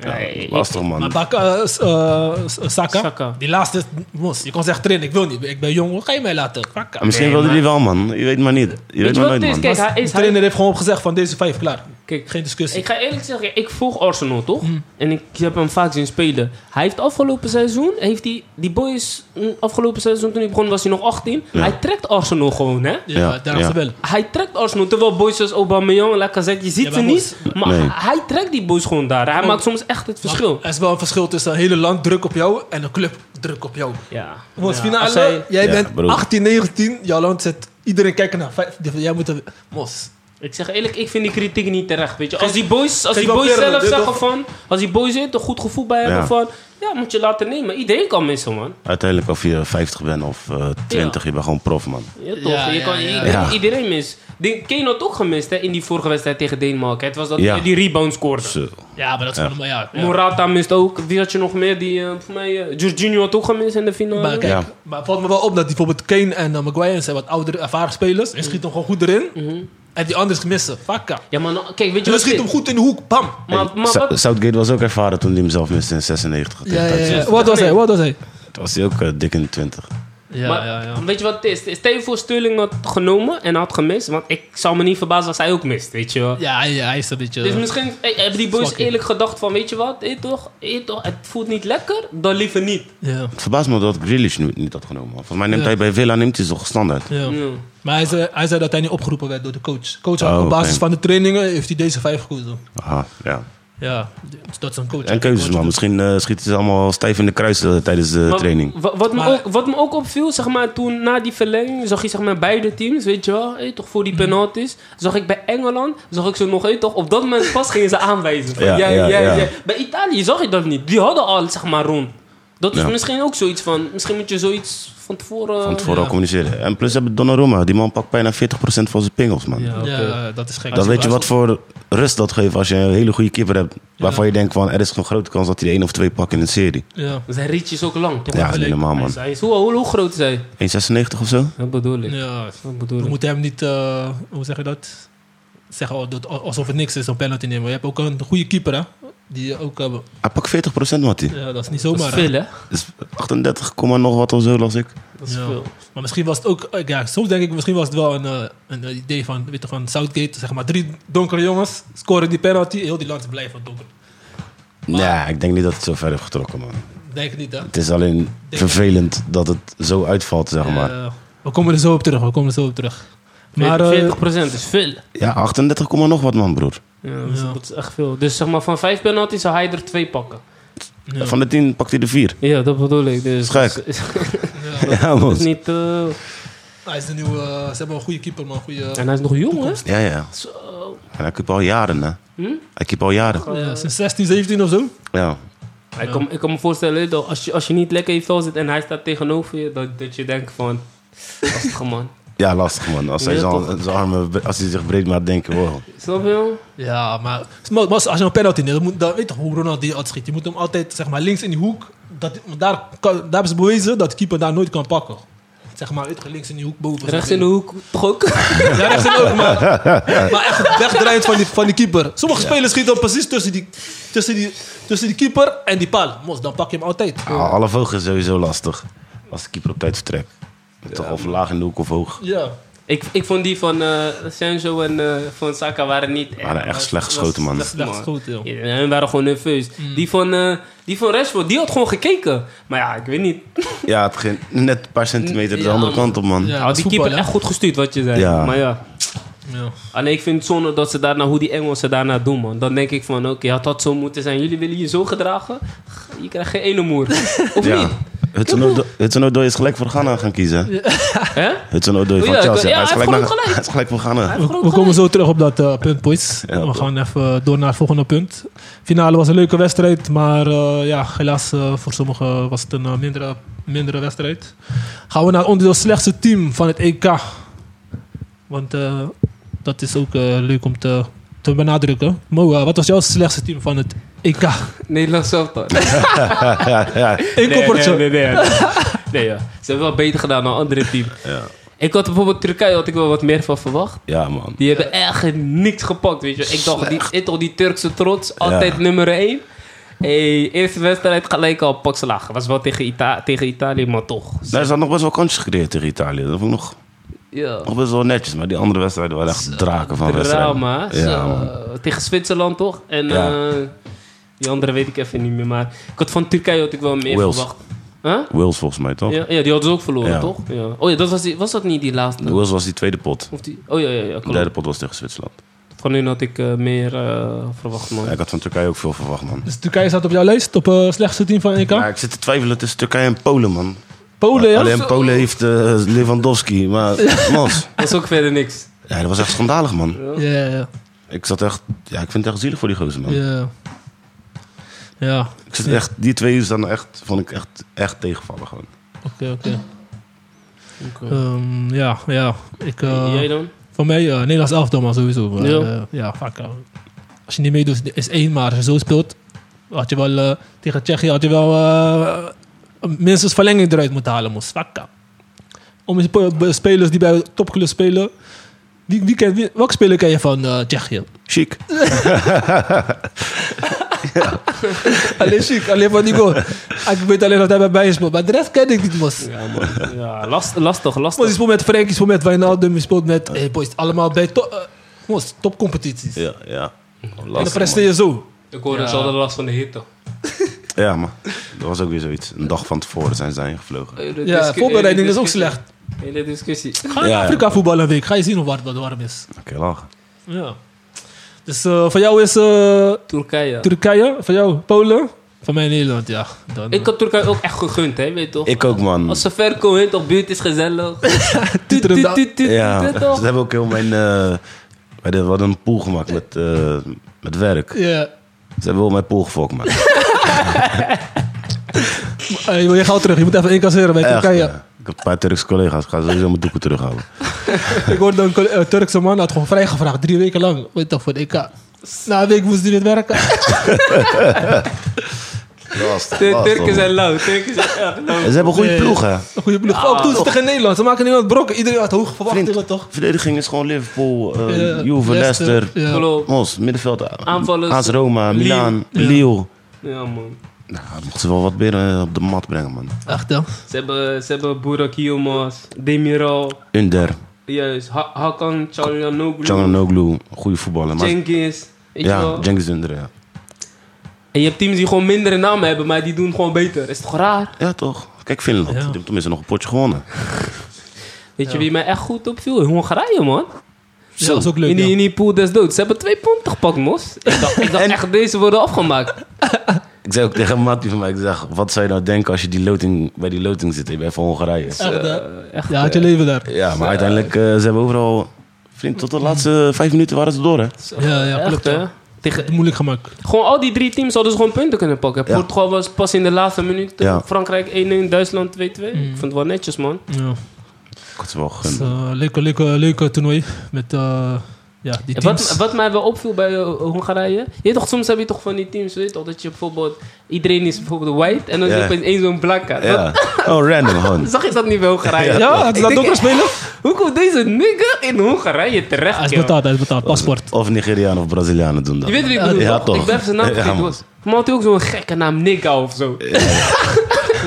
[SPEAKER 3] Ja, ik-
[SPEAKER 4] Lastig,
[SPEAKER 2] Maar
[SPEAKER 4] man.
[SPEAKER 2] Baka, eh, s- eh, s- eh, Saka,
[SPEAKER 3] Saka.
[SPEAKER 2] die laatste, mos, je kon zeggen trainen, ik wil niet, ik ben jong, hoe ga je mij laten? Baka.
[SPEAKER 4] Ja, misschien wilde die wel, man. Je weet maar niet. Je weet
[SPEAKER 3] Weet je wat
[SPEAKER 4] maar
[SPEAKER 3] het
[SPEAKER 4] nooit,
[SPEAKER 3] is?
[SPEAKER 4] man.
[SPEAKER 3] Kijk, hij
[SPEAKER 2] De
[SPEAKER 3] is, hij,
[SPEAKER 2] trainer heeft gewoon gezegd van deze vijf, klaar.
[SPEAKER 3] Kijk,
[SPEAKER 2] Geen discussie. Hm.
[SPEAKER 3] Ik ga eerlijk zeggen, ik volg Arsenal toch? En ik heb hem vaak zien spelen. Hij heeft afgelopen seizoen, heeft hij, die boy is mm, afgelopen seizoen toen hij begon was hij nog 18.
[SPEAKER 4] Ja.
[SPEAKER 3] Hij trekt Arsenal gewoon hè.
[SPEAKER 2] ja,
[SPEAKER 4] Ja,
[SPEAKER 2] daar is
[SPEAKER 4] ja.
[SPEAKER 2] ze wel.
[SPEAKER 3] Hij trekt Arsenal, terwijl boys als Aubameyang en Lacazette, je ziet
[SPEAKER 2] Ja,
[SPEAKER 3] ze
[SPEAKER 2] maar
[SPEAKER 3] niet. Maar
[SPEAKER 4] Nee.
[SPEAKER 3] hij hij trekt die boys gewoon daar. Hij maakt soms echt het verschil.
[SPEAKER 2] Maar Er is wel een verschil tussen een hele land druk op jou en een club druk op jou.
[SPEAKER 3] Ja.
[SPEAKER 2] Mos,
[SPEAKER 3] Ja,
[SPEAKER 2] finale,
[SPEAKER 3] als hij-
[SPEAKER 2] jij
[SPEAKER 4] Ja,
[SPEAKER 2] bent
[SPEAKER 4] broer.
[SPEAKER 2] 18, 19, jouw land zet iedereen kijken naar vijf, die- jij moet er, Mos,
[SPEAKER 3] Ik zeg eerlijk, ik vind die kritiek niet terecht. Weet je. Als die boys, als
[SPEAKER 1] geef
[SPEAKER 3] die boys
[SPEAKER 1] wel
[SPEAKER 3] zelf
[SPEAKER 1] kern, dit
[SPEAKER 3] zeggen
[SPEAKER 1] toch?
[SPEAKER 3] van... Als die boys er een goed gevoel bij hebben
[SPEAKER 4] Ja.
[SPEAKER 3] van... Ja, moet je laten nemen. Iedereen kan missen, man.
[SPEAKER 4] Uiteindelijk of je 50 bent of eh 20, je bent gewoon prof, man.
[SPEAKER 3] Ja, toch?
[SPEAKER 2] Ja,
[SPEAKER 3] je
[SPEAKER 2] ja,
[SPEAKER 3] kan,
[SPEAKER 2] ja.
[SPEAKER 3] iedereen-
[SPEAKER 4] Ja.
[SPEAKER 3] Iedereen mis. Die- Kane had ook gemist hè, in die vorige wedstrijd tegen Denemarken. Het was dat
[SPEAKER 4] Ja.
[SPEAKER 3] die- die rebound scoorde.
[SPEAKER 4] Zo.
[SPEAKER 2] Ja, maar dat is gewoon maar ja. ja.
[SPEAKER 3] Morata mist ook. Wie had je nog meer? Die, eh, voor mij, eh, Jorginho had ook gemist in de finale.
[SPEAKER 2] Maar kijk,
[SPEAKER 4] Ja.
[SPEAKER 2] maar het valt me wel op dat die bijvoorbeeld Kane en eh, Maguire zijn wat oudere, ervaren spelers. En schiet hem gewoon goed erin. En die anderen missen. Fakka.
[SPEAKER 3] Ja, maar nou, kijk, weet je
[SPEAKER 2] Je
[SPEAKER 3] wat
[SPEAKER 2] schiet
[SPEAKER 3] het
[SPEAKER 2] hem
[SPEAKER 3] is?
[SPEAKER 2] goed in de hoek. Bam.
[SPEAKER 3] Maar, maar
[SPEAKER 4] Sa-
[SPEAKER 3] wat,
[SPEAKER 4] Southgate was ook ervaren toen hij hem zelf miste in 96. tegen Duitsland.
[SPEAKER 2] Wat was hij? Wat was hij?
[SPEAKER 4] Toen was hij ook eh, dik in de 20.
[SPEAKER 2] Ja,
[SPEAKER 3] maar
[SPEAKER 2] ja, ja.
[SPEAKER 3] weet je wat het is? Stel je voor Sterling had genomen en had gemist. Want ik zou me niet verbazen als hij ook mist, weet je wel.
[SPEAKER 2] Ja, ja, hij is een beetje...
[SPEAKER 3] Dus misschien eh, hebben die boys
[SPEAKER 2] Zwakkie.
[SPEAKER 3] eerlijk gedacht van... Weet je wat, eh, toch, eh, toch, het voelt niet lekker, dan liever niet.
[SPEAKER 2] ja,
[SPEAKER 4] Het verbaast me dat Grealish nu niet had genomen. Volgens mij neemt
[SPEAKER 2] Ja.
[SPEAKER 4] hij bij Villa neemt hij toch standaard.
[SPEAKER 2] ja.
[SPEAKER 3] Ja.
[SPEAKER 2] Maar hij zei, hij zei dat hij niet opgeroepen werd door de coach. Coach had
[SPEAKER 4] Oh,
[SPEAKER 2] op basis
[SPEAKER 4] oké.
[SPEAKER 2] van de trainingen heeft hij deze vijf gekozen.
[SPEAKER 4] Aha, ja.
[SPEAKER 2] Ja, dus dat is een coach.
[SPEAKER 4] En keuzes, man. Misschien eh, schieten ze allemaal stijf in de kruis eh, tijdens de
[SPEAKER 3] Maar
[SPEAKER 4] training.
[SPEAKER 3] wa- Wat,
[SPEAKER 2] Maar-
[SPEAKER 3] me ook, wat me ook opviel, zeg maar, toen na die verlenging zag je zeg maar, beide teams, weet je wel, eh, toch voor
[SPEAKER 2] Mhm.
[SPEAKER 3] die penalties. Zag ik bij Engeland, zag ik ze nog, eh, toch, op dat moment pas gingen ze aanwijzen. Van,
[SPEAKER 4] Ja,
[SPEAKER 3] jij,
[SPEAKER 4] ja,
[SPEAKER 3] jij,
[SPEAKER 4] ja.
[SPEAKER 3] jij. Bij Italië zag ik dat niet. Die hadden al, zeg maar, rond. Dat is
[SPEAKER 4] Ja.
[SPEAKER 3] misschien ook zoiets van, misschien moet je zoiets van tevoren...
[SPEAKER 4] Van tevoren
[SPEAKER 2] ja.
[SPEAKER 4] al communiceren. En plus hebben Donnarumma. Die man pakt bijna 40% van zijn pingels, man.
[SPEAKER 3] Ja, oké.
[SPEAKER 2] Ja, dat is gek.
[SPEAKER 4] Dan weet je wat voor rust dat geeft als je een hele goede keeper hebt. Waarvan je denkt van er is een grote kans dat hij de één of twee pakt in een serie.
[SPEAKER 2] Ja,
[SPEAKER 3] Zijn rietje is ook lang, toch?
[SPEAKER 4] Ja, dat is niet normaal,
[SPEAKER 3] Hij
[SPEAKER 4] man.
[SPEAKER 3] is- hij is- hoe, hoe, hoe groot is hij?
[SPEAKER 4] 1,96 of zo?
[SPEAKER 3] Dat bedoel ik.
[SPEAKER 2] ja.
[SPEAKER 3] Dat
[SPEAKER 2] We
[SPEAKER 3] bedoel ik.
[SPEAKER 2] moeten hem niet, eh, hoe zeg je dat? Zeggen al- dat- alsof het niks is om penalty nemen. Je hebt ook een goede keeper, hè? Die je ook hebben.
[SPEAKER 4] Hij pakt 40% wat hij.
[SPEAKER 2] Ja, dat is niet
[SPEAKER 3] Dat is
[SPEAKER 2] zomaar. hè?
[SPEAKER 3] veel, hè?
[SPEAKER 4] Dus 38, komma nog wat of zo las ik.
[SPEAKER 3] Dat is
[SPEAKER 2] Ja.
[SPEAKER 3] veel.
[SPEAKER 2] Maar misschien was het ook, eh, ja, soms denk ik, misschien was het wel een, eh, een eh, idee van, weet je, van Southgate, zeg maar, drie donkere jongens scoren die penalty, heel die land blijven donker.
[SPEAKER 4] Nee, ik denk niet dat het zo ver heeft getrokken, man.
[SPEAKER 2] Denk ik niet, hè?
[SPEAKER 4] Het is alleen vervelend dat het zo uitvalt, zeg maar.
[SPEAKER 2] Eh, we komen er zo op terug, we komen er zo op terug. Maar, eh,
[SPEAKER 3] 40% is veel.
[SPEAKER 4] Ja, 38, komma nog wat, man, broer.
[SPEAKER 3] Ja, dat, is,
[SPEAKER 2] Ja.
[SPEAKER 3] dat is echt veel. Dus zeg maar, van vijf penalties zou hij er twee pakken.
[SPEAKER 2] ja.
[SPEAKER 4] Van de 10 pakt hij de 4.
[SPEAKER 3] Ja, dat bedoel ik. Dus
[SPEAKER 4] Schrik.
[SPEAKER 3] dat is-
[SPEAKER 2] Ja.
[SPEAKER 4] Ja,
[SPEAKER 3] dat
[SPEAKER 4] man.
[SPEAKER 3] is niet... eh,
[SPEAKER 2] Hij is de nieuwe, eh, ze hebben een goede keeper, man. eh, Goede,
[SPEAKER 3] En hij is nog jong, hè?
[SPEAKER 2] Toekomst.
[SPEAKER 4] Ja, ja.
[SPEAKER 3] Zo. Hm?
[SPEAKER 4] En hij keept al jaren, hè. Hij keept al jaren.
[SPEAKER 2] ja, sinds 16, 17 of zo.
[SPEAKER 4] Ja.
[SPEAKER 3] Ik, kan, ik kan me voorstellen, dat als je, als je niet lekker in je vel zit en hij staat tegenover je, dat, dat je denkt van... Lastig man.
[SPEAKER 4] Ja, lastig, man. Als hij,
[SPEAKER 3] Ja,
[SPEAKER 4] zo,
[SPEAKER 3] toch?
[SPEAKER 4] zijn armen, als hij zich breed maakt, denk ik, wow.
[SPEAKER 3] Snap je wel?
[SPEAKER 2] Ja, maar, maar als je een penalty neemt, dan, moet, dan weet je toch hoe Ronald die altijd schiet. Je moet hem altijd zeg maar, links in die hoek. Dat, daar, kan, daar hebben ze bewezen dat de keeper daar nooit kan pakken. Zeg maar, weet je, links in die hoek boven.
[SPEAKER 3] Rechts in de hoek, toch ook?
[SPEAKER 2] hoek. Ja, rechts in de hoek, maar, maar echt wegdraaiend van die, van die keeper. Sommige spelers schieten dan precies tussen die, tussen, die, tussen die keeper en die paal. Mos, dan pak je hem altijd.
[SPEAKER 4] Ah, Alle ogen is sowieso lastig. Als de keeper op tijd vertrekt. Toch of laag in de hoek of hoog.
[SPEAKER 2] Ja.
[SPEAKER 3] ik, ik vond die van eh Senjo en eh, van Saka waren niet...
[SPEAKER 4] Waren echt
[SPEAKER 3] was-
[SPEAKER 4] slecht
[SPEAKER 3] was
[SPEAKER 4] geschoten, man.
[SPEAKER 3] slecht,
[SPEAKER 2] Slecht geschoten, joh.
[SPEAKER 3] Ja, hun waren gewoon nerveus. Die, van, eh, die van Rashford, die had gewoon gekeken. Maar ja, ik weet niet.
[SPEAKER 4] Ja, het ging net een paar centimeter de
[SPEAKER 3] Ja,
[SPEAKER 4] andere
[SPEAKER 3] man.
[SPEAKER 4] kant op, man.
[SPEAKER 2] Ja.
[SPEAKER 3] Ja, die
[SPEAKER 2] voetbal,
[SPEAKER 3] keeper
[SPEAKER 2] hè?
[SPEAKER 3] echt goed gestuurd, wat je zei.
[SPEAKER 4] Ja.
[SPEAKER 3] Maar ja.
[SPEAKER 2] ja.
[SPEAKER 3] Alleen ik vind het zonde dat ze daarna, hoe die Engelsen daarna doen, man. Dan denk ik van, oké, had dat zo moeten zijn. Jullie willen je zo gedragen? Je krijgt geen ene moer. Of
[SPEAKER 4] Ja.
[SPEAKER 3] niet?
[SPEAKER 4] Hudson Odoi- Hudson Odoi is gelijk voor Ghana gaan kiezen.
[SPEAKER 3] Hè?
[SPEAKER 4] Hudson Odoi
[SPEAKER 3] Oh,
[SPEAKER 4] van
[SPEAKER 3] ja, ik-
[SPEAKER 4] Chelsea.
[SPEAKER 3] ja,
[SPEAKER 4] hij, is
[SPEAKER 3] hij heeft
[SPEAKER 4] gelijk naar-
[SPEAKER 3] gewoon gelijk.
[SPEAKER 4] hij is gelijk voor Ghana.
[SPEAKER 2] We, we komen zo terug op dat eh, punt, boys.
[SPEAKER 4] Ja.
[SPEAKER 2] we gaan even door naar het volgende punt. Finale was een leuke wedstrijd, maar eh, ja, helaas eh, voor sommigen was het een eh, mindere, mindere wedstrijd. Gaan we naar het onderdeel slechtste team van het EK. Want eh, dat is ook eh, leuk om te, te benadrukken. Mo, eh, wat was jouw slechtste team van het EK?
[SPEAKER 3] Nederlands elftal.
[SPEAKER 2] Eén koppertje.
[SPEAKER 3] Nee, nee, nee. nee. Nee, ja. Ze hebben wel beter gedaan dan andere team.
[SPEAKER 4] Ja.
[SPEAKER 3] Ik had bijvoorbeeld Turkije, had ik wel wat meer van verwacht.
[SPEAKER 4] Ja, man.
[SPEAKER 3] Die hebben echt niks gepakt, weet je. Ik dacht, die, ik dacht, die Turkse trots, altijd
[SPEAKER 4] Ja.
[SPEAKER 3] nummer 1. Hey, eerste wedstrijd gelijk al pak slagen. Was wel tegen, Ita tegen Italië, maar toch.
[SPEAKER 4] Daar is dan nog best wel kansjes gecreëerd tegen Italië. Dat vond ik nog,
[SPEAKER 3] Ja.
[SPEAKER 4] nog best wel netjes. Maar die andere wedstrijden waren echt draken van wedstrijden.
[SPEAKER 3] Drama.
[SPEAKER 4] Ja, man.
[SPEAKER 3] tegen Zwitserland toch? En
[SPEAKER 4] Ja.
[SPEAKER 3] eh, die andere weet ik even niet meer. Maar ik had van Turkije had ik wel meer
[SPEAKER 4] Wales.
[SPEAKER 3] verwacht. Huh?
[SPEAKER 4] Wales volgens mij, toch?
[SPEAKER 3] Ja, ja, die hadden ze ook verloren,
[SPEAKER 4] Ja.
[SPEAKER 3] toch? Ja. Oh ja, dat was, die, was dat niet die laatste?
[SPEAKER 4] Wales was die tweede pot.
[SPEAKER 3] Of die, oh ja, ja, ja.
[SPEAKER 4] De
[SPEAKER 3] klopt.
[SPEAKER 4] derde pot was tegen Zwitserland.
[SPEAKER 3] Van hun had ik eh, meer eh, verwacht, man.
[SPEAKER 4] Ja, ik had van Turkije ook veel verwacht, man.
[SPEAKER 2] Dus Turkije staat op jouw lijst, op het slechtste team van het EK.
[SPEAKER 4] Ja, ik zit te twijfelen tussen Turkije en Polen, man.
[SPEAKER 2] Polen, ja?
[SPEAKER 4] Alleen Polen heeft eh, Lewandowski, maar Mos.
[SPEAKER 3] Dat is ook verder niks.
[SPEAKER 4] Ja, dat was echt schandalig, man.
[SPEAKER 2] Ja, ja,
[SPEAKER 4] Ik zat echt... Ja, ik vind het echt zielig voor die gozer, man.
[SPEAKER 2] ja. Ja,
[SPEAKER 4] Ik zit echt... Die twee is dan echt... Vond ik echt, echt tegenvallen, gewoon.
[SPEAKER 2] oké, oké.
[SPEAKER 3] Oké.
[SPEAKER 2] Ehm, Ja, ja. Ik, eh,
[SPEAKER 3] Jij dan?
[SPEAKER 2] Voor mij, eh Nederlands elftal maar sowieso. Maar,
[SPEAKER 3] Ja.
[SPEAKER 2] eh, ja, vaak. eh, als je niet meedoet, is één. Maar als je zo speelt, had je wel eh, tegen Tsjechië had je wel eh, minstens verlenging eruit moeten halen. Moest. Vaak. eh. Om eens pe- be- spelers die bij topclubs spelen. Die, die ken, wie- welke speler ken je van eh, Tsjechië?
[SPEAKER 4] Chic.
[SPEAKER 2] Alleen Chic, alleen van die goal. ik weet alleen dat hij bij mij speelt. Maar de rest ken ik niet, mos.
[SPEAKER 3] Ja, man. Ja, last, lastig,
[SPEAKER 2] Mos, je
[SPEAKER 3] lastig.
[SPEAKER 2] speelt met Frenkie, je speelt met Wijnaldum, je speelt met... Hey, boys, allemaal bij to- eh, mos, topcompetities.
[SPEAKER 4] Ja, ja.
[SPEAKER 2] en dan
[SPEAKER 4] Lastig,
[SPEAKER 2] presteer je zo.
[SPEAKER 3] Ik hoorde ze hadden last van de hitte.
[SPEAKER 4] man. Ja, man. Dat was ook weer zoiets. Een dag van tevoren zijn ze daarin gevlogen.
[SPEAKER 2] Ja, voorbereiding is ook slecht.
[SPEAKER 3] Hele discussie.
[SPEAKER 2] eh, Ga in
[SPEAKER 4] Ja, ja.
[SPEAKER 2] Afrika voetballen een week. Ga je zien hoe warm dat warm is.
[SPEAKER 4] Oké, lachen.
[SPEAKER 2] Ja. Dus eh, voor jou is eh,
[SPEAKER 3] Turkije.
[SPEAKER 2] Turkije, voor jou Polen, voor mij Nederland, ja. Dan, eh.
[SPEAKER 3] Ik had Turkije ook echt gegund, hè, weet je toch?
[SPEAKER 4] Ik ook, man.
[SPEAKER 3] Als ze ver komen, toch, buurt is gezellig. Tuut,
[SPEAKER 2] Titterend
[SPEAKER 3] tuut,
[SPEAKER 2] da-
[SPEAKER 3] tuut, tuut,
[SPEAKER 4] Ja,
[SPEAKER 3] tuut,
[SPEAKER 4] ze
[SPEAKER 3] toch?
[SPEAKER 4] hebben ook heel mijn... eh, we hadden- we hadden een pool gemaakt met, eh, met werk. Ze
[SPEAKER 2] Ja.
[SPEAKER 4] hebben wel mijn pool gefokt, man.
[SPEAKER 2] Eh, je wil je geld terug, je moet even incasseren bij
[SPEAKER 4] Echt,
[SPEAKER 2] Turkije.
[SPEAKER 4] ja. Ik heb een paar Turkse collega's. Ik ga sowieso mijn doeken terughouden.
[SPEAKER 2] Ik hoorde een Col- eh, Turkse man had gewoon vrijgevraagd, drie weken lang. Weet toch, voor de EK. Na een week moest hij niet werken.
[SPEAKER 4] Lastig,
[SPEAKER 3] De
[SPEAKER 4] lastig,
[SPEAKER 3] Turken
[SPEAKER 4] man.
[SPEAKER 3] zijn lauw, Turken zijn echt lauw.
[SPEAKER 4] En Ze hebben een goede
[SPEAKER 2] Nee.
[SPEAKER 4] ploeg, hè.
[SPEAKER 2] Een goede ploeg. ook toen ze tegen Nederland, ze maken niemand brokken. Iedereen had hoog verwachtingen,
[SPEAKER 4] Flink.
[SPEAKER 2] toch?
[SPEAKER 4] Verdediging is gewoon Liverpool, eh,
[SPEAKER 2] Ja,
[SPEAKER 4] Juve,
[SPEAKER 2] Leicester,
[SPEAKER 4] Leicester,
[SPEAKER 2] ja.
[SPEAKER 3] Klopt.
[SPEAKER 4] Mos, middenveld, eh,
[SPEAKER 3] Aanvallers.
[SPEAKER 4] AS Roma,
[SPEAKER 3] Lille.
[SPEAKER 4] Milan,
[SPEAKER 2] Ja.
[SPEAKER 4] Lille.
[SPEAKER 3] Ja, man.
[SPEAKER 4] Nou, dat moeten ze wel wat meer eh, op de mat brengen, man.
[SPEAKER 2] Echt, hè?
[SPEAKER 3] Ze hebben, ze hebben Burak Yilmaz, Demiral,
[SPEAKER 4] Under,
[SPEAKER 3] juist, Ha- Hakan Çalhanoğlu,
[SPEAKER 4] Noglu, goede voetballer. Maar,
[SPEAKER 3] Jenkins. weet je
[SPEAKER 4] ja,
[SPEAKER 3] wel.
[SPEAKER 4] Cengiz Under, ja.
[SPEAKER 3] En je hebt teams die gewoon mindere namen hebben, maar die doen gewoon beter. Is toch raar?
[SPEAKER 4] Ja, toch? Kijk, Finland. Die hebben tenminste nog een potje gewonnen.
[SPEAKER 3] Weet je wie mij echt goed opviel? Hongarije, man.
[SPEAKER 2] Ja, dat is ook leuk,
[SPEAKER 3] In die,
[SPEAKER 2] ja.
[SPEAKER 3] in die pool des doods. Ze hebben twee punten gepakt, mos. Ik dacht, ik dacht echt, deze worden afgemaakt.
[SPEAKER 4] Ik zei ook tegen een Mattie van mij, ik zeg, wat zou je nou denken als je die loting, bij die loting zit, eh, bij van Hongarije?
[SPEAKER 2] Echt, hè?
[SPEAKER 3] Eh, echt,
[SPEAKER 2] Ja, had je leven daar.
[SPEAKER 4] Ja, maar uiteindelijk, eh, ze hebben overal... Vriend, tot de laatste vijf minuten waren ze door, hè?
[SPEAKER 2] Ja, ja,
[SPEAKER 3] echt,
[SPEAKER 2] klopt,
[SPEAKER 3] hè?
[SPEAKER 2] ja.
[SPEAKER 3] Tegen,
[SPEAKER 2] Het moeilijk gemaakt.
[SPEAKER 3] gewoon al die drie teams hadden ze gewoon punten kunnen pakken.
[SPEAKER 4] Ja.
[SPEAKER 3] Portugal was pas in de laatste minuut. eh,
[SPEAKER 4] Ja.
[SPEAKER 3] Frankrijk 1-1, Duitsland 2-2.
[SPEAKER 2] Mhm.
[SPEAKER 3] Ik vond het wel netjes, man.
[SPEAKER 2] Ja.
[SPEAKER 4] Ik had ze wel
[SPEAKER 2] Dus,
[SPEAKER 4] gegund.
[SPEAKER 2] eh, leuke, leuke, leuke toernooi met eh, ja, die teams.
[SPEAKER 3] Wat, wat mij wel opviel bij eh, Hongarije. Je weet toch, soms heb je toch van die teams, weet je toch, dat je bijvoorbeeld, iedereen is bijvoorbeeld white en dan
[SPEAKER 4] Ja.
[SPEAKER 3] is er opeens één zo'n black card.
[SPEAKER 4] Ja. Oh, random, gewoon.
[SPEAKER 3] Wat- Zag je dat niet bij Hongarije?
[SPEAKER 2] ja,
[SPEAKER 3] Ik
[SPEAKER 2] had ze dat
[SPEAKER 3] denk,
[SPEAKER 2] ook nog spelen?
[SPEAKER 3] Hoe komt deze nigger in Hongarije terecht,
[SPEAKER 2] Hij is
[SPEAKER 3] joh?
[SPEAKER 2] betaald, hij is betaald. Paspoort.
[SPEAKER 4] Of Nigerianen of Brazilianen doen dat.
[SPEAKER 3] Je weet wie ik bedoel,
[SPEAKER 4] Ja,
[SPEAKER 3] toch?
[SPEAKER 4] toch.
[SPEAKER 3] Ik ben even zijn naam
[SPEAKER 4] Ja,
[SPEAKER 3] vergeten.
[SPEAKER 4] man.
[SPEAKER 3] hoor. maar had hij ook zo'n gekke naam, Nigga of zo.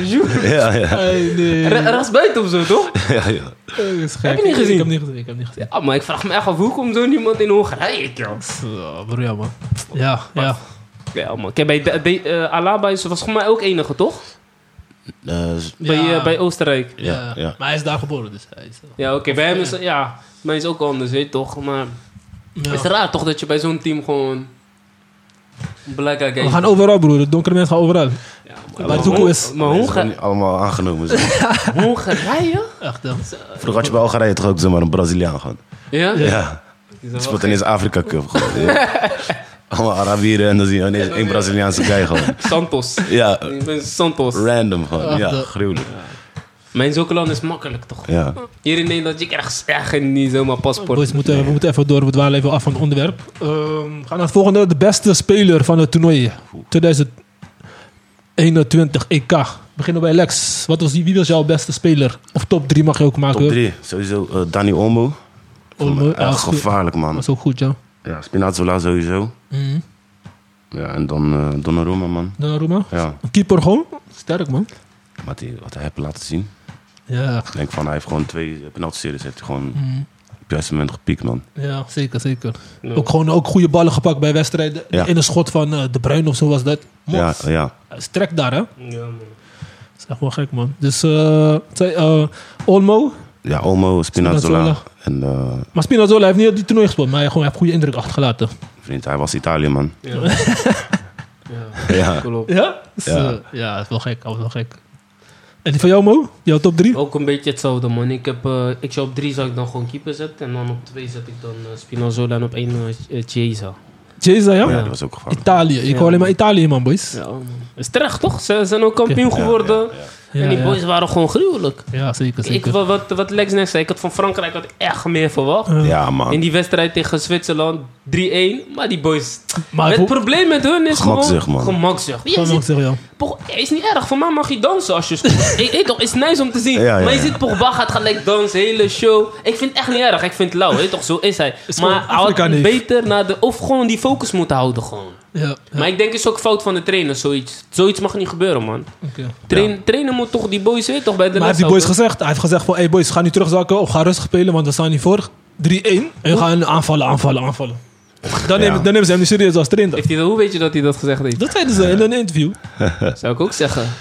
[SPEAKER 3] Joe.
[SPEAKER 4] Ja, ja.
[SPEAKER 2] Hey, nee.
[SPEAKER 3] Ra- Rasbuiten of zo, toch?
[SPEAKER 4] ja, ja.
[SPEAKER 2] Eh, is gek.
[SPEAKER 3] Heb je niet gezien?
[SPEAKER 2] Ik heb niet gezien. Ik heb niet gezien.
[SPEAKER 3] Ah, maar ik vraag me echt af, hoe komt zo niemand in Hongarije, joh?
[SPEAKER 2] Oh, broer, ja, man. Ja, ja.
[SPEAKER 3] Ja, man. Kijk, bij de, de- eh, Alaba is, was volgens mij ook enige, toch?
[SPEAKER 4] Eh, s-
[SPEAKER 3] Bij,
[SPEAKER 2] Ja.
[SPEAKER 3] eh, bij Oostenrijk.
[SPEAKER 4] ja, ja.
[SPEAKER 2] Maar hij is daar geboren, dus hij is... eh,
[SPEAKER 3] Ja, oké. bij hem is... Ja, mij is ook anders, weet je toch? Maar
[SPEAKER 2] ja.
[SPEAKER 3] is het raar toch dat je bij zo'n team gewoon... Black guy...
[SPEAKER 2] We gaan overal, broer. De donkere mensen gaan overal.
[SPEAKER 3] Ja,
[SPEAKER 2] Waar Doekoe is.
[SPEAKER 3] Maar
[SPEAKER 4] Mensen gaan
[SPEAKER 3] Honga-
[SPEAKER 4] niet allemaal aangenomen. zijn.
[SPEAKER 3] Hongarije?
[SPEAKER 2] Echt, hè.
[SPEAKER 4] Vroeger had je bij Algerije toch ook zomaar een Braziliaan gehad.
[SPEAKER 3] Ja?
[SPEAKER 4] Ja. Het speelt ineens Afrika Cup. gewoon. Ja. Allemaal Arabieren en dan zie je ineens één Braziliaanse guy gewoon.
[SPEAKER 3] Santos.
[SPEAKER 4] Ja,
[SPEAKER 3] Ik ben Santos.
[SPEAKER 4] random gewoon. Ja, gruwelijk.
[SPEAKER 3] Mijn zokeland is makkelijk, toch?
[SPEAKER 4] Ja.
[SPEAKER 3] Hier in Nederland, je krijgt echt niet zomaar paspoort.
[SPEAKER 2] Boys, we moeten, we moeten even door. We dwalen even af van het onderwerp. Ehm, we gaan naar het volgende. De beste speler van het toernooi. 2021 EK. We beginnen bij Lex. Wat was die, wie was jouw beste speler? Of top 3 mag je ook maken.
[SPEAKER 4] Top 3. Sowieso eh, Dani Olmo.
[SPEAKER 2] Olmo, ja,
[SPEAKER 4] Echt gevaarlijk, man.
[SPEAKER 2] was ook goed, ja.
[SPEAKER 4] Ja, Spinazzola sowieso.
[SPEAKER 2] Mhm.
[SPEAKER 4] Ja, en dan eh, Donnarumma, man.
[SPEAKER 2] Donnarumma.
[SPEAKER 4] Ja,
[SPEAKER 2] Een keeper gewoon. Sterk, man.
[SPEAKER 4] wat hij, wat hij heeft laten zien.
[SPEAKER 2] Ja,
[SPEAKER 4] Ik denk van, hij heeft gewoon twee penalty-series. Heeft hij gewoon
[SPEAKER 2] Mhm.
[SPEAKER 4] op het juiste moment gepiekt, man.
[SPEAKER 2] ja zeker, zeker.
[SPEAKER 3] Ja.
[SPEAKER 2] Ook gewoon ook goede ballen gepakt bij wedstrijden.
[SPEAKER 4] Ja.
[SPEAKER 2] In een schot van eh, De Bruin of zo was dat.
[SPEAKER 4] Ja,
[SPEAKER 2] Mos.
[SPEAKER 4] ja.
[SPEAKER 2] Hij is Strek daar, hè.
[SPEAKER 3] Ja, man.
[SPEAKER 2] Dat is echt wel gek, man. Dus eh, zij- eh, Olmo.
[SPEAKER 4] Ja, Olmo, Spinazzola.
[SPEAKER 2] Spinazzola.
[SPEAKER 4] En eh,
[SPEAKER 2] Maar Spinazzola heeft niet op die toernooi gespeeld. Maar hij gewoon heeft goede indruk achtergelaten.
[SPEAKER 4] vriend, hij was Italië, man.
[SPEAKER 3] Ja.
[SPEAKER 4] Ja,
[SPEAKER 3] klopt.
[SPEAKER 2] Ja? Dus, eh,
[SPEAKER 4] Ja.
[SPEAKER 2] ja, dat is wel gek. Dat is wel gek. En die van jou, Mo? Jouw top drie?
[SPEAKER 4] Oh.
[SPEAKER 3] Ook een beetje hetzelfde, man. Ik, heb, eh, ik zou op drie zou ik dan gewoon keeper zetten. En dan op twee zet ik dan eh, Spinazzola en op één eh Chiesa.
[SPEAKER 2] Chiesa, ja?
[SPEAKER 4] Oh ja, die was ook gevangen.
[SPEAKER 2] Italië. Ik hoor alleen maar Italië, man, boys.
[SPEAKER 3] Ja, man. Is terecht, toch? Ze zijn ook kampioen geworden.
[SPEAKER 2] Ja,
[SPEAKER 3] en die
[SPEAKER 2] ja.
[SPEAKER 3] boys waren gewoon gruwelijk.
[SPEAKER 2] Ja, zeker,
[SPEAKER 3] Ik,
[SPEAKER 2] zeker.
[SPEAKER 3] wa- wat, wat Lex net zei, ik had van Frankrijk had ik echt meer verwacht.
[SPEAKER 4] Ja,
[SPEAKER 3] In
[SPEAKER 4] man.
[SPEAKER 3] die wedstrijd tegen Zwitserland 3-1. Maar die boys.
[SPEAKER 2] Maar
[SPEAKER 3] het
[SPEAKER 2] hoe-
[SPEAKER 3] probleem met hun is
[SPEAKER 4] Gemakzucht,
[SPEAKER 3] gewoon.
[SPEAKER 4] man.
[SPEAKER 3] Gemakzucht. Ja, je
[SPEAKER 2] Gewoon
[SPEAKER 3] zit-
[SPEAKER 2] nog zeggen, ja.
[SPEAKER 3] Pog- ja, is niet erg, voor mij mag je dansen als je scoort. ik weet toch, is nice om te zien.
[SPEAKER 4] Ja, ja,
[SPEAKER 3] maar je
[SPEAKER 4] ja.
[SPEAKER 3] ziet Pogba gaat gelijk dansen, hele show. Ik vind het echt niet erg, ik vind het lauw, weet je toch, zo is hij.
[SPEAKER 2] Is
[SPEAKER 3] maar
[SPEAKER 2] gewoon
[SPEAKER 3] hij had
[SPEAKER 2] Afrika niet.
[SPEAKER 3] beter naar de... Of gewoon die focus moeten houden gewoon.
[SPEAKER 2] Ja, ja,
[SPEAKER 3] Maar ik denk het is ook fout van de trainer, zoiets. Zoiets mag niet gebeuren, man.
[SPEAKER 2] oké.
[SPEAKER 3] Train, Trainer moet toch die boys, weet je toch, bij de
[SPEAKER 2] Maar
[SPEAKER 3] les
[SPEAKER 2] heeft die boys
[SPEAKER 3] houden.
[SPEAKER 2] gezegd? Hij heeft gezegd van, hey boys, ga nu terugzakken of ga rustig spelen, want we staan hier voor 3-1. En we gaan aanvallen, aanvallen, aanvallen. Dan, nemen, dan nemen ze hem niet serieus als trainer.
[SPEAKER 3] Heeft hij dat- hoe weet je dat hij dat gezegd heeft?
[SPEAKER 2] Dat zeiden ze in een interview.
[SPEAKER 3] Zou ik ook zeggen.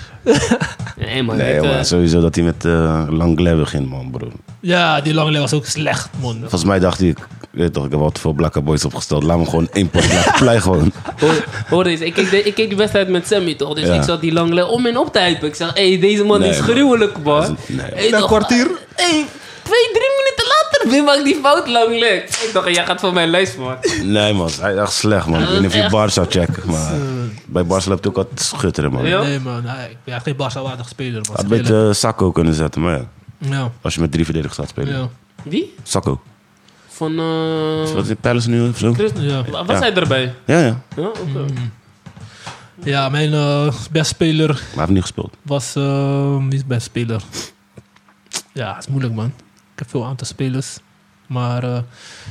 [SPEAKER 3] nee, man.
[SPEAKER 4] Nee,
[SPEAKER 3] dit, eh,
[SPEAKER 4] man. Sowieso dat hij met eh Langley begint, man, broer.
[SPEAKER 2] Ja, die langlijn was ook slecht, man.
[SPEAKER 4] Volgens mij dacht hij, ik weet toch, ik heb wel te veel blakke boys opgesteld. Laat me gewoon één potje laten play gewoon.
[SPEAKER 3] Hoor, hoor eens, ik keek, de, ik keek die wedstrijd met Sammy toch? Dus
[SPEAKER 4] Ja.
[SPEAKER 3] ik zat die lang le- om en op te hypen. Ik zeg, hé, hey, deze man
[SPEAKER 4] Nee,
[SPEAKER 3] is
[SPEAKER 4] man.
[SPEAKER 3] gruwelijk, man.
[SPEAKER 4] is- nee.
[SPEAKER 3] Hey,
[SPEAKER 2] Na
[SPEAKER 3] toch,
[SPEAKER 2] kwartier?
[SPEAKER 3] eh, hey, twee, drie minuten later weer maak ik die fout lang le. Ik dacht, jij gaat van mijn lijst, man.
[SPEAKER 4] Nee, man. Hij is echt slecht, man. Ik weet niet of je Bar zou checken, maar bij Bar loopt ook wat schutteren, man.
[SPEAKER 3] Ja.
[SPEAKER 4] Hij
[SPEAKER 2] Nee, man. Hij ja, geen Barca-waardig speler, man.
[SPEAKER 4] Had een
[SPEAKER 2] Spelen.
[SPEAKER 4] beetje Sacco kunnen zetten, maar ja.
[SPEAKER 2] Ja,
[SPEAKER 4] Als je met drie verdedigers gaat spelen.
[SPEAKER 2] ja.
[SPEAKER 3] Wie?
[SPEAKER 4] Sacco.
[SPEAKER 3] Van, eh...
[SPEAKER 4] Is Wat is in Palace nu of zo?
[SPEAKER 3] Chris-
[SPEAKER 2] Ja. Mm,
[SPEAKER 3] Wa- Was
[SPEAKER 4] Ja.
[SPEAKER 3] hij erbij?
[SPEAKER 4] Ja, ja. Maar
[SPEAKER 3] Ja, oké.
[SPEAKER 2] ja, mijn eh best speler
[SPEAKER 4] hij heeft niet gespeeld.
[SPEAKER 2] was... eh, wie is best speler? Ja, het is moeilijk, man. Ik heb veel aantal spelers. Maar eh,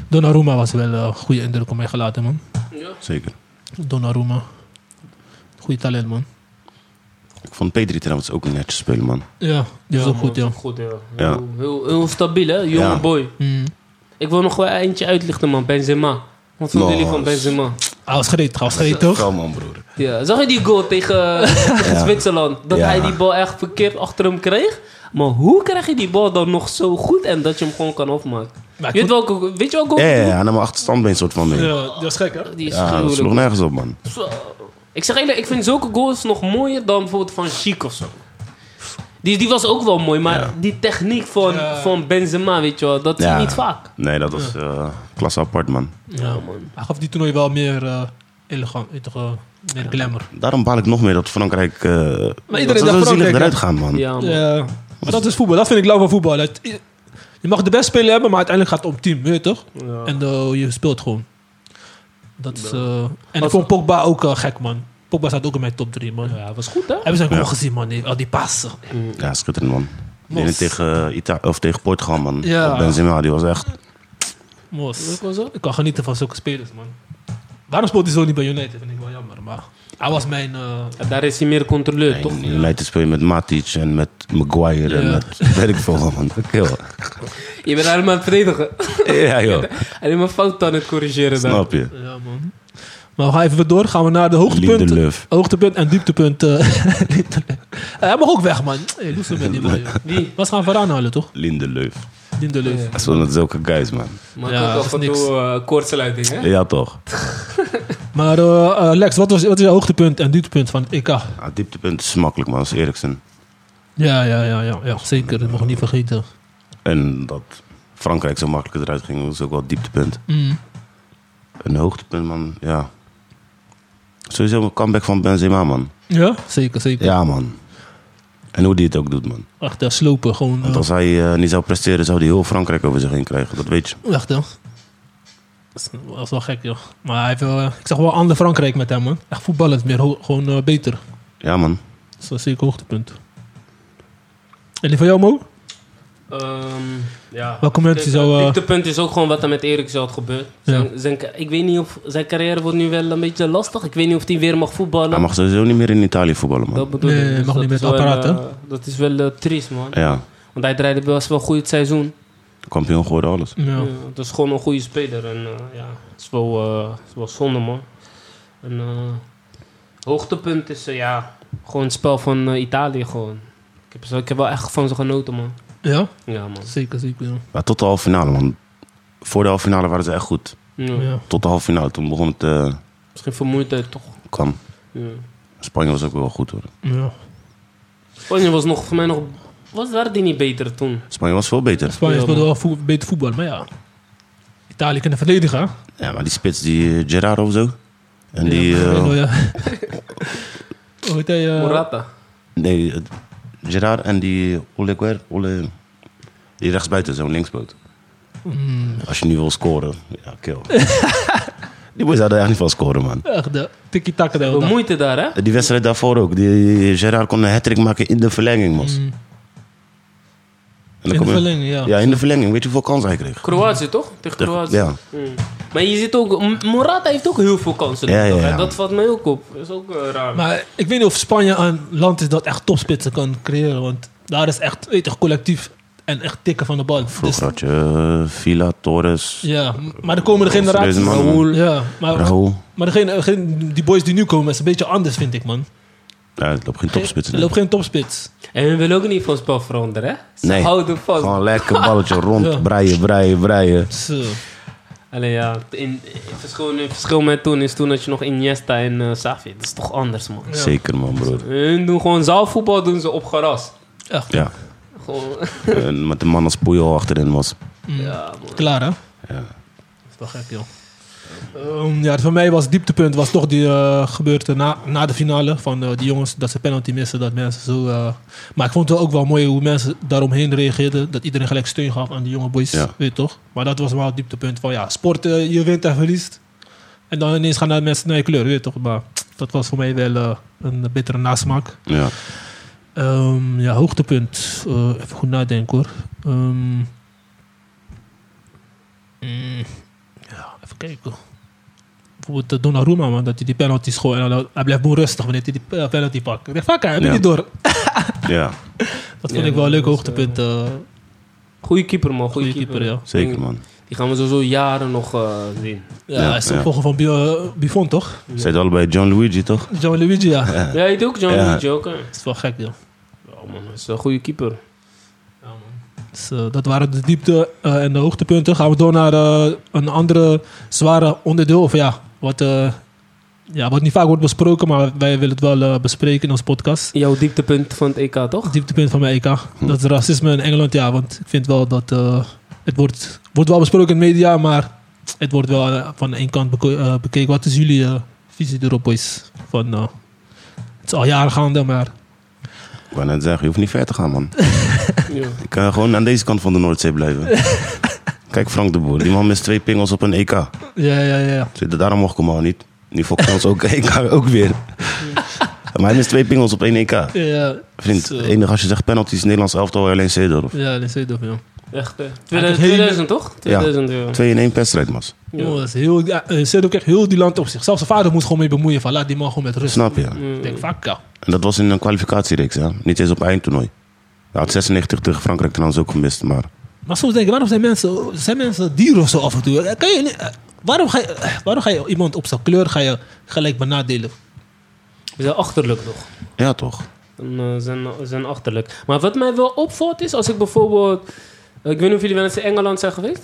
[SPEAKER 2] Donnarumma was wel eh, een goede indruk op mij gelaten, man.
[SPEAKER 3] Ja.
[SPEAKER 4] Zeker.
[SPEAKER 2] Donnarumma. Goeie talent, man.
[SPEAKER 4] Ik vond Pedri trouwens ook netjes spelen, man.
[SPEAKER 2] Ja, die was ook goed, ja.
[SPEAKER 3] man, Goed, ja.
[SPEAKER 4] Ja.
[SPEAKER 3] Heel, heel, heel stabiel, hè? Jonge
[SPEAKER 4] Ja.
[SPEAKER 3] boy.
[SPEAKER 2] Mm.
[SPEAKER 3] Ik wil nog wel eentje uitlichten, man. Benzema. Wat vonden jullie van
[SPEAKER 4] Nice.
[SPEAKER 3] Benzema?
[SPEAKER 2] Hij was gretig, hij was gretig, toch?
[SPEAKER 4] Wel, man, broer.
[SPEAKER 3] Ja, zag je die goal tegen, tegen Zwitserland? Dat
[SPEAKER 4] Ja.
[SPEAKER 3] hij die bal echt verkeerd achter hem kreeg. Maar hoe krijg je die bal dan nog zo goed en dat je hem gewoon kan afmaken?
[SPEAKER 2] Maar ik
[SPEAKER 3] Weet, welke, weet je welke goal?
[SPEAKER 4] Ja, ja, ja. Hij nam een achterstandbeen soort van mee.
[SPEAKER 2] Ja, dat was gek, hè?
[SPEAKER 3] Die is
[SPEAKER 4] Ja, dat sloeg
[SPEAKER 3] gruwelijk.
[SPEAKER 4] nergens op, man.
[SPEAKER 3] Zo. Ik zeg eerlijk, ik vind zulke goals nog mooier dan bijvoorbeeld van Chic of zo. Die, die was ook wel mooi, maar die techniek van,
[SPEAKER 2] Ja.
[SPEAKER 3] van Benzema, weet je wel, dat zie
[SPEAKER 4] Ja.
[SPEAKER 3] je niet vaak.
[SPEAKER 4] Nee, dat was eh klasse apart, man.
[SPEAKER 3] Ja, man.
[SPEAKER 2] Hij gaf die toernooi wel meer eh, elegant, weet je toch, eh, meer glamour.
[SPEAKER 4] Daarom baal ik nog meer dat Frankrijk... eh maar
[SPEAKER 2] dacht Frankrijk,
[SPEAKER 4] eruit
[SPEAKER 2] hè?
[SPEAKER 4] gaan, man.
[SPEAKER 3] Ja, man.
[SPEAKER 2] Ja, maar dat is voetbal. Dat vind ik lauw van voetbal. Dat, je mag de beste speler hebben, maar uiteindelijk gaat het om team, weet je toch?
[SPEAKER 3] Ja.
[SPEAKER 2] En eh, je speelt gewoon. Dat is, eh, en ik
[SPEAKER 3] Als-
[SPEAKER 2] vond Pogba ook eh, gek, man. Pogba staat ook in mijn top 3, man.
[SPEAKER 3] Ja, was goed, hè?
[SPEAKER 2] Hebben ze hem gewoon
[SPEAKER 4] Ja.
[SPEAKER 2] gezien, man. die- Al die passen.
[SPEAKER 4] Ja, schitterend, man. Die ene
[SPEAKER 2] Mos.
[SPEAKER 4] tegen, Ita of tegen Portugal, man.
[SPEAKER 2] Ja.
[SPEAKER 4] Op Benzema, die was echt...
[SPEAKER 2] Mos.
[SPEAKER 3] Ook wel zo?
[SPEAKER 2] Ik kan genieten van zulke spelers, man. Waarom speelt hij zo niet bij United? Vind ik wel jammer, maar... Hij was mijn... eh,
[SPEAKER 3] Ja, daar is hij meer controleur,
[SPEAKER 4] In
[SPEAKER 3] toch?
[SPEAKER 4] United speel je met Matic en met Maguire en
[SPEAKER 2] Ja.
[SPEAKER 4] met... Weet ik veel, man. Kill.
[SPEAKER 3] Je bent helemaal aan het verdedigen.
[SPEAKER 4] ja, joh.
[SPEAKER 3] Alleen maar fout aan het corrigeren daar.
[SPEAKER 4] Snap je?
[SPEAKER 2] Ja, man. Maar we gaan even weer door. Gaan we naar de
[SPEAKER 4] Liefde,
[SPEAKER 2] hoogtepunten.
[SPEAKER 4] love.
[SPEAKER 2] Hoogtepunt en dieptepunt. eh, liefde, love. Eh, Hij mag ook weg, man. Hey, doe zo met die man. joh.
[SPEAKER 3] Die.
[SPEAKER 2] Was gaan we aanhalen, toch?
[SPEAKER 4] Lindeleuf.
[SPEAKER 2] Lindeleuf.
[SPEAKER 4] Dat zijn wel zulke guys, man.
[SPEAKER 3] Maar
[SPEAKER 2] Ja,
[SPEAKER 3] ja,
[SPEAKER 2] dat is
[SPEAKER 3] ook af en
[SPEAKER 2] niks.
[SPEAKER 3] toe eh, koortsluiting, hè?
[SPEAKER 4] Ja, toch?
[SPEAKER 2] Maar eh, eh, Lex, wat was wat is jouw hoogtepunt en dieptepunt van het EK?
[SPEAKER 4] Ja, het dieptepunt is makkelijk, man. Dat is Eriksen.
[SPEAKER 2] Ja, ja, ja, ja, ja zeker. Dat mag ik niet vergeten.
[SPEAKER 4] En dat Frankrijk zo makkelijk eruit ging, was ook wel het dieptepunt.
[SPEAKER 2] Mm.
[SPEAKER 4] Een hoogtepunt, man. Ja. Sowieso een comeback van Benzema, man.
[SPEAKER 2] Ja, zeker, zeker.
[SPEAKER 4] Ja, man. En hoe die het ook doet, man.
[SPEAKER 2] Echt, eh, slopen. Gewoon,
[SPEAKER 4] Want
[SPEAKER 2] eh,
[SPEAKER 4] als hij eh, niet zou presteren, zou hij heel Frankrijk over zich heen krijgen. Dat weet je.
[SPEAKER 2] echt, hè. Dat is- Dat is wel gek, joh. Maar hij heeft, wel, eh, ik zag wel ander Frankrijk met hem, man. Echt voetballend meer. ho- Gewoon eh, beter.
[SPEAKER 4] Ja, man.
[SPEAKER 2] Dat is wel zeker hoogtepunt. En die van jou, Mo?
[SPEAKER 3] Ehm, ja.
[SPEAKER 2] Welke mensen
[SPEAKER 3] Kijk,
[SPEAKER 2] zou...
[SPEAKER 3] Het
[SPEAKER 2] eh,
[SPEAKER 3] dieptepunt is ook gewoon wat er met Eriksen had gebeurd. Zijn, zijn ca- ik weet niet of... Zijn carrière wordt nu wel een beetje lastig. Ik weet niet of hij weer mag voetballen.
[SPEAKER 4] Hij mag sowieso niet meer in Italië voetballen, man.
[SPEAKER 3] Dat bedoel
[SPEAKER 2] Nee,
[SPEAKER 3] ik. Dus
[SPEAKER 2] mag
[SPEAKER 3] dat
[SPEAKER 2] niet met
[SPEAKER 3] is wel,
[SPEAKER 2] apparaat, hè?
[SPEAKER 3] eh, Dat is wel eh, triest, man.
[SPEAKER 4] Ja.
[SPEAKER 3] Want hij draaide best wel goed het seizoen.
[SPEAKER 4] Kampioen geworden, alles.
[SPEAKER 2] ja.
[SPEAKER 3] Ja. dat is gewoon een goede speler. En eh, ja, het is wel, eh, het is wel zonde, man. En eh, hoogtepunt is, eh, ja... Gewoon het spel van eh, Italië, gewoon. Ik heb, zo- ik heb wel echt van ze genoten, man.
[SPEAKER 2] ja,
[SPEAKER 3] Ja, man.
[SPEAKER 2] zeker, zeker. Ja.
[SPEAKER 4] Maar tot de halve finale, man. Voor de halve finale waren ze echt goed.
[SPEAKER 3] Ja.
[SPEAKER 2] Ja.
[SPEAKER 4] Tot de halve finale, toen begon het... eh,
[SPEAKER 3] Misschien vermoeidheid toch?
[SPEAKER 4] kwam.
[SPEAKER 3] Ja.
[SPEAKER 4] Spanje was ook wel goed, hoor.
[SPEAKER 2] Ja.
[SPEAKER 3] Spanje Oh, was nog, voor mij nog... Was, waren die niet beter toen?
[SPEAKER 4] Spanje was veel beter.
[SPEAKER 2] Spanje
[SPEAKER 3] Ja,
[SPEAKER 2] speelde wel voet- beter voetbal, maar ja. Italië kan verdedigen. hè?
[SPEAKER 4] Ja, maar die spits, die eh, Gerrard of zo. En die...
[SPEAKER 2] Ja,
[SPEAKER 4] eh,
[SPEAKER 2] Moreno, ja. Hoe heet hij? eh,
[SPEAKER 3] Morata.
[SPEAKER 4] nee, eh, Gerrard en die Oleguer. Ole, die rechtsbuiten, zo'n linksboot.
[SPEAKER 2] Hmm.
[SPEAKER 4] Als je nu wil scoren, ja, kill. die boys hadden echt niet van scoren, man. Eh,
[SPEAKER 2] Echt de tiki-taka daar.
[SPEAKER 3] We
[SPEAKER 2] man.
[SPEAKER 3] moeite daar, hè?
[SPEAKER 4] Die wedstrijd daarvoor ook. Die Gerard kon een hat maken in de verlenging, man. En dan
[SPEAKER 2] Hmm. Mm, In de
[SPEAKER 4] kom je-
[SPEAKER 2] verlenging, ja.
[SPEAKER 4] Ja, in de verlenging. Weet je hoeveel kansen hij kreeg?
[SPEAKER 3] Kroatië, toch? Tegen Kroatië.
[SPEAKER 4] Ja.
[SPEAKER 2] Dus-
[SPEAKER 3] Hmm. Maar je ziet ook... M- Morata heeft ook heel veel kansen.
[SPEAKER 4] Ja, ja,
[SPEAKER 3] toch, hè?
[SPEAKER 4] ja.
[SPEAKER 3] Dat valt mij ook op. Dat is ook eh, raar.
[SPEAKER 2] Maar ik weet niet of Spanje een land is dat echt topspitsen kan creëren. Want daar is echt weet je, collectief en echt tikken van de bal.
[SPEAKER 4] Vroeger had je eh, Villa, Torres,
[SPEAKER 2] Dus, ja, maar de komende
[SPEAKER 4] Deze
[SPEAKER 2] generaties...
[SPEAKER 4] man, man. Raoul.
[SPEAKER 2] Ja, maar,
[SPEAKER 4] Raúl.
[SPEAKER 2] maar degene, degene- die boys die nu komen is een beetje anders, vind ik, man.
[SPEAKER 4] Ja, het loopt geen topspits.
[SPEAKER 2] Er
[SPEAKER 4] Nee.
[SPEAKER 2] loopt geen topspits.
[SPEAKER 3] En we willen ook niet van spel veranderen, hè? Ze
[SPEAKER 4] Nee.
[SPEAKER 3] houden vast.
[SPEAKER 4] Gewoon lekker balletje
[SPEAKER 2] Ja.
[SPEAKER 4] rond, breien, breien, breien.
[SPEAKER 2] Zo.
[SPEAKER 3] Alleen ja, in, in verschil, in verschil met toen is toen dat je nog Iniesta en eh Xavi. Dat is toch anders, man.
[SPEAKER 4] Zeker, man, broer.
[SPEAKER 3] Hun doen gewoon zaalvoetbal doen ze op gras.
[SPEAKER 2] Echt,
[SPEAKER 4] Ja.
[SPEAKER 3] Gewoon,
[SPEAKER 4] En met de man als Puyol achterin was.
[SPEAKER 3] ja, man.
[SPEAKER 2] Mm. klaar, hè?
[SPEAKER 4] Ja.
[SPEAKER 2] Dat is toch gek, joh. Ehm, ja, voor mij was het dieptepunt was toch die eh, gebeurte na, na de finale van eh, die jongens dat ze penalty missen, dat mensen zo. eh, maar ik vond het ook wel mooi hoe mensen daaromheen reageerden, dat iedereen gelijk steun gaf aan die jonge boys,
[SPEAKER 4] Ja.
[SPEAKER 2] weet je toch? Maar dat was wel het dieptepunt van ja, sport eh, je wint en verliest en dan ineens gaan naar mensen naar je kleur, weet je toch? Maar dat was voor mij wel eh, een bittere nasmaak.
[SPEAKER 4] ja.
[SPEAKER 2] Ehm, ja, hoogtepunt. Eh, even goed nadenken hoor. Ehm, mm, ja, even kijken. Bijvoorbeeld eh, Donnarumma, man, dat hij die penalty schoot. En dan- hij blijft onrustig wanneer hij die eh, penalty pakt. Ik dacht, fuck, hij doet
[SPEAKER 4] Ja.
[SPEAKER 2] niet door.
[SPEAKER 4] ja.
[SPEAKER 2] Dat
[SPEAKER 3] Ja,
[SPEAKER 2] vond ik wel een leuk
[SPEAKER 3] dat is,
[SPEAKER 2] hoogtepunt. eh
[SPEAKER 3] Goeie keeper, man. Goeie,
[SPEAKER 2] goede keeper, ja.
[SPEAKER 4] Zeker, man.
[SPEAKER 3] Die gaan we sowieso jaren nog eh, zien.
[SPEAKER 2] Ja,
[SPEAKER 4] Ja,
[SPEAKER 2] hij is
[SPEAKER 4] ja.
[SPEAKER 2] de volger van Bio- eh, Buffon, toch?
[SPEAKER 4] Zij het allebei Gianluigi, toch?
[SPEAKER 2] Gianluigi, ja.
[SPEAKER 3] Ja, je doet ook John
[SPEAKER 4] Ja.
[SPEAKER 3] Lee Joker.
[SPEAKER 2] Dat is wel gek, joh.
[SPEAKER 3] Ja, man, dat is een goede keeper.
[SPEAKER 2] Dus, eh, dat waren de diepte eh, en de hoogtepunten. Gaan we door naar eh, een andere zware onderdeel. Of ja, wat, eh, ja, wat niet vaak wordt besproken, maar wij willen het wel eh, bespreken in ons podcast.
[SPEAKER 3] Jouw dieptepunt van het EK, toch?
[SPEAKER 2] Het dieptepunt van mijn EK. Dat is racisme in Engeland, ja. Want ik vind wel dat eh, het wordt, wordt wel besproken in de media, maar het wordt wel eh, van één kant beko- eh, bekeken. Wat is jullie eh, visie erop, boys? Van, eh, het is al jaren gaande, maar
[SPEAKER 4] Ik wou net zeggen, je hoeft niet ver te gaan, man.
[SPEAKER 3] Ja.
[SPEAKER 4] Ik kan gewoon aan deze kant van de Noordzee blijven. Kijk, Frank de Boer. Die man mist twee pingels op een E EK.
[SPEAKER 2] ja, ja, ja. ja.
[SPEAKER 4] Zit- Daarom mocht ik hem al niet. Nu fokt hij ons ook, EK ook weer. Maar hij mist twee pingels op één EK.
[SPEAKER 2] Ja,
[SPEAKER 4] Vriend,
[SPEAKER 2] zo.
[SPEAKER 4] het enige als je zegt penalties, Nederlands elftal alleen Seedorf.
[SPEAKER 2] ja, dat is heel doof, joh.
[SPEAKER 3] Echt, eh,
[SPEAKER 2] Hij
[SPEAKER 3] 2000,
[SPEAKER 2] heeft hele-
[SPEAKER 3] toch? 2000, ja.
[SPEAKER 4] Twee in één wedstrijd, mas.
[SPEAKER 3] Ja.
[SPEAKER 2] Jongen, dat is heel, ja, eh, zet ook echt heel die land op zich. Zelfs zijn vader moet gewoon mee bemoeien van laat die man gewoon met rust.
[SPEAKER 4] Snap je?
[SPEAKER 2] Ik denk, fuck ja.
[SPEAKER 4] En dat was in een kwalificatiereeks, hè? Niet eens op eindtoernooi. Hij had 96 tegen Frankrijk trouwens ook gemist, maar...
[SPEAKER 2] Maar soms denk ik, waarom zijn mensen, zijn mensen dieren of zo af en toe? Eh, Kan je, niet- eh, waarom, ga je, eh, waarom ga je iemand op zijn kleur ga je gelijk benadelen?
[SPEAKER 3] We zijn achterlijk nog.
[SPEAKER 4] Ja, toch?
[SPEAKER 3] Dan, eh, zijn, zijn achterlijk. Maar wat mij wel opvalt is, als ik bijvoorbeeld... eh, Ik weet niet of jullie wel eens in Engeland zijn geweest.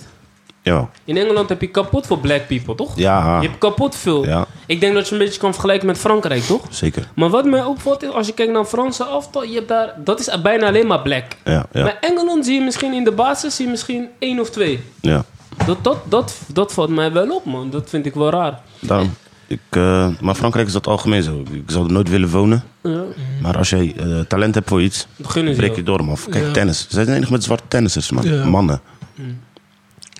[SPEAKER 4] Ja.
[SPEAKER 3] In Engeland heb je kapot voor black people, toch?
[SPEAKER 4] Ja,
[SPEAKER 3] Je hebt kapot veel.
[SPEAKER 4] Ja.
[SPEAKER 3] Ik denk dat je een beetje kan vergelijken met Frankrijk, toch?
[SPEAKER 4] zeker.
[SPEAKER 3] Maar wat mij opvalt is, als je kijkt naar Franse aftal, je hebt daar, dat is bijna alleen maar black.
[SPEAKER 4] Ja, ja,
[SPEAKER 3] Bij Engeland zie je misschien in de basis zie je misschien één of twee.
[SPEAKER 4] ja.
[SPEAKER 3] Dat, dat, dat, dat valt mij wel op, man. Dat vind ik wel raar.
[SPEAKER 4] Daarom. Ik, eh, maar Frankrijk is dat algemeen zo. Ik zou er nooit willen wonen.
[SPEAKER 3] Ja,
[SPEAKER 4] Maar als jij eh, talent hebt voor iets,
[SPEAKER 3] dat gunnen ze
[SPEAKER 4] breek
[SPEAKER 3] jou.
[SPEAKER 4] je door, man. Kijk,
[SPEAKER 2] Ja.
[SPEAKER 4] tennis. Zij zijn de enige met zwarte tennissers, man.
[SPEAKER 2] Ja.
[SPEAKER 4] Mannen.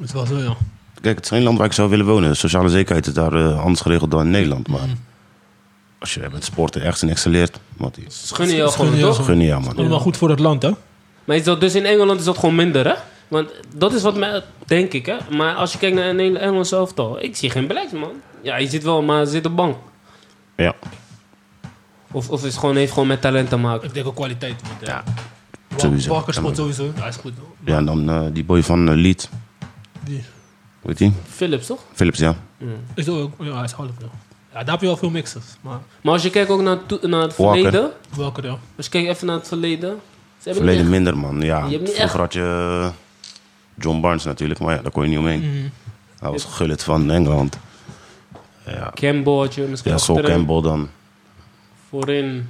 [SPEAKER 2] Het was wel, ja.
[SPEAKER 4] Kijk, het is geen land waar ik zou willen wonen. Sociale zekerheid is daar eh, anders geregeld dan in Nederland. Maar
[SPEAKER 3] Mm.
[SPEAKER 4] als je met sporten ergens in excelleert, wat die
[SPEAKER 3] Ze gunnen jou
[SPEAKER 2] Ze
[SPEAKER 3] gewoon,
[SPEAKER 2] gunnen jou
[SPEAKER 3] toch?
[SPEAKER 2] gewoon.
[SPEAKER 4] gun je aan, man.
[SPEAKER 2] Allemaal goed voor het land, hè?
[SPEAKER 3] Maar is dat dus in Engeland is dat gewoon minder, hè? Want dat is wat mij, denk ik, hè? Maar als je kijkt naar een hele Engelse elftal, ik zie geen blacks, man. Ja, je zit wel, maar ze zit op bank.
[SPEAKER 4] Ja.
[SPEAKER 3] Of, of is gewoon, heeft gewoon met talent te maken.
[SPEAKER 2] Ik denk ook kwaliteit. Want, eh,
[SPEAKER 4] Ja.
[SPEAKER 2] Wa-
[SPEAKER 4] Sowieso.
[SPEAKER 2] Walker
[SPEAKER 4] Ja,
[SPEAKER 2] sport
[SPEAKER 4] man.
[SPEAKER 2] sowieso. Hij is goed.
[SPEAKER 4] ja, en dan eh, die boy van eh, Leeds.
[SPEAKER 2] Die
[SPEAKER 4] Weet je?
[SPEAKER 3] Philips, toch?
[SPEAKER 4] Philips, ja.
[SPEAKER 2] is ook, ja, hij is half, ja. Ja, daar heb je wel veel mixers. Maar
[SPEAKER 3] Maar als je kijkt ook naar, toe- naar het
[SPEAKER 4] Walker.
[SPEAKER 3] verleden.
[SPEAKER 2] Walker, ja.
[SPEAKER 3] Als je kijkt even naar het verleden. Ze hebben
[SPEAKER 4] Verleden
[SPEAKER 3] niet
[SPEAKER 4] minder, man. Ja.
[SPEAKER 3] Je hebt niet echt-
[SPEAKER 4] Vroeger had je eh, John Barnes natuurlijk, maar ja, daar kon je niet omheen.
[SPEAKER 3] Mm.
[SPEAKER 2] Mhm.
[SPEAKER 4] Hij was gullet van Engeland. Ja,
[SPEAKER 3] echt Campbell had je misschien
[SPEAKER 4] ja Sol
[SPEAKER 3] achterin,
[SPEAKER 4] Campbell dan.
[SPEAKER 3] voorin.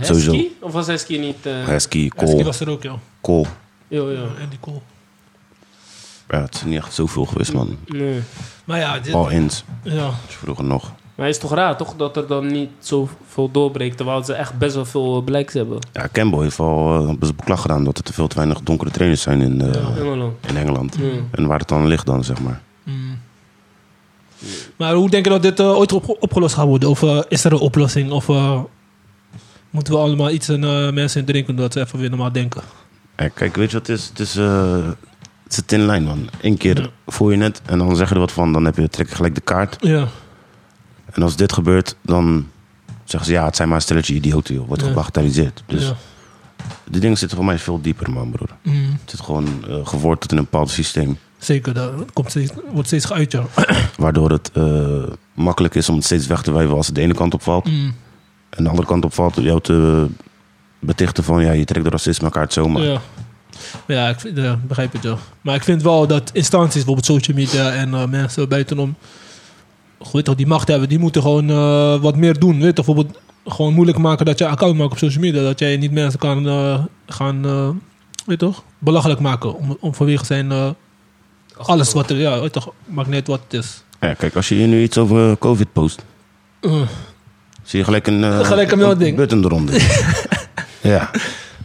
[SPEAKER 4] Sowieso.
[SPEAKER 3] Hesky? Of was Hesky niet... eh,
[SPEAKER 4] Hesky,
[SPEAKER 2] Hesky
[SPEAKER 4] Kool,
[SPEAKER 2] was er ook, joh.
[SPEAKER 4] Kool.
[SPEAKER 3] Yo,
[SPEAKER 2] Ja,
[SPEAKER 3] yo.
[SPEAKER 2] Andy Cole.
[SPEAKER 4] Ja, het is niet echt zoveel geweest, man.
[SPEAKER 3] Nee.
[SPEAKER 2] Maar ja, dit,
[SPEAKER 4] Al ins,
[SPEAKER 2] ja,
[SPEAKER 4] vroeger nog.
[SPEAKER 3] Maar het is toch raar, toch? Dat er dan niet zoveel doorbreekt, terwijl ze echt best wel veel eh, blijks hebben.
[SPEAKER 4] Ja, Campbell heeft al eh, best beklag gedaan dat er te veel te weinig donkere trainers zijn in, eh,
[SPEAKER 3] Engeland.
[SPEAKER 4] in Engeland.
[SPEAKER 3] Ja.
[SPEAKER 4] En waar het dan ligt dan, zeg maar.
[SPEAKER 2] Mm. Maar hoe denk je dat dit eh, ooit op- opgelost gaat worden? Of eh, is er een oplossing? Of eh, moeten we allemaal iets aan eh, mensen in drinken dat ze even weer normaal denken?
[SPEAKER 4] Ja, kijk, weet je wat het is? Het is, eh, het is een thin line, man. Eén keer voel je het en dan zeg je er wat van. Dan heb je, trek je gelijk de kaart.
[SPEAKER 2] Ja,
[SPEAKER 4] En als dit gebeurt, dan zeggen ze... Ja, het zijn maar een stelletje idioten, joh. Wordt
[SPEAKER 2] Ja.
[SPEAKER 4] gebagatelliseerd. Dus
[SPEAKER 2] ja.
[SPEAKER 4] die dingen zitten voor mij veel dieper, man, broer.
[SPEAKER 2] Mm,
[SPEAKER 4] Het zit gewoon eh, geworteld in een bepaald systeem.
[SPEAKER 2] zeker, dat komt steeds, wordt steeds geuit, ja.
[SPEAKER 4] Waardoor het eh, makkelijk is om het steeds weg te wijven als het de ene kant opvalt.
[SPEAKER 2] Mm,
[SPEAKER 4] En de andere kant opvalt, jou te betichten van... Ja, je trekt de racisme kaart zomaar.
[SPEAKER 2] ja. Maar ja, ik vind- ja, begrijp het, ja. Maar ik vind wel dat instanties, bijvoorbeeld social media en eh, mensen buitenom... goed, Weet toch, die macht hebben, die moeten gewoon eh, wat meer doen. Weet toch, bijvoorbeeld gewoon moeilijk maken dat je account maakt op social media. Dat jij niet mensen kan eh, gaan, eh, weet toch, belachelijk maken. Om, om vanwege zijn, eh, alles wat er, ja, weet toch, maakt niet uit wat het is.
[SPEAKER 4] Ja, kijk, als je hier nu iets over COVID post...
[SPEAKER 2] Eh,
[SPEAKER 4] Zie je gelijk een, eh,
[SPEAKER 2] Gelijk een melding.
[SPEAKER 4] button eronder. ja,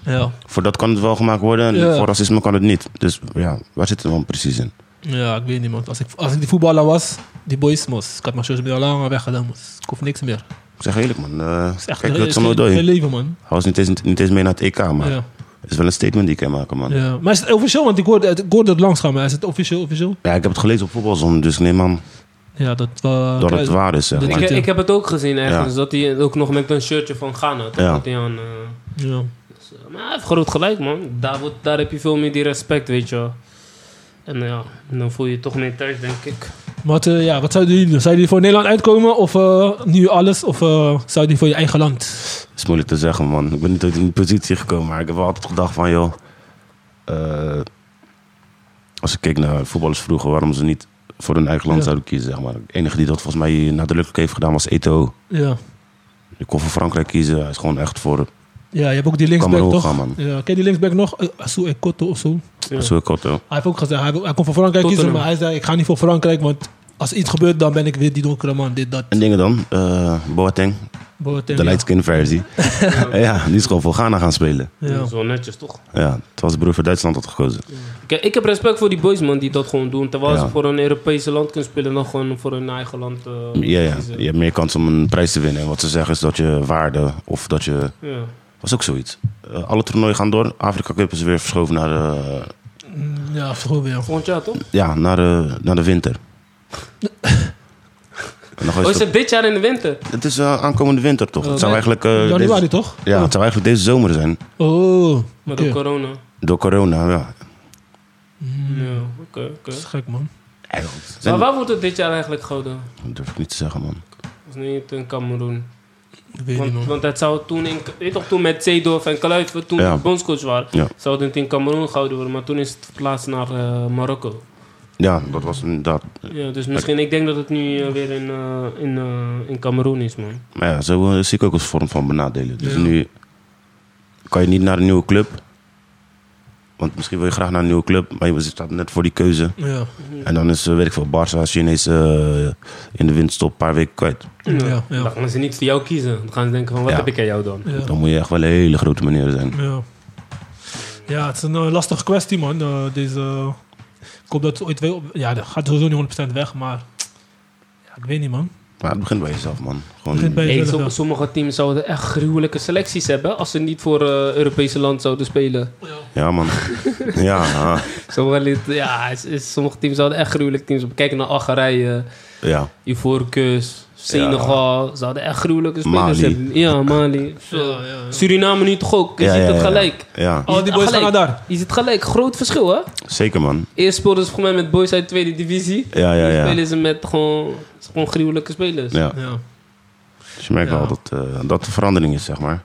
[SPEAKER 2] ja.
[SPEAKER 4] voor dat kan het wel gemaakt worden en
[SPEAKER 2] Ja.
[SPEAKER 4] voor racisme kan het niet. Dus ja, waar zit het dan precies in?
[SPEAKER 2] ja, ik weet niet, man. Als ik, als ik die voetballer was, die boys, mos. Ik had mijn social media lang weggedaan, mos. Ik hoef niks meer.
[SPEAKER 4] Ik zeg eerlijk man, eh
[SPEAKER 2] Het is echt
[SPEAKER 4] kijk,
[SPEAKER 2] een-
[SPEAKER 4] dat zal
[SPEAKER 2] het
[SPEAKER 4] nooit
[SPEAKER 2] is geen- geen
[SPEAKER 4] doen.
[SPEAKER 2] leven, man.
[SPEAKER 4] Hij was niet eens, niet eens mee naar het EK, maar
[SPEAKER 2] Ja.
[SPEAKER 4] het is wel een statement die ik kan maken man. Ja.
[SPEAKER 2] Ja, maar is het officieel? Want ik hoorde, het- ik hoorde het langs gaan, maar is het officieel? officieel?
[SPEAKER 4] ik heb het gelezen op voetbalzon, dus ik neem aan
[SPEAKER 2] Ja, dat... eh
[SPEAKER 4] dat het
[SPEAKER 2] Oh, kruis-
[SPEAKER 4] waar is. Zeg
[SPEAKER 2] Dat
[SPEAKER 4] maar.
[SPEAKER 3] Ik, ik heb het ook gezien ergens,
[SPEAKER 4] Ja.
[SPEAKER 3] dat hij ook nog met een shirtje van Ghana. Toch?
[SPEAKER 4] Ja.
[SPEAKER 3] Dat hij aan, eh,
[SPEAKER 2] Ja.
[SPEAKER 3] Maar hij heeft groot gelijk, man. Daar, wordt, daar heb je veel meer die respect, weet je wel. En eh, ja, dan voel je je toch meer thuis, denk ik.
[SPEAKER 2] Wat, eh, ja, wat zouden jullie doen? Zouden jullie voor Nederland uitkomen? Of eh, nu alles? Of eh zouden jullie voor je eigen land?
[SPEAKER 4] is moeilijk te zeggen man. Ik ben niet uit die positie gekomen, maar ik heb wel altijd gedacht van joh... eh, als ik keek naar voetballers vroeger, waarom ze niet voor hun eigen land
[SPEAKER 2] Ja.
[SPEAKER 4] zouden kiezen zeg maar. De enige die dat volgens mij nadrukkelijk heeft gedaan was Eto'o.
[SPEAKER 2] Ja.
[SPEAKER 4] Ik kon voor Frankrijk kiezen. Hij is gewoon echt voor
[SPEAKER 2] Ja, je hebt ook die linksback
[SPEAKER 4] Cameroen
[SPEAKER 2] toch?
[SPEAKER 4] gaan, man.
[SPEAKER 2] Ja, ken je die linksback nog? Eh, Assou Ekoto of zo.
[SPEAKER 3] Ja.
[SPEAKER 4] zo'n korte.
[SPEAKER 2] Hij heeft ook gezegd, hij, hij kon voor Frankrijk
[SPEAKER 3] Tottenham.
[SPEAKER 2] kiezen, maar hij zei, ik ga niet voor Frankrijk, want als iets gebeurt, dan ben ik weer die donkere man, dit, dat.
[SPEAKER 4] En dingen dan. eh Boateng,
[SPEAKER 2] Boateng,
[SPEAKER 4] de
[SPEAKER 2] ja.
[SPEAKER 4] lightskin versie. ja, die is gewoon voor Ghana gaan spelen.
[SPEAKER 3] Dat
[SPEAKER 2] Ja.
[SPEAKER 3] is wel netjes, toch?
[SPEAKER 4] Ja, terwijl zijn broer voor Duitsland had gekozen.
[SPEAKER 3] Kijk, ik heb respect voor die boys, man, die dat gewoon doen. Terwijl
[SPEAKER 4] Ja.
[SPEAKER 3] ze voor een Europese land kunnen spelen, dan gewoon voor hun eigen land. eh,
[SPEAKER 4] Ja, ja,
[SPEAKER 3] kiezen.
[SPEAKER 4] je hebt meer kans om een prijs te winnen. En wat ze zeggen is dat je waarde of dat je...
[SPEAKER 3] Ja.
[SPEAKER 4] was ook zoiets. Eh, alle toernooien gaan door. Afrika Cup is weer verschoven naar de,
[SPEAKER 2] Mm, Ja, vroeger weer.
[SPEAKER 3] Volgend jaar, toch?
[SPEAKER 4] ja, naar de, naar de winter. En dan ga je
[SPEAKER 3] Oh, is
[SPEAKER 4] zo-
[SPEAKER 3] het dit jaar in de winter?
[SPEAKER 4] het is eh, aankomende winter toch? Het zou
[SPEAKER 2] Oh, nee,
[SPEAKER 4] eigenlijk, eh,
[SPEAKER 2] Januari,
[SPEAKER 4] deze,
[SPEAKER 2] toch?
[SPEAKER 4] ja, het zou eigenlijk deze zomer zijn.
[SPEAKER 2] Oh,
[SPEAKER 3] Met
[SPEAKER 2] oké.
[SPEAKER 3] de corona.
[SPEAKER 4] Door corona, ja.
[SPEAKER 2] Hmm.
[SPEAKER 3] Ja, oké, oké.
[SPEAKER 2] Mm, Dat is gek, man.
[SPEAKER 4] Zijn-
[SPEAKER 3] Maar waar wordt het dit jaar eigenlijk gehouden?
[SPEAKER 4] Dat durf ik niet te zeggen, man.
[SPEAKER 3] Dat is niet in Cameroen.
[SPEAKER 2] Ik weet niet,
[SPEAKER 3] Want,
[SPEAKER 2] man.
[SPEAKER 3] want dat zou toen, in, weet je toch, toen met Zeedorf en Kluif, toen
[SPEAKER 4] Ja.
[SPEAKER 3] we bondscoach waren,
[SPEAKER 4] Ja.
[SPEAKER 3] zou het in Cameroen gehouden worden, maar toen is het verplaatst naar eh, Marokko.
[SPEAKER 4] Ja, dat was inderdaad.
[SPEAKER 3] Ja, dus misschien, ik denk dat het nu eh, weer in, eh, in, eh, in Cameroen is, man.
[SPEAKER 4] Maar ja, zo eh, zie ik ook als vorm van benadelen. Dus
[SPEAKER 2] Ja.
[SPEAKER 4] nu kan je niet naar een nieuwe club. Want misschien wil je graag naar een nieuwe club, maar je staat net voor die keuze.
[SPEAKER 2] Ja.
[SPEAKER 4] En dan is, eh, weet ik veel, Barça, Chinees eh, in de winterstop een paar weken kwijt.
[SPEAKER 2] Ja,
[SPEAKER 3] Dan
[SPEAKER 2] ja.
[SPEAKER 3] gaan ze niet voor jou kiezen. Dan gaan ze denken van, wat
[SPEAKER 4] Ja.
[SPEAKER 3] heb ik aan jou dan?
[SPEAKER 2] ja.
[SPEAKER 4] Dan moet je echt wel een hele grote meneer zijn.
[SPEAKER 2] Ja. Ja, het is een eh, lastige kwestie, man. Eh, deze, ik hoop dat het ooit wel... Ja, dat gaat sowieso niet 100% weg, maar... Ja, ik weet niet, man.
[SPEAKER 4] Maar het begint bij jezelf, man.
[SPEAKER 2] Begint
[SPEAKER 4] Gewoon,
[SPEAKER 2] bij
[SPEAKER 3] Hey,
[SPEAKER 2] jezelf,
[SPEAKER 3] som- sommige teams zouden echt gruwelijke selecties hebben als ze niet voor eh Europese land zouden spelen.
[SPEAKER 4] ja, man. ja, ah,
[SPEAKER 3] Sommige, lid- ja, is- is- sommige teams zouden echt gruwelijke teams hebben. Kijk naar Algerije,
[SPEAKER 4] ja.
[SPEAKER 3] Ivoorkust, Senegal. Ze hadden echt gruwelijke spelers
[SPEAKER 4] Mali.
[SPEAKER 3] hebben. Ja, Mali.
[SPEAKER 2] Ja, ja, ja.
[SPEAKER 3] Suriname nu toch ook? Je
[SPEAKER 4] Ja,
[SPEAKER 3] ziet
[SPEAKER 4] ja,
[SPEAKER 3] het
[SPEAKER 4] ja.
[SPEAKER 3] gelijk.
[SPEAKER 4] Ja,
[SPEAKER 2] Al die
[SPEAKER 3] Je ziet
[SPEAKER 2] boys gaan naar
[SPEAKER 3] gelijk.
[SPEAKER 2] daar.
[SPEAKER 3] Je ziet gelijk. Groot verschil, hè?
[SPEAKER 4] zeker, man.
[SPEAKER 3] Eerst speelden ze volgens mij met boys uit de tweede divisie.
[SPEAKER 4] Ja, ja,
[SPEAKER 3] Nu
[SPEAKER 4] ja.
[SPEAKER 3] spelen ze met gewoon, gewoon gruwelijke spelers.
[SPEAKER 4] Ja.
[SPEAKER 2] Ja.
[SPEAKER 4] Dus je merkt
[SPEAKER 2] Ja.
[SPEAKER 4] wel dat, eh, dat de verandering is, zeg maar.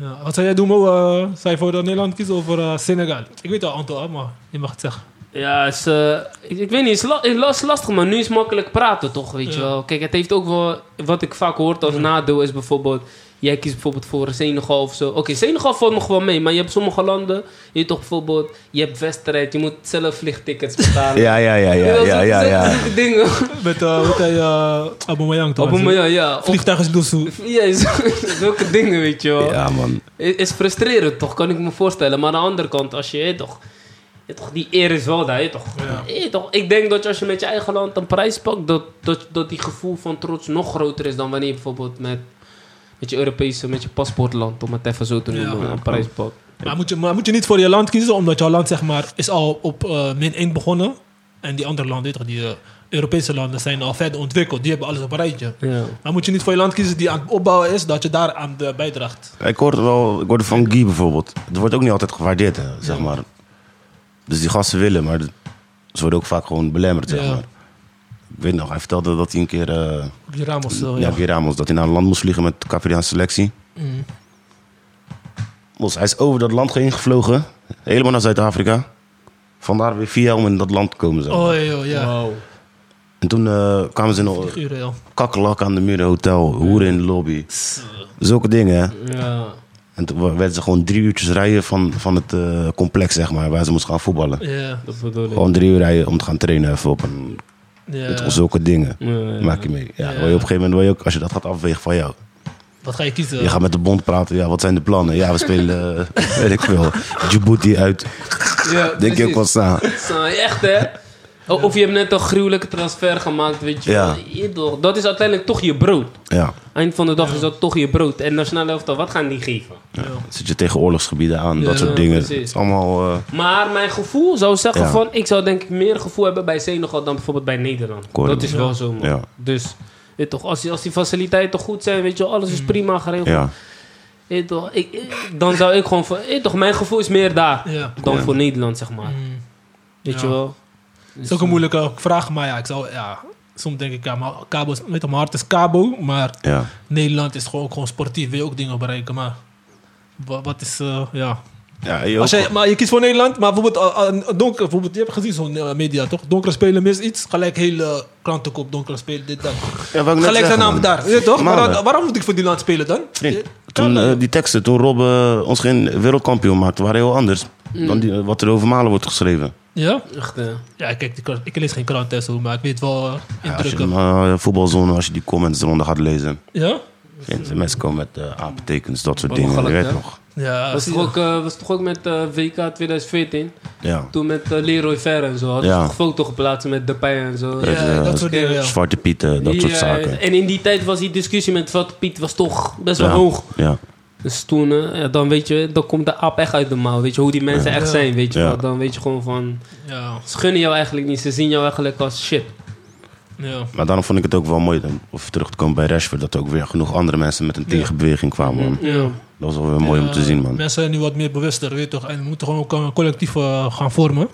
[SPEAKER 2] Ja, wat zou jij doen, Mo? Eh, zou je voor eh, Nederland kiezen of voor eh, Senegal? Ik weet al antwoord, maar je mag het zeggen.
[SPEAKER 3] Ja, is, eh, ik, ik weet niet, het is, la- het is lastig, maar nu is makkelijk praten toch, weet je
[SPEAKER 2] Ja.
[SPEAKER 3] wel. Kijk, het heeft ook wel, wat ik vaak hoor als nadeel is bijvoorbeeld, Jij kiest bijvoorbeeld voor Senegal of zo. Oké, Senegal valt nog wel mee, maar je hebt sommige landen. Je hebt toch bijvoorbeeld, je hebt wedstrijd, je moet zelf vliegtickets betalen.
[SPEAKER 4] Ja, ja, ja,
[SPEAKER 3] Je
[SPEAKER 4] ja,
[SPEAKER 3] weet wel,
[SPEAKER 4] ja,
[SPEAKER 3] zulke-
[SPEAKER 4] ja, ja.
[SPEAKER 3] zulke dingen.
[SPEAKER 2] Met, eh hoe heet hij, eh, Aubameyang toch?
[SPEAKER 3] Op een manier, ja. Of-
[SPEAKER 2] Vliegtuig is doelzoe.
[SPEAKER 3] Ja, zo- zulke dingen, weet je wel.
[SPEAKER 4] Ja, man.
[SPEAKER 3] Is, is frustrerend toch, kan ik me voorstellen. Maar aan de andere kant, als je, je toch, je toch die eer is wel daar, je toch, je toch. Ik denk dat je als je met je eigen land een prijs pakt, dat, dat, dat die gevoel van trots nog groter is dan wanneer je bijvoorbeeld met, met je Europese, met je paspoortland, om het even zo te noemen,
[SPEAKER 2] Ja.
[SPEAKER 3] een prijs pakt.
[SPEAKER 2] Maar moet, je, maar moet je niet voor je land kiezen, omdat jouw land zeg maar, is al op eh, min 1 begonnen. En die andere landen, weet je toch, die eh, Europese landen, zijn al verder ontwikkeld. Die hebben alles op een rijtje.
[SPEAKER 3] Ja.
[SPEAKER 2] Maar moet je niet voor je land kiezen die aan het opbouwen is, dat je daar aan de bijdraagt.
[SPEAKER 4] Ik hoorde wel, ik hoorde van Guy bijvoorbeeld. Het wordt ook niet altijd gewaardeerd, hè, zeg maar. Dus die gasten willen, maar ze worden ook vaak gewoon belemmerd, zeg
[SPEAKER 2] Ja.
[SPEAKER 4] maar. Ik weet nog, hij vertelde dat hij een keer, eh
[SPEAKER 2] Die Ramos, eh,
[SPEAKER 4] ja,
[SPEAKER 2] ja.
[SPEAKER 4] Guy Ramos, dat hij naar een land moest vliegen met de Capriaanse selectie.
[SPEAKER 2] Mm.
[SPEAKER 4] Dus hij is over dat land heen gevlogen, helemaal naar Zuid-Afrika. Vandaar weer via om in dat land te komen, zeg maar.
[SPEAKER 2] Oh, joh, ja.
[SPEAKER 4] En toen eh, kwamen ze in een
[SPEAKER 2] Figuren, joh.
[SPEAKER 4] kakkelak aan de muren hotel, hoeren in de lobby. Zulke dingen,
[SPEAKER 2] Mm.
[SPEAKER 4] hè.
[SPEAKER 3] Ja.
[SPEAKER 4] En toen werden ze gewoon drie uurtjes rijden van, van het eh, complex, zeg maar, waar ze moesten gaan voetballen.
[SPEAKER 2] Ja,
[SPEAKER 3] dat bedoel ik.
[SPEAKER 4] Gewoon drie uur rijden om te gaan trainen even op een,
[SPEAKER 2] ja.
[SPEAKER 4] met zulke dingen.
[SPEAKER 3] Ja, ja.
[SPEAKER 4] Maak je mee. Ja,
[SPEAKER 2] Ja.
[SPEAKER 4] word je op een gegeven moment word je ook, als je dat gaat afwegen van jou.
[SPEAKER 2] Wat ga je kiezen?
[SPEAKER 4] Je gaat met de bond praten, ja, wat zijn de plannen? Ja, we spelen, eh, weet ik veel, Djibouti uit.
[SPEAKER 3] Ja,
[SPEAKER 4] Denk je ook
[SPEAKER 3] precies.
[SPEAKER 4] wat staan.
[SPEAKER 3] Saai, Nou, echt hè? O- Of je hebt net een gruwelijke transfer gemaakt, weet je
[SPEAKER 4] Ja.
[SPEAKER 3] wel. Je toch, Dat is uiteindelijk toch je brood.
[SPEAKER 4] Ja,
[SPEAKER 3] Eind van de dag is dat toch je brood. En nationale elftal, wat gaan die geven?
[SPEAKER 2] Ja.
[SPEAKER 4] dan zit je tegen oorlogsgebieden aan, dat
[SPEAKER 2] Ja,
[SPEAKER 4] soort dingen.
[SPEAKER 3] precies.
[SPEAKER 4] Het is allemaal, eh,
[SPEAKER 3] Maar mijn gevoel zou zeggen
[SPEAKER 4] Ja.
[SPEAKER 3] van... Ik zou denk ik meer gevoel hebben bij Senegal dan bijvoorbeeld bij Nederland.
[SPEAKER 4] Correct.
[SPEAKER 3] Dat is wel zo, man.
[SPEAKER 4] Ja.
[SPEAKER 3] Dus, weet toch, als die, als die faciliteiten goed zijn, weet je wel, alles is
[SPEAKER 2] Mm.
[SPEAKER 3] prima geregeld.
[SPEAKER 4] ja.
[SPEAKER 3] Weet toch, ik, ik- dan zou ik gewoon van... weet toch, mijn gevoel is meer daar
[SPEAKER 2] Ja.
[SPEAKER 3] dan
[SPEAKER 4] Ja.
[SPEAKER 3] voor Nederland, zeg maar.
[SPEAKER 2] Mm.
[SPEAKER 3] Weet je
[SPEAKER 2] Ja.
[SPEAKER 3] wel?
[SPEAKER 2] Het is ook een moeilijke vraag, maar ja, ik zou, ja, soms denk ik, ja, maar Cabo, is- weet je, mijn hart is Cabo, maar
[SPEAKER 4] ja.
[SPEAKER 2] Nederland is gewoon, ook gewoon sportief, wil je ook dingen bereiken, maar wa- wat is, eh, ja.
[SPEAKER 4] ja je
[SPEAKER 2] Als
[SPEAKER 4] ook-
[SPEAKER 2] jij, maar je kiest voor Nederland, maar bijvoorbeeld, eh, eh, donker, bijvoorbeeld je hebt gezien zo'n eh, media, toch? Donkere spelen mis iets, gelijk hele krantenkop, donkere spelen, dit, dat.
[SPEAKER 4] ja, wou ik net
[SPEAKER 2] Gelijk
[SPEAKER 4] zeggen,
[SPEAKER 2] zijn naam
[SPEAKER 4] man.
[SPEAKER 2] daar, weet je toch? Maar,
[SPEAKER 4] Mannen.
[SPEAKER 2] dan- waarom moet ik voor die land spelen dan?
[SPEAKER 4] Vriend, toen eh, die teksten, toen Rob eh, ons geen wereldkampioen maakte, waren heel anders
[SPEAKER 3] Mm.
[SPEAKER 4] dan die, wat er over Malen wordt geschreven.
[SPEAKER 2] Ja?
[SPEAKER 3] Echt, eh,
[SPEAKER 2] Ja, kijk, die krant- ik lees geen kranten en zo, maar ik weet wel eh,
[SPEAKER 4] Ja, als je
[SPEAKER 2] indrukken. Ja?
[SPEAKER 4] eh, voetbalzone, als je die comments eronder gaat lezen. Vindt, de mensen komen met eh aaptekens, dat soort
[SPEAKER 3] Wat
[SPEAKER 4] dingen. Je
[SPEAKER 3] belachelijk,
[SPEAKER 4] weet
[SPEAKER 3] hè?
[SPEAKER 4] nog.
[SPEAKER 2] Ja,
[SPEAKER 3] was,
[SPEAKER 2] zie
[SPEAKER 3] toch
[SPEAKER 2] je.
[SPEAKER 3] ook, eh, was toch ook met eh, WK 2014?
[SPEAKER 4] Ja.
[SPEAKER 3] Toen met eh, Leroy Fer en zo. Hadden
[SPEAKER 4] Ja.
[SPEAKER 3] ze toch foto geplaatst met Depay en zo.
[SPEAKER 4] Met,
[SPEAKER 2] Ja,
[SPEAKER 4] eh,
[SPEAKER 2] dat soort dingen, ja.
[SPEAKER 4] Zwarte pieten, dat
[SPEAKER 3] Ja,
[SPEAKER 4] soort zaken.
[SPEAKER 3] eh, En in die tijd was die discussie met Zwarte Piet was toch best wel
[SPEAKER 4] Ja.
[SPEAKER 3] hoog.
[SPEAKER 4] Ja.
[SPEAKER 3] Dus toen, eh, ja, dan weet je, dan komt de aap echt uit de mouw. Weet je, hoe die mensen echt
[SPEAKER 2] Ja.
[SPEAKER 3] zijn, weet je
[SPEAKER 4] Ja.
[SPEAKER 3] wel. Dan weet je gewoon van,
[SPEAKER 2] Ja,
[SPEAKER 3] ze gunnen jou eigenlijk niet. Ze zien jou eigenlijk als shit.
[SPEAKER 2] ja.
[SPEAKER 4] Maar daarom vond ik het ook wel mooi, om- of terug te komen bij Rashford, dat er ook weer genoeg andere mensen met een tegenbeweging kwamen. Man.
[SPEAKER 3] Ja.
[SPEAKER 4] Dat was wel weer mooi om te zien, man.
[SPEAKER 2] Eh, Mensen zijn nu wat meer bewuster, weet je toch? En we moeten gewoon ook een collectief eh, gaan vormen.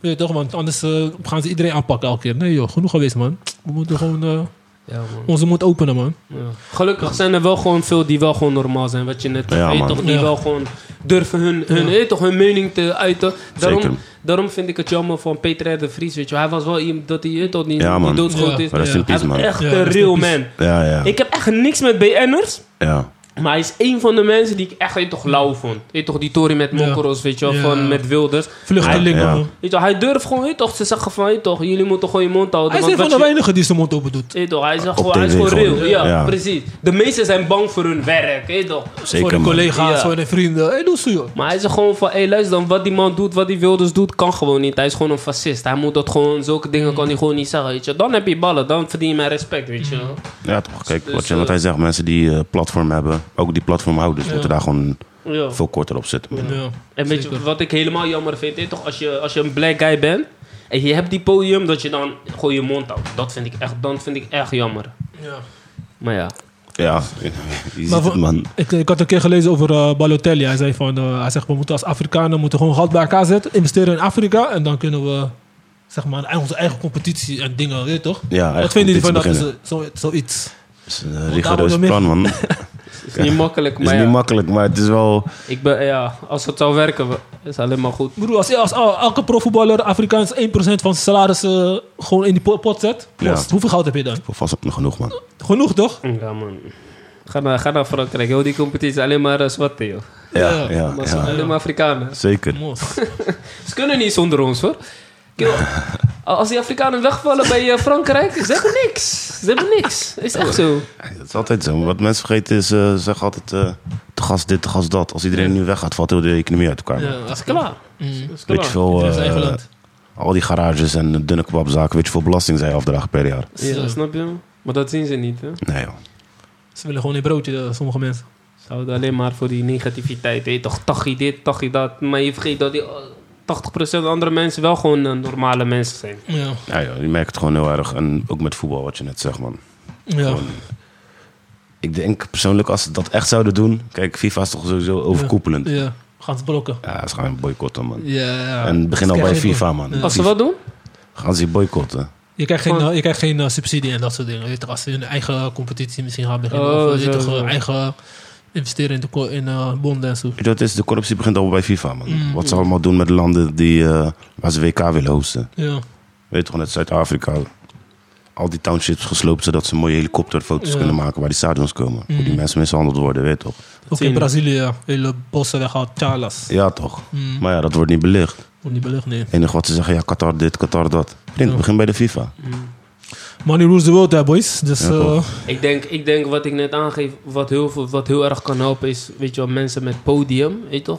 [SPEAKER 2] Weet je toch? Want anders eh, gaan ze iedereen aanpakken elke keer. Nee joh, genoeg geweest man. We moeten gewoon eh,
[SPEAKER 3] Ja, man.
[SPEAKER 2] onze mond openen man.
[SPEAKER 3] Ja. Gelukkig zijn er wel gewoon veel die wel gewoon normaal zijn. Wat je net
[SPEAKER 4] Ja,
[SPEAKER 3] weet
[SPEAKER 4] man.
[SPEAKER 3] toch, die
[SPEAKER 2] Ja.
[SPEAKER 3] wel gewoon durven hun, hun,
[SPEAKER 2] Ja.
[SPEAKER 3] weet toch, hun mening te uiten. Daarom,
[SPEAKER 4] Zeker.
[SPEAKER 3] daarom vind ik het jammer van Peter R. de Vries, weet je wel. Hij was wel iemand dat hij, eh, weet toch, niet,
[SPEAKER 4] Ja,
[SPEAKER 3] niet
[SPEAKER 4] man.
[SPEAKER 3] doodschuld
[SPEAKER 2] Ja.
[SPEAKER 3] is.
[SPEAKER 4] Rest in
[SPEAKER 2] Ja.
[SPEAKER 3] Hij is
[SPEAKER 4] peace, man.
[SPEAKER 3] echt
[SPEAKER 2] Ja,
[SPEAKER 3] een
[SPEAKER 2] rest in
[SPEAKER 3] real
[SPEAKER 2] peace.
[SPEAKER 3] man.
[SPEAKER 4] Ja, ja.
[SPEAKER 3] Ik heb echt niks met BN'ers.
[SPEAKER 4] ja.
[SPEAKER 3] Maar hij is één van de mensen die ik echt weet je toch lauw vond. Weet je toch die tory met
[SPEAKER 2] Ja.
[SPEAKER 3] Mokros, weet je wel,
[SPEAKER 2] Ja.
[SPEAKER 3] van met Wilders.
[SPEAKER 2] Vluchtelingen.
[SPEAKER 4] Ja, ja.
[SPEAKER 2] man.
[SPEAKER 3] Weet je wel, hij durft gewoon, weet je toch, ze zeggen van, weet je toch, jullie moeten gewoon je mond houden.
[SPEAKER 2] Hij is een
[SPEAKER 3] want
[SPEAKER 2] van de
[SPEAKER 3] wat je-
[SPEAKER 2] weinigen die zijn mond open doet.
[SPEAKER 3] Weet je toch, hij is, echt
[SPEAKER 4] Op
[SPEAKER 3] gewoon, hij is
[SPEAKER 4] TV
[SPEAKER 3] gewoon real.
[SPEAKER 4] gewoon.
[SPEAKER 3] Ja,
[SPEAKER 4] Ja.
[SPEAKER 3] precies. De meesten zijn bang voor hun werk, weet je toch.
[SPEAKER 4] Zeker,
[SPEAKER 2] voor de
[SPEAKER 4] man.
[SPEAKER 2] collega's,
[SPEAKER 3] Ja.
[SPEAKER 2] voor de vrienden. Hé, hey, doe ze joh.
[SPEAKER 3] Maar hij is er gewoon van, hé hey, luister dan, wat die man doet, wat die Wilders doet, kan gewoon niet. Hij is gewoon een fascist. Hij moet dat gewoon, zulke
[SPEAKER 2] Mm.
[SPEAKER 3] dingen kan hij gewoon niet zeggen, weet je. Dan heb je ballen, dan verdien je mijn respect, weet je. wel.
[SPEAKER 4] Ja, toch. Kijk,
[SPEAKER 3] Dus,
[SPEAKER 4] wat, je,
[SPEAKER 3] eh,
[SPEAKER 4] wat hij zegt, mensen die eh, platform hebben, ook die platformhouders, moeten daar gewoon
[SPEAKER 3] Ja.
[SPEAKER 4] veel korter op zitten. man.
[SPEAKER 2] Ja.
[SPEAKER 3] En weet je
[SPEAKER 2] Zeker.
[SPEAKER 3] wat ik helemaal jammer vind? Weet je toch, als, je, als je een black guy bent en je hebt die podium, dat je dan gewoon je mond houdt. Dat vind ik echt, dan vind ik echt jammer.
[SPEAKER 2] Ja.
[SPEAKER 3] Maar ja.
[SPEAKER 4] Ja, je ziet
[SPEAKER 2] Maar
[SPEAKER 4] het,
[SPEAKER 2] voor-
[SPEAKER 4] man.
[SPEAKER 2] Ik, ik had een keer gelezen over eh, Balotelli. Hij zei van, eh, hij zegt, we moeten als Afrikanen moeten gewoon geld bij elkaar zetten, investeren in Afrika en dan kunnen we zeg maar onze eigen competitie en dingen, weet je toch?
[SPEAKER 4] Ja,
[SPEAKER 2] Wat vinden jullie van dat
[SPEAKER 4] competitie
[SPEAKER 2] is eh,
[SPEAKER 4] beginnen.
[SPEAKER 2] zo, zoiets?
[SPEAKER 4] Het is een rigoureus
[SPEAKER 2] daarom nog
[SPEAKER 4] plan, man.
[SPEAKER 3] Het is niet makkelijk,
[SPEAKER 4] Het is
[SPEAKER 3] maar
[SPEAKER 4] niet
[SPEAKER 3] ja,
[SPEAKER 4] makkelijk, maar het is wel...
[SPEAKER 3] ik ben, ja, als het zou werken, we- is alleen maar goed.
[SPEAKER 2] Broer, als, als el- elke profvoetballer Afrikaans 1% van zijn salaris eh, gewoon in die po- pot zet,
[SPEAKER 4] Ja.
[SPEAKER 2] kost, hoeveel geld heb je dan?
[SPEAKER 4] Voor vast ook nog genoeg, man.
[SPEAKER 2] Genoeg toch?
[SPEAKER 3] Ja, man. Ga naar, ga naar Frankrijk. Heel die competitie is alleen maar eh, zwarte, joh.
[SPEAKER 4] Ja, ja,
[SPEAKER 3] Maar ze zijn
[SPEAKER 4] ja.
[SPEAKER 3] alleen maar Afrikanen.
[SPEAKER 4] Zeker.
[SPEAKER 3] Ze kunnen niet zonder ons, hoor. Kill. Als die Afrikanen wegvallen bij eh, Frankrijk, ze hebben niks. Ze hebben niks. Is echt zo.
[SPEAKER 4] Dat is altijd zo. Maar Wat mensen vergeten is, eh, ze zeggen altijd eh te gas dit, te gas dat. Als iedereen nu weggaat, valt heel de economie uit elkaar.
[SPEAKER 2] Ja,
[SPEAKER 3] Dat is klaar. Dat is
[SPEAKER 4] Weet je
[SPEAKER 3] klaar.
[SPEAKER 4] veel,
[SPEAKER 2] Iedereen zijn eigen
[SPEAKER 4] eh,
[SPEAKER 2] land.
[SPEAKER 4] al die garages en dunne kebabzaken, weet je veel belasting zij afdragen per jaar.
[SPEAKER 3] Ja, snap je? Maar dat zien ze niet, hè?
[SPEAKER 4] Nee joh.
[SPEAKER 2] Ze willen gewoon een broodje, eh, sommige mensen.
[SPEAKER 3] Ze houden alleen maar voor die negativiteit. Hé, toch, tachi dit, tachi dat. Maar je vergeet dat die eh, 80% andere mensen wel gewoon eh, normale mensen zijn.
[SPEAKER 2] Ja,
[SPEAKER 4] Ja, joh, je merkt het gewoon heel erg. En ook met voetbal, wat je net zegt man.
[SPEAKER 2] ja.
[SPEAKER 4] Gewoon, Ik denk persoonlijk, als ze dat echt zouden doen... Kijk, FIFA is toch sowieso overkoepelend. Ja,
[SPEAKER 2] ja. Gaan ze blokken.
[SPEAKER 4] ze gaan boycotten man.
[SPEAKER 2] Ja.
[SPEAKER 4] En begin al
[SPEAKER 2] Ze
[SPEAKER 4] bij
[SPEAKER 2] krijgen geen-
[SPEAKER 4] FIFA man.
[SPEAKER 3] Als ze
[SPEAKER 4] FIFA
[SPEAKER 3] wat doen?
[SPEAKER 4] Gaan ze boycotten.
[SPEAKER 2] Je krijgt geen,
[SPEAKER 3] Gewoon-
[SPEAKER 2] eh, je krijgt geen eh, subsidie en dat soort dingen. Weet je, toch, als ze hun eigen competitie misschien gaan beginnen.
[SPEAKER 3] Oh,
[SPEAKER 2] of eh, weet je,
[SPEAKER 3] zo,
[SPEAKER 2] toch, eh,
[SPEAKER 3] zo.
[SPEAKER 2] eigen investeren in, de, ko- in eh, bonden en zo.
[SPEAKER 4] Weet je wat het is? De corruptie begint al bij FIFA, man.
[SPEAKER 2] Mm.
[SPEAKER 4] Wat ze allemaal doen met landen die, eh, waar ze WK willen hosten.
[SPEAKER 2] Ja.
[SPEAKER 4] Weet je toch, net Zuid-Afrika. Al die townships gesloopt, zodat ze mooie helikopterfoto's
[SPEAKER 2] Ja.
[SPEAKER 4] kunnen maken waar die stadions komen.
[SPEAKER 2] Mm.
[SPEAKER 4] Hoe die mensen mishandeld worden, weet je toch?
[SPEAKER 2] Ook
[SPEAKER 3] zien
[SPEAKER 2] in
[SPEAKER 3] we.
[SPEAKER 2] Brazilië, ja. hele bossen weghaalt, Chalas.
[SPEAKER 4] Ja, toch?
[SPEAKER 2] Mm.
[SPEAKER 4] Maar ja, dat wordt niet belicht.
[SPEAKER 2] Wordt niet belucht, nee.
[SPEAKER 4] Het enige wat ze zeggen, ja, Qatar dit, Qatar dat. Vriend,
[SPEAKER 2] Ja.
[SPEAKER 4] begin bij de FIFA.
[SPEAKER 2] Money rules the world, hè, boys. Dus,
[SPEAKER 4] Ja,
[SPEAKER 2] eh,
[SPEAKER 4] toch.
[SPEAKER 3] Ik denk, ik denk wat ik net aangeef, wat heel, veel- wat heel erg kan helpen, is weet je wel, mensen met podium, weet je toch?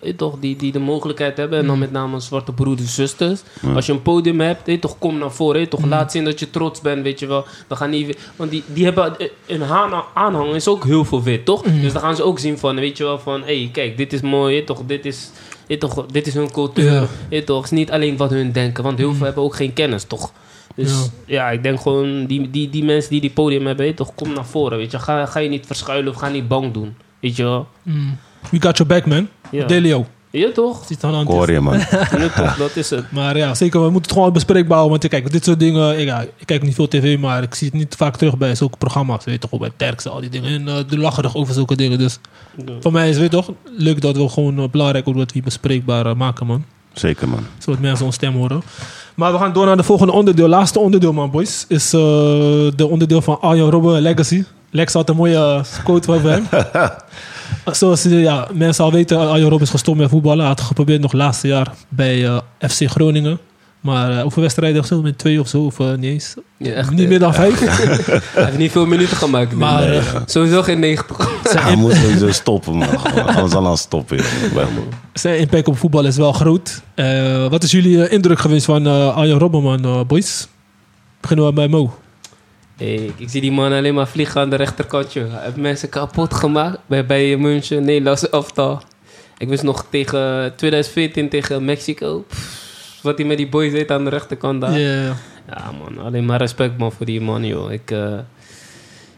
[SPEAKER 3] Weet je toch die, die de mogelijkheid hebben, en dan met name zwarte broeders en zusters. Als je een podium hebt, weet je toch, kom naar voren, weet je toch, laat zien dat je trots bent, weet je wel. We gaan niet, weer- want die, die hebben eh, een haan- aanhang, is ook heel veel wit, toch? Dus dan gaan ze ook zien van, weet je wel, van hé, hey, kijk, dit is mooi, weet je toch, dit is, weet je toch, dit is hun cultuur,
[SPEAKER 2] Ja.
[SPEAKER 3] weet je toch. Het is niet alleen wat hun denken, want heel veel hebben ook geen kennis, toch? Dus
[SPEAKER 2] Mm. Ja.
[SPEAKER 3] ja. ik denk gewoon die, die, die mensen die die podium hebben, weet je toch, kom naar voren. Weet je. Ga, ga je niet verschuilen of ga niet bang doen. Weet je wel?
[SPEAKER 2] mm. We got your back, man.
[SPEAKER 3] Ja.
[SPEAKER 2] Delio.
[SPEAKER 3] Ja, toch?
[SPEAKER 2] Ziet aan de hand. is.
[SPEAKER 4] Korea, man.
[SPEAKER 3] Ja, toch? Dat is het.
[SPEAKER 2] Maar ja, zeker, we moeten het gewoon bespreekbaar houden. Want kijk, dit soort dingen, ik, ja, ik kijk niet veel tv, maar ik zie het niet vaak terug bij zulke programma's. Weet je toch, ook bij Terks, al die dingen. En eh de lacherig over zulke dingen. Dus voor mij is het toch leuk dat we gewoon eh, belangrijk ook dat we hier bespreekbaar eh, maken, man.
[SPEAKER 4] Zeker, man.
[SPEAKER 2] Zodat mensen ons stem horen. Maar we gaan door naar de volgende onderdeel. Laatste onderdeel, man, boys. Is eh, de onderdeel van Arjen Robben Legacy. Lex had een mooie eh, quote van hem. Zoals eh, ja, mensen al weten, Arjen Robben is gestopt met voetballen. Hij had geprobeerd nog laatste jaar bij eh, FC Groningen. Maar eh hoeveel wedstrijden gespeeld? Met twee of zo? Of eh, niet eens?
[SPEAKER 3] Ja, echt,
[SPEAKER 2] niet
[SPEAKER 3] eh,
[SPEAKER 2] meer dan vijf.
[SPEAKER 3] Hij heeft niet veel minuten gemaakt. nee.
[SPEAKER 2] maar eh,
[SPEAKER 3] Sowieso geen 90.
[SPEAKER 4] Hij moet sowieso stoppen, man. Gewoon, Anders dan aan stoppen, joh. Bij-
[SPEAKER 2] zijn impact op voetbal is wel groot. Eh, wat is jullie eh, indruk geweest van eh Arjen Robben, man, eh, boys? Beginnen we bij Mo.
[SPEAKER 3] Hey, ik, ik zie die man alleen maar vliegen aan de rechterkantje. Hij heeft mensen kapot gemaakt bij, bij München, Nederlandse elftal. Ik wist nog tegen 2014 tegen Mexico. Pff, wat hij met die boys deed aan de rechterkant daar.
[SPEAKER 2] Ja.
[SPEAKER 3] Ja, man. Alleen maar respect, man, voor die man, joh. Ik, eh,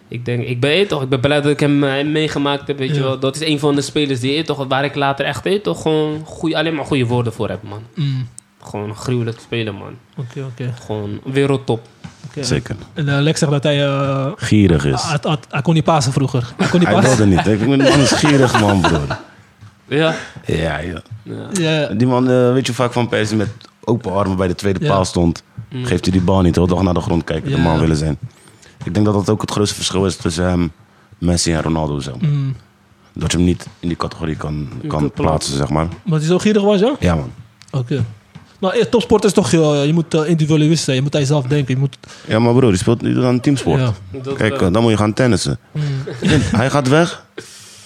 [SPEAKER 3] ik denk, ik ben eh, toch. Ik ben blij dat ik hem eh, meegemaakt heb, weet je
[SPEAKER 2] Ja.
[SPEAKER 3] wel. Dat is een van de spelers die eh, toch, waar ik later echt eh, toch gewoon goeie, alleen maar goede woorden voor heb, man.
[SPEAKER 2] Mm.
[SPEAKER 3] Gewoon een gruwelijk spelen, man.
[SPEAKER 2] Oké, oké.
[SPEAKER 3] Gewoon wereldtop.
[SPEAKER 2] oké.
[SPEAKER 4] Zeker.
[SPEAKER 2] En eh, Lex zegt dat hij... eh,
[SPEAKER 4] Gierig is.
[SPEAKER 2] hij, hij- hij kon niet pasen vroeger. Hij kon niet
[SPEAKER 4] Hij
[SPEAKER 2] pasen.
[SPEAKER 4] wilde niet. Ik ben een man is gierig, man, broer.
[SPEAKER 3] Ja.
[SPEAKER 4] Ja, ja.
[SPEAKER 3] ja.
[SPEAKER 2] Ja,
[SPEAKER 4] Die man, eh, weet je hoe vaak Van Persie met open armen bij de tweede
[SPEAKER 2] Ja. Mm.
[SPEAKER 4] paal stond? Geeft hij die bal niet, hoor. Toch naar de grond kijken,
[SPEAKER 2] Ja.
[SPEAKER 4] de man willen zijn. Ik denk dat dat ook het grootste verschil is tussen hem, Messi en Ronaldo. Zeg maar.
[SPEAKER 2] mm.
[SPEAKER 4] Dat je hem niet in die categorie kan, kan
[SPEAKER 3] klopt.
[SPEAKER 4] plaatsen, zeg maar.
[SPEAKER 2] Maar die zo gierig was, ja?
[SPEAKER 4] Ja, man.
[SPEAKER 2] Oké. Maar eh, topsport is toch... eh, je moet eh, individualist zijn. Je moet aan jezelf denken. Je moet...
[SPEAKER 4] Ja, maar broer, die speelt nu aan een teamsport.
[SPEAKER 2] Ja. Hmm.
[SPEAKER 3] Dat,
[SPEAKER 4] Kijk,
[SPEAKER 3] eh,
[SPEAKER 4] eh, dan moet je gaan tennissen. Hij gaat weg.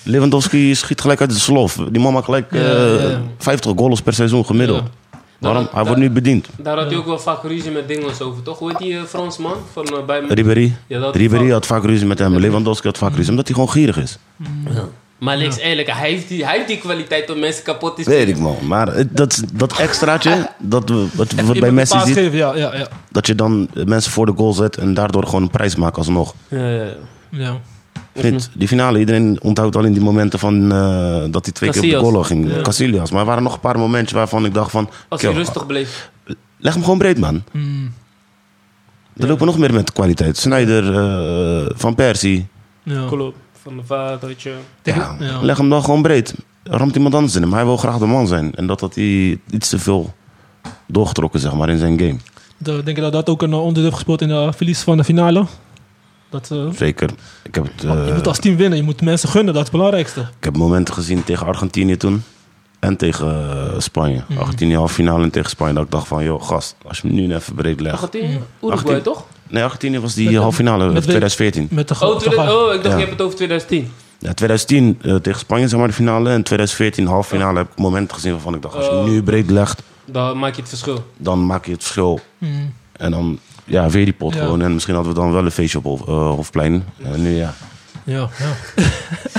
[SPEAKER 4] Lewandowski schiet gelijk uit de slof. Die man maakt gelijk eh,
[SPEAKER 2] Ja, ja.
[SPEAKER 4] 50 goals per seizoen gemiddeld.
[SPEAKER 2] Ja. Nou,
[SPEAKER 4] Waarom?
[SPEAKER 3] Dat-
[SPEAKER 4] Hij wordt nu bediend.
[SPEAKER 3] daar had hij ook wel vaak ruzie met Dingels over, toch? Hoe heet die eh, Fransman? Van, eh, bij...
[SPEAKER 4] Ribéry.
[SPEAKER 3] Ja, dat-
[SPEAKER 4] Ribéry had vaak ruzie met hem. Lewandowski had vaak ruzie, omdat hij gewoon gierig is.
[SPEAKER 3] Maar Lex, eerlijk, hij heeft, die, hij heeft die kwaliteit om mensen kapot te
[SPEAKER 4] Weet ik man. Maar het- dat, dat extraatje, dat, we- wat, wat bij
[SPEAKER 2] Iemand
[SPEAKER 4] Messi
[SPEAKER 2] paas
[SPEAKER 4] ziet,
[SPEAKER 2] geven, ja, ja, ja.
[SPEAKER 4] dat je dan mensen voor de goal zet en daardoor gewoon een prijs maakt alsnog.
[SPEAKER 3] Ja, ja, ja.
[SPEAKER 2] ja.
[SPEAKER 4] Vindt, die finale, iedereen onthoudt al in die momenten van eh, dat hij twee keer op
[SPEAKER 3] Casillas.
[SPEAKER 4] de goal ging. Casillas. Maar er waren nog een paar momentjes waarvan ik dacht van,
[SPEAKER 3] Als hij
[SPEAKER 4] kill,
[SPEAKER 3] rustig bleef.
[SPEAKER 4] leg hem gewoon breed man.
[SPEAKER 2] Mm.
[SPEAKER 4] Er lopen nog meer met kwaliteit. Snyder, eh, Van Persie.
[SPEAKER 2] ja.
[SPEAKER 3] Klopt. Van de vadertje.
[SPEAKER 4] Ja,
[SPEAKER 2] Ja.
[SPEAKER 4] Leg hem dan gewoon breed. Ramt iemand anders in hem. Hij wil graag de man zijn. En dat had hij iets te veel doorgetrokken, zeg maar, in zijn game.
[SPEAKER 2] Dan Denk je dat dat ook een eh, onderdeel heeft gespeeld in de verlies van de finale? Dat, eh,
[SPEAKER 4] Zeker. Ik heb, het, eh,
[SPEAKER 2] Oh, je moet als team winnen. Je moet mensen gunnen. Dat is het belangrijkste.
[SPEAKER 4] ik heb momenten gezien tegen Argentinië toen. En tegen eh, Spanje. Argentinië half finale en tegen Spanje. Dat ik dacht van, joh gast, als je me nu even breed legt.
[SPEAKER 3] Argentinië? Uruguay,
[SPEAKER 4] 18.
[SPEAKER 3] toch?
[SPEAKER 4] Nee, Argentinië was die halve finale
[SPEAKER 2] met-
[SPEAKER 4] 2014.
[SPEAKER 2] Met de
[SPEAKER 3] Oh,
[SPEAKER 2] grote
[SPEAKER 3] tweede-
[SPEAKER 2] gevaar.
[SPEAKER 3] oh, ik dacht,
[SPEAKER 4] Ja.
[SPEAKER 3] je hebt het over 2010.
[SPEAKER 4] Ja, 2010 eh, tegen Spanje zeg maar de finale. En 2014 halve finale heb ik momenten gezien waarvan ik dacht, als je
[SPEAKER 2] Eh.
[SPEAKER 4] me nu breed legt,
[SPEAKER 3] Dan maak je het verschil.
[SPEAKER 4] dan maak je het verschil.
[SPEAKER 2] Mm.
[SPEAKER 4] En dan ja, weer die pot
[SPEAKER 2] Ja.
[SPEAKER 4] gewoon. En misschien hadden we dan wel een feestje op Hof- eh, Hofplein. En nu ja.
[SPEAKER 2] Ja, ja.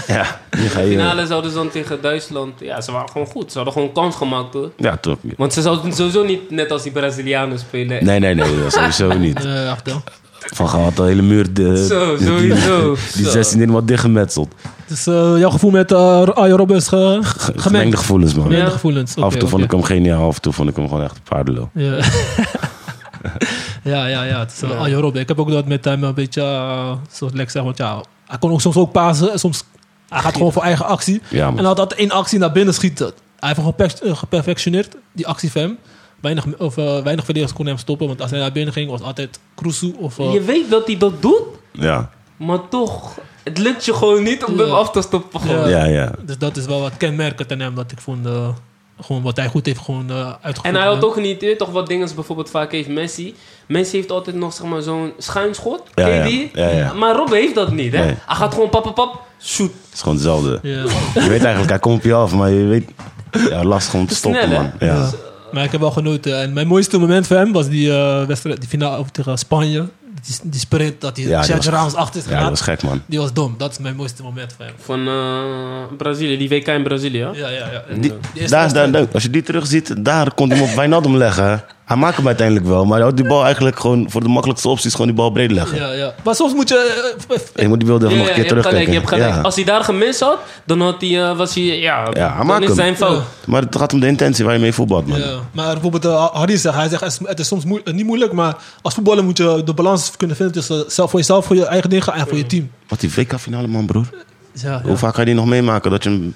[SPEAKER 4] Ja, nu ga je...
[SPEAKER 3] finale zouden ze dan tegen Duitsland... Ja, ze waren gewoon goed. Ze hadden gewoon kans gemaakt, hoor.
[SPEAKER 4] Ja, toch.
[SPEAKER 3] Want ze zouden sowieso niet net als die Brazilianen spelen.
[SPEAKER 4] Nee, nee, nee, dat sowieso niet.
[SPEAKER 2] Eh, echt, hè.
[SPEAKER 4] Van Gaal had de hele muur... De,
[SPEAKER 3] Zo,
[SPEAKER 4] die-
[SPEAKER 3] sowieso.
[SPEAKER 4] Die,
[SPEAKER 3] Zo.
[SPEAKER 4] 16 in wat dichtgemetseld.
[SPEAKER 2] Dus eh, jouw gevoel met eh Arjen Robbins ge gemengd?
[SPEAKER 4] Gemengde gevoelens, man.
[SPEAKER 2] Gemengde gevoelens.
[SPEAKER 4] af en toe
[SPEAKER 2] oké,
[SPEAKER 4] vond ik
[SPEAKER 2] oké.
[SPEAKER 4] hem geniaal, af en toe vond ik hem gewoon echt paardenlul.
[SPEAKER 2] Ja. ja, ja, ja. Het is uh, Arjen Robben. Ik heb ook dat met hem een beetje, eh, zoals Lex zegt, want ja, hij kon ook soms ook pasen. en Soms, hij gaat gewoon voor eigen actie.
[SPEAKER 4] Ja, man.
[SPEAKER 2] En had dat één actie naar binnen schieten. Hij heeft hem geperf- eh, geperfectioneerd, die actie van hem. Weinig, of, eh, weinig verdedigers konden hem stoppen, want als hij naar binnen ging, was het altijd Kroesu of... eh,
[SPEAKER 3] Je weet dat hij dat doet,
[SPEAKER 4] Ja,
[SPEAKER 3] maar toch... Het lukt je gewoon niet om
[SPEAKER 2] Ja.
[SPEAKER 3] hem af te stoppen. gewoon.
[SPEAKER 2] Ja.
[SPEAKER 4] ja, ja.
[SPEAKER 2] Dus dat is wel wat kenmerkend aan hem, dat ik vond... eh, gewoon wat hij goed heeft gewoon eh, uitgevoerd.
[SPEAKER 3] En hij had ook niet, je weet toch wat dingen bijvoorbeeld vaak heeft Messi. Messi heeft altijd nog zeg maar zo'n schuinschot,
[SPEAKER 4] Ja,
[SPEAKER 3] ken je
[SPEAKER 4] ja.
[SPEAKER 3] die?
[SPEAKER 4] Ja, ja.
[SPEAKER 3] Maar Robben heeft dat niet, hè?
[SPEAKER 4] Nee.
[SPEAKER 3] Hij gaat gewoon pap, pap, pap, shoot.
[SPEAKER 4] Het is gewoon hetzelfde.
[SPEAKER 2] Ja.
[SPEAKER 4] Je weet eigenlijk, hij komt op je af, maar je weet... Ja, lastig om te stoppen,
[SPEAKER 3] snel, hè?
[SPEAKER 4] man. Ja.
[SPEAKER 2] Maar ik heb wel genoten. En mijn mooiste moment voor hem was die eh, wedstrijd, die finale over tegen Spanje. Die, die sprint dat hij
[SPEAKER 4] Ja, die
[SPEAKER 2] Sergio
[SPEAKER 4] was-
[SPEAKER 2] Ramos achter is
[SPEAKER 4] ja,
[SPEAKER 2] geraakt.
[SPEAKER 4] dat was gek, man.
[SPEAKER 2] Die was dom. Dat is mijn mooiste moment voor hem.
[SPEAKER 3] Van eh, Brazilië, die WK in Brazilië, hè?
[SPEAKER 2] Ja, ja, ja.
[SPEAKER 4] Die-
[SPEAKER 2] eerste
[SPEAKER 4] daar, daar,
[SPEAKER 2] wedstrijd.
[SPEAKER 4] daar- als je die terugziet, daar kon hij hem op Wijnaldum leggen. hè. Hij maakt hem uiteindelijk wel, maar hij houdt die bal eigenlijk gewoon voor de makkelijkste opties gewoon die bal breed leggen.
[SPEAKER 2] Ja, ja. Maar soms moet je... eh, eh,
[SPEAKER 4] Je moet die beelden
[SPEAKER 3] Ja,
[SPEAKER 4] even nog
[SPEAKER 3] ja,
[SPEAKER 4] een
[SPEAKER 3] je
[SPEAKER 4] keer
[SPEAKER 3] hebt gelijk,
[SPEAKER 4] terugkijken.
[SPEAKER 3] je hebt gelijk.
[SPEAKER 4] Ja.
[SPEAKER 3] Als hij daar gemist had, dan had hij, eh, was hij, ja,
[SPEAKER 4] Ja,
[SPEAKER 3] dan
[SPEAKER 4] maak
[SPEAKER 3] is
[SPEAKER 4] hem.
[SPEAKER 3] zijn fout.
[SPEAKER 2] Ja.
[SPEAKER 4] Maar het gaat om de intentie waar je mee voetbalt, man.
[SPEAKER 2] ja. Maar bijvoorbeeld eh, Harry zegt, hij zegt, het is- het is soms moe- eh, niet moeilijk, maar als voetballer moet je de balans kunnen vinden tussen zelf voor jezelf, voor je eigen dingen en voor je team.
[SPEAKER 4] Wat die WK-finale, man, broer.
[SPEAKER 2] Ja, ja.
[SPEAKER 4] Hoe vaak ga je die nog meemaken? Dat je hem...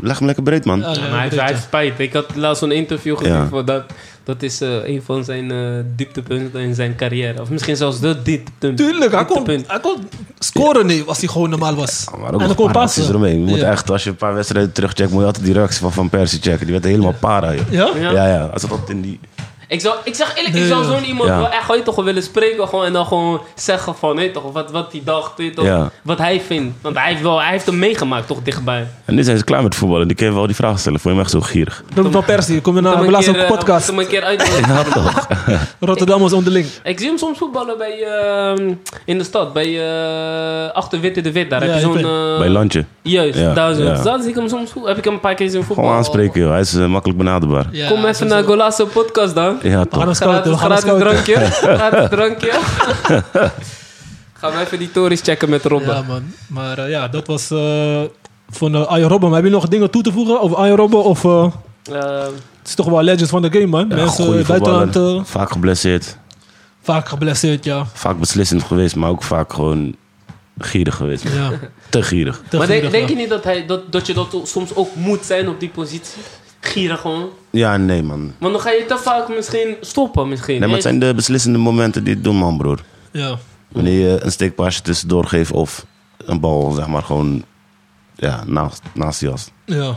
[SPEAKER 4] Leg hem lekker breed, man.
[SPEAKER 2] Ja, ja,
[SPEAKER 3] Ja, maar hij, heeft- hij heeft spijt. Ik had laatst zo'n interview gezien
[SPEAKER 4] Ja.
[SPEAKER 3] van dat. Dat is eh, een van zijn eh, dieptepunten in zijn carrière. Of misschien zelfs de dieptepunt.
[SPEAKER 2] Tuurlijk, hij kon,
[SPEAKER 3] Dieptepunt.
[SPEAKER 2] hij kon scoren nee, als hij gewoon normaal was.
[SPEAKER 4] Maar ook
[SPEAKER 2] en
[SPEAKER 4] nog
[SPEAKER 2] dan
[SPEAKER 4] een
[SPEAKER 2] kon
[SPEAKER 4] paar
[SPEAKER 2] passen.
[SPEAKER 4] acties eromheen. Je moet
[SPEAKER 2] Ja.
[SPEAKER 4] echt, als je een paar wedstrijden terugcheckt, moet je altijd die reactie van Van Persie checken. Die werd helemaal para, joh.
[SPEAKER 2] Ja?
[SPEAKER 3] Ja.
[SPEAKER 4] Ja, ja. Hij zat altijd in die...
[SPEAKER 3] Ik, zou, ik zeg eerlijk,
[SPEAKER 2] Nee,
[SPEAKER 3] ik zou
[SPEAKER 2] ja.
[SPEAKER 3] zo'n iemand
[SPEAKER 4] Ja.
[SPEAKER 3] wel echt gewoon, toch, wel willen spreken gewoon, en dan gewoon zeggen van weet toch, wat, wat hij dacht, weet toch,
[SPEAKER 4] Ja.
[SPEAKER 3] wat hij vindt. Want hij heeft, wel, hij heeft hem meegemaakt toch dichtbij.
[SPEAKER 4] En nu zijn ze klaar met voetballen. Die kunnen wel die vragen stellen. Vond je hem echt zo gierig?
[SPEAKER 2] Robert van Persie, kom je naar
[SPEAKER 3] Toen
[SPEAKER 2] mijn
[SPEAKER 3] een keer,
[SPEAKER 2] laatste
[SPEAKER 3] eh,
[SPEAKER 2] podcast.
[SPEAKER 3] toen een keer uit.
[SPEAKER 4] Ja, toch?
[SPEAKER 2] Rotterdam was onderling.
[SPEAKER 3] Ik zie hem soms voetballen bij, ehm, in de stad, bij eh, Achter Witte de Wit. Daar
[SPEAKER 2] Ja,
[SPEAKER 3] heb je
[SPEAKER 2] ik
[SPEAKER 3] zo'n...
[SPEAKER 2] weet-
[SPEAKER 3] eh,
[SPEAKER 4] Bij Landje.
[SPEAKER 3] Juist,
[SPEAKER 4] Ja,
[SPEAKER 3] daar, zo.
[SPEAKER 4] ja.
[SPEAKER 3] Dus daar zie ik hem soms, heb ik hem een paar keer zien voetballen.
[SPEAKER 4] Gewoon aanspreken, joh. Hij is eh, makkelijk benaderbaar.
[SPEAKER 2] Ja,
[SPEAKER 3] Kom even naar Golasso Podcast dan.
[SPEAKER 4] Ja, toch.
[SPEAKER 2] Arno Schouten,
[SPEAKER 3] Gratis,
[SPEAKER 2] we gaan naar
[SPEAKER 3] gratis
[SPEAKER 2] Schouten.
[SPEAKER 3] drankje. Gratis drankje. Gaan we even die tories checken met Robben.
[SPEAKER 2] Ja, man. Maar eh, ja, dat was eh, van eh Arjen Robben. Maar heb je nog dingen toe te voegen over Arjen Robben? Of, eh,
[SPEAKER 3] Eh,
[SPEAKER 2] het is toch wel legends van de game, man.
[SPEAKER 4] Ja,
[SPEAKER 2] Mensen
[SPEAKER 4] goeie
[SPEAKER 2] eh, buitenland
[SPEAKER 4] voetballer.
[SPEAKER 2] eh,
[SPEAKER 4] Vaak geblesseerd.
[SPEAKER 2] vaak geblesseerd, ja.
[SPEAKER 4] Vaak beslissend geweest, maar ook vaak gewoon gierig geweest.
[SPEAKER 2] ja.
[SPEAKER 4] Te gierig.
[SPEAKER 2] Te
[SPEAKER 3] maar denk,
[SPEAKER 2] gierig,
[SPEAKER 3] denk
[SPEAKER 2] ja.
[SPEAKER 3] je niet dat, hij, dat, dat je dat soms ook moet zijn op die positie? Gierig gewoon.
[SPEAKER 4] Ja, nee man.
[SPEAKER 3] Want dan ga je te vaak misschien stoppen misschien.
[SPEAKER 4] Nee, maar het zijn de beslissende momenten die het doen, man, broer.
[SPEAKER 2] Ja.
[SPEAKER 4] Wanneer je een steekpaasje tussendoor geeft of een bal, zeg maar, gewoon ja, naast, naast je as.
[SPEAKER 2] ja.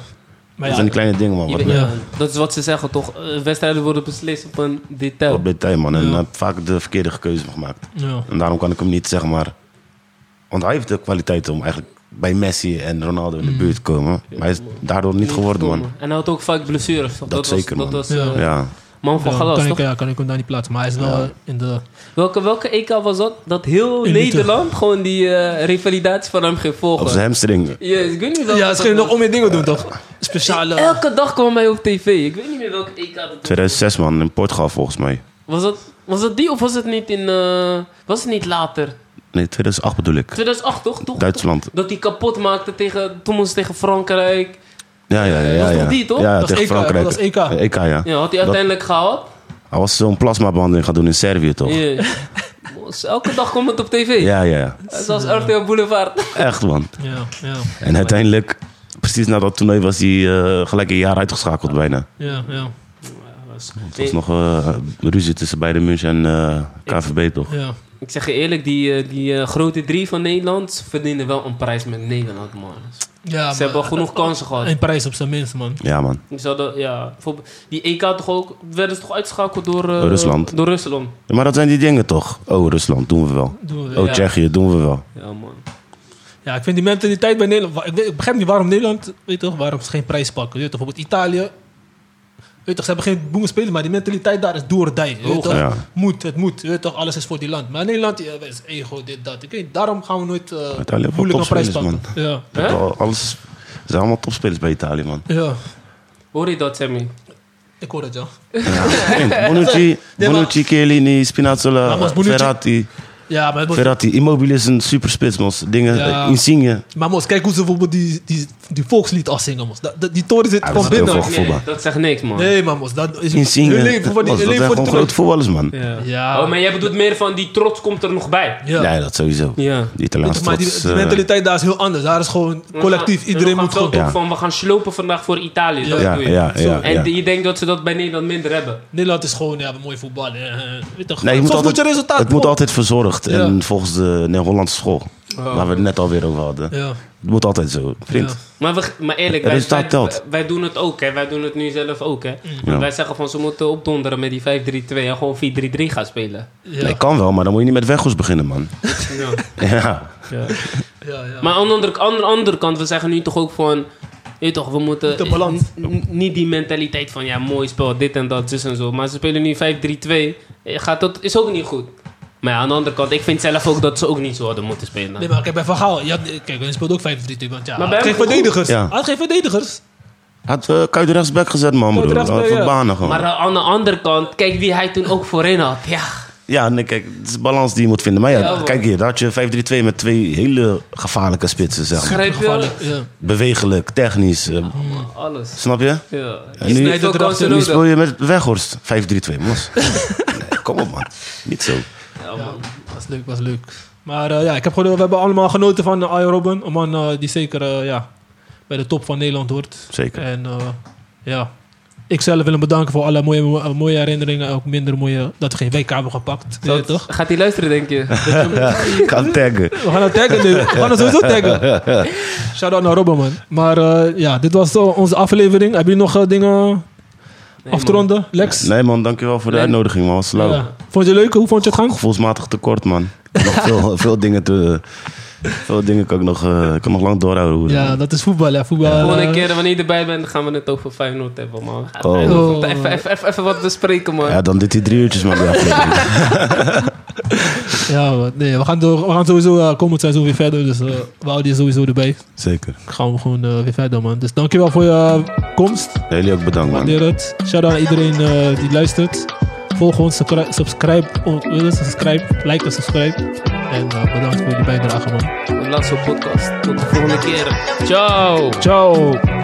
[SPEAKER 2] Maar
[SPEAKER 4] dat
[SPEAKER 2] ja,
[SPEAKER 4] zijn die kleine dingen, man.
[SPEAKER 3] Je
[SPEAKER 4] Wat,
[SPEAKER 3] weet-
[SPEAKER 4] met-
[SPEAKER 3] ja, dat is wat ze zeggen toch. Eh, wedstrijden worden beslist op een detail.
[SPEAKER 4] wat bij tijd, man. En
[SPEAKER 2] Ja.
[SPEAKER 4] dan heb ik vaak de verkeerde keuze gemaakt.
[SPEAKER 2] ja.
[SPEAKER 4] En daarom kan ik hem niet, zeg maar... Want hij heeft de kwaliteit om eigenlijk bij Messi en Ronaldo in de buurt te komen. Maar hij is daardoor niet geworden, man.
[SPEAKER 3] En hij had ook vaak blessures. toch?
[SPEAKER 4] Dat
[SPEAKER 3] was,
[SPEAKER 4] zeker,
[SPEAKER 3] dat
[SPEAKER 4] man.
[SPEAKER 3] was eh,
[SPEAKER 4] Ja.
[SPEAKER 3] man van
[SPEAKER 2] Ja,
[SPEAKER 3] Galas
[SPEAKER 2] kan,
[SPEAKER 3] toch?
[SPEAKER 2] ik, ja, kan ik hem daar niet plaatsen. Maar hij is wel eh, in de...
[SPEAKER 3] Welke, welke EK was dat? Dat heel
[SPEAKER 2] Elite.
[SPEAKER 3] Nederland gewoon die eh, revalidatie van hem ging volgen.
[SPEAKER 4] Op zijn hamstring.
[SPEAKER 3] Ja, ik weet niet welke
[SPEAKER 2] Ja,
[SPEAKER 3] dat
[SPEAKER 2] ze gingen nog
[SPEAKER 3] was.
[SPEAKER 2] om je dingen doen, toch? Speciale...
[SPEAKER 3] Elke dag kwam hij op tv. Ik weet niet meer welke EK dat was.
[SPEAKER 4] 2006, man. In Portugal, volgens mij.
[SPEAKER 3] Was dat, was dat die of was het niet in... eh, was het niet later?
[SPEAKER 4] Nee, 2008 bedoel ik.
[SPEAKER 3] 2008 toch? toch?
[SPEAKER 4] Duitsland.
[SPEAKER 3] Dat hij kapot maakte tegen... Toen was tegen Frankrijk.
[SPEAKER 4] Ja, ja, ja. ja,
[SPEAKER 3] Dat was
[SPEAKER 4] ja.
[SPEAKER 3] toch die, toch?
[SPEAKER 2] Dat
[SPEAKER 4] Ja,
[SPEAKER 2] was
[SPEAKER 4] tegen
[SPEAKER 2] EK,
[SPEAKER 4] Frankrijk.
[SPEAKER 2] dat was EK.
[SPEAKER 4] Eh, EK, ja.
[SPEAKER 3] Ja, had hij uiteindelijk gehaald.
[SPEAKER 4] Hij was zo'n plasmabehandeling gaan doen in Servië, toch? Ja,
[SPEAKER 3] Ja. Was- Elke dag kwam het op tv.
[SPEAKER 4] ja. ja.
[SPEAKER 3] Zoals RTL Boulevard.
[SPEAKER 4] Echt, man.
[SPEAKER 2] Ja, ja,
[SPEAKER 4] En uiteindelijk, precies na dat toernooi, was hij eh, gelijk een jaar uitgeschakeld bijna.
[SPEAKER 2] ja, ja.
[SPEAKER 4] Het was nog eh ruzie tussen beide München en eh, KVB, toch?
[SPEAKER 2] ja.
[SPEAKER 3] Ik zeg je eerlijk, die, eh, die eh, grote drie van Nederland verdienen wel een prijs met Nederland, man.
[SPEAKER 2] Ja,
[SPEAKER 3] Ze hebben wel
[SPEAKER 2] maar-
[SPEAKER 3] genoeg kansen gehad.
[SPEAKER 2] Een prijs op zijn minst, man.
[SPEAKER 4] Ja, man.
[SPEAKER 3] Ze hadden, ja, bijvoorbeeld- die EK toch ook, werden ze toch uitgeschakeld door eh,
[SPEAKER 4] Rusland.
[SPEAKER 3] Door Rusland.
[SPEAKER 4] Ja, maar dat zijn die dingen toch? Oh, Rusland, doen we wel.
[SPEAKER 2] Doen we-
[SPEAKER 4] Oh,
[SPEAKER 3] Ja.
[SPEAKER 4] Tsjechië, doen we wel.
[SPEAKER 3] Ja, man.
[SPEAKER 2] Ja, ik vind die mentaliteit bij Nederland. wa- Ik, weet- ik begrijp niet waarom Nederland. Weet toch, waarom ze geen prijs pakken. Je weet toch, bijvoorbeeld Italië. Weet toch, ze hebben geen boemen spelen, maar die mentaliteit daar is doordij. Je weet toch,
[SPEAKER 4] ja.
[SPEAKER 2] Moet, het moet. Je weet toch, alles is voor die land. Maar Nederland ja, is ego, dit, dat. Ik weet, daarom gaan we nooit eh,
[SPEAKER 4] heeft wel
[SPEAKER 2] moeilijk een prijs
[SPEAKER 4] topspelers,
[SPEAKER 2] pakken. Ja.
[SPEAKER 3] Hè?
[SPEAKER 4] Al- Alles is- ze zijn allemaal topspelers bij Italië, man.
[SPEAKER 2] ja,
[SPEAKER 3] Hoor je dat, Sammy?
[SPEAKER 2] ik hoor het, ja.
[SPEAKER 4] Vriend, Bonucci,
[SPEAKER 2] maar-
[SPEAKER 4] Bonucci, Chiellini, Spinazzola,
[SPEAKER 2] Maar was Bonucci-
[SPEAKER 4] Verratti.
[SPEAKER 2] Ja, maar, het wordt-
[SPEAKER 4] Verratti, Immobile is een superspits, man. Dingen,
[SPEAKER 2] Ja.
[SPEAKER 4] eh, Insigne.
[SPEAKER 2] maar mos, kijk hoe ze bijvoorbeeld die, die, die volkslied afzingen, mos. Dat- dat- die toren zit
[SPEAKER 4] Ja, Ah, dat
[SPEAKER 2] gewoon
[SPEAKER 4] is heel
[SPEAKER 2] binnen.
[SPEAKER 4] veel Voetbal.
[SPEAKER 3] dat zegt niks, man.
[SPEAKER 2] Nee, maar mos, dat is
[SPEAKER 4] Insigne.
[SPEAKER 2] hun
[SPEAKER 4] Dat,
[SPEAKER 2] leven voor die,
[SPEAKER 4] was-
[SPEAKER 2] hun leven
[SPEAKER 4] dat zijn
[SPEAKER 2] voor die
[SPEAKER 4] gewoon grote
[SPEAKER 2] toren.
[SPEAKER 4] voetballers, man.
[SPEAKER 3] Ja.
[SPEAKER 2] Ja.
[SPEAKER 3] Oh, maar jij bedoelt meer van die trots komt er nog bij.
[SPEAKER 2] Ja.
[SPEAKER 4] Ja, dat sowieso.
[SPEAKER 3] Ja.
[SPEAKER 4] Die
[SPEAKER 2] Weet je,
[SPEAKER 4] Italiaanse
[SPEAKER 2] maar die,
[SPEAKER 4] trots,
[SPEAKER 2] die
[SPEAKER 4] eh,
[SPEAKER 2] mentaliteit daar is heel anders. Daar is gewoon collectief. Iedereen moet gewoon...
[SPEAKER 4] Ja.
[SPEAKER 3] van, we gaan slopen vandaag voor Italië. Dat
[SPEAKER 4] Ja,
[SPEAKER 3] doe je.
[SPEAKER 4] ja, ja,
[SPEAKER 3] Zo. En
[SPEAKER 4] ja.
[SPEAKER 3] je denkt dat ze dat bij Nederland minder hebben.
[SPEAKER 2] Nederland is gewoon, ja, mooi voetbal. eh, eh, weet toch,
[SPEAKER 4] Nee, je moet
[SPEAKER 2] soms
[SPEAKER 4] altijd,
[SPEAKER 2] moet je resultaat
[SPEAKER 4] het moet
[SPEAKER 2] op.
[SPEAKER 4] altijd verzorgd.
[SPEAKER 2] Ja.
[SPEAKER 4] En volgens de Nederlandse school. Waar we het net alweer over hadden.
[SPEAKER 2] Ja.
[SPEAKER 4] Het moet altijd zo. Vriend,
[SPEAKER 2] Ja.
[SPEAKER 3] Maar, we, maar eerlijk,
[SPEAKER 4] Het
[SPEAKER 3] wij,
[SPEAKER 4] resultaat
[SPEAKER 3] wij,
[SPEAKER 4] telt.
[SPEAKER 3] wij doen het ook, hè. Wij doen het nu zelf ook, hè.
[SPEAKER 2] Mm.
[SPEAKER 4] Ja.
[SPEAKER 3] Wij zeggen van, ze moeten opdonderen met die 5-3-2 en gewoon 4-3-3 gaan spelen.
[SPEAKER 2] Ja.
[SPEAKER 4] Nee, kan wel, maar dan moet je niet met Weghorst beginnen, man.
[SPEAKER 3] Ja.
[SPEAKER 4] ja.
[SPEAKER 2] ja, ja.
[SPEAKER 3] Maar aan de andere, aan de andere kant, we zeggen nu toch ook van... je weet toch, we moeten...
[SPEAKER 2] De balans.
[SPEAKER 3] n- n- Niet die mentaliteit van, ja, mooi spel, dit en dat, dus en zo. Maar ze spelen nu 5-3-2. Eh, Gaat dat is ook niet goed. Maar ja, aan de andere kant, ik vind zelf ook dat ze ook niet zo hadden moeten spelen.
[SPEAKER 2] Nee, maar kijk, bij Van Gaal... Ja, kijk, hij speelt ook 5-3-2, want ja, hij
[SPEAKER 3] Maar bij
[SPEAKER 2] had geen
[SPEAKER 3] hem-
[SPEAKER 2] verdedigers.
[SPEAKER 4] Ja.
[SPEAKER 2] Hij had geen verdedigers.
[SPEAKER 4] Had uh, Kuit de rechtsback gezet, man,
[SPEAKER 2] Kuit
[SPEAKER 4] broer. Had
[SPEAKER 2] rechtsback, ja.
[SPEAKER 4] wat banen gewoon.
[SPEAKER 3] Maar eh, aan de andere kant, kijk wie hij toen ook voorin had. Ja,
[SPEAKER 4] Ja, nee, kijk, het is een balans die je moet vinden. Maar ja,
[SPEAKER 3] Ja, man.
[SPEAKER 4] kijk hier, daar had je 5-3-2 met twee hele gevaarlijke spitsen, zeg maar.
[SPEAKER 3] grijp je?
[SPEAKER 2] Gevaarlijk, Ja.
[SPEAKER 4] Bewegelijk, technisch, eh,
[SPEAKER 3] Alles.
[SPEAKER 4] snap je?
[SPEAKER 3] Ja.
[SPEAKER 4] nu-
[SPEAKER 3] Je snijdt
[SPEAKER 2] Nu
[SPEAKER 3] ook kansen
[SPEAKER 4] Nu
[SPEAKER 3] nodig.
[SPEAKER 4] speel je met Weghorst, 5-3-2, mos. nee, kom op, man. Niet zo.
[SPEAKER 3] Ja, man.
[SPEAKER 2] Was leuk, was leuk. Maar eh, ja, ik heb gewoon, we hebben allemaal genoten van uh, Robin. Een man eh, die zeker eh, ja, bij de top van Nederland hoort.
[SPEAKER 4] Zeker.
[SPEAKER 2] En eh, ja, ik zelf wil hem bedanken voor alle mooie, mo- mooie herinneringen. Ook minder mooie dat we geen WK hebben gepakt. Ja, toch?
[SPEAKER 3] Gaat hij luisteren, denk je?
[SPEAKER 4] kan taggen.
[SPEAKER 2] We gaan het taggen nu. We gaan het sowieso taggen. Shout-out naar Robin, man. Maar eh, ja, dit was eh, onze aflevering. Heb je nog eh, dingen
[SPEAKER 3] Nee,
[SPEAKER 2] af te
[SPEAKER 3] man.
[SPEAKER 2] ronden, Lex?
[SPEAKER 4] Nee, man, dankjewel voor de
[SPEAKER 3] Nee.
[SPEAKER 4] uitnodiging, man. Was lauw.
[SPEAKER 2] Ja. Vond je het leuk? Hoe vond je het gang?
[SPEAKER 4] Gevoelsmatig tekort, man. Nog veel, veel dingen te... Veel dingen kan ik nog, eh, ik kan nog lang doorhouden. hoor.
[SPEAKER 2] Ja, dat is voetbal, hè. Voetbal.
[SPEAKER 3] Volgende
[SPEAKER 2] eh,
[SPEAKER 3] keer, wanneer je erbij bent, gaan we het over 5-0 hebben, man.
[SPEAKER 4] Oh.
[SPEAKER 3] Even, even, even, even wat bespreken, man.
[SPEAKER 4] Ja, dan dit die drie uurtjes, maar die aflevering.
[SPEAKER 2] Ja, man. nee, we gaan, door, we gaan sowieso eh, komend seizoen weer verder. Dus eh, we houden je sowieso erbij.
[SPEAKER 4] Zeker.
[SPEAKER 2] Gaan we gewoon eh, weer verder, man. Dus dankjewel voor je eh, komst.
[SPEAKER 4] Jullie ook bedankt, man.
[SPEAKER 2] Waardeer het. Shout-out aan iedereen eh, die luistert. Volg ons, subscri- subscribe, on- eh, subscribe, like en subscribe. En eh, bedankt voor jullie bijdrage, man.
[SPEAKER 3] De laatste podcast. Tot de volgende keer. Ciao.
[SPEAKER 2] Ciao!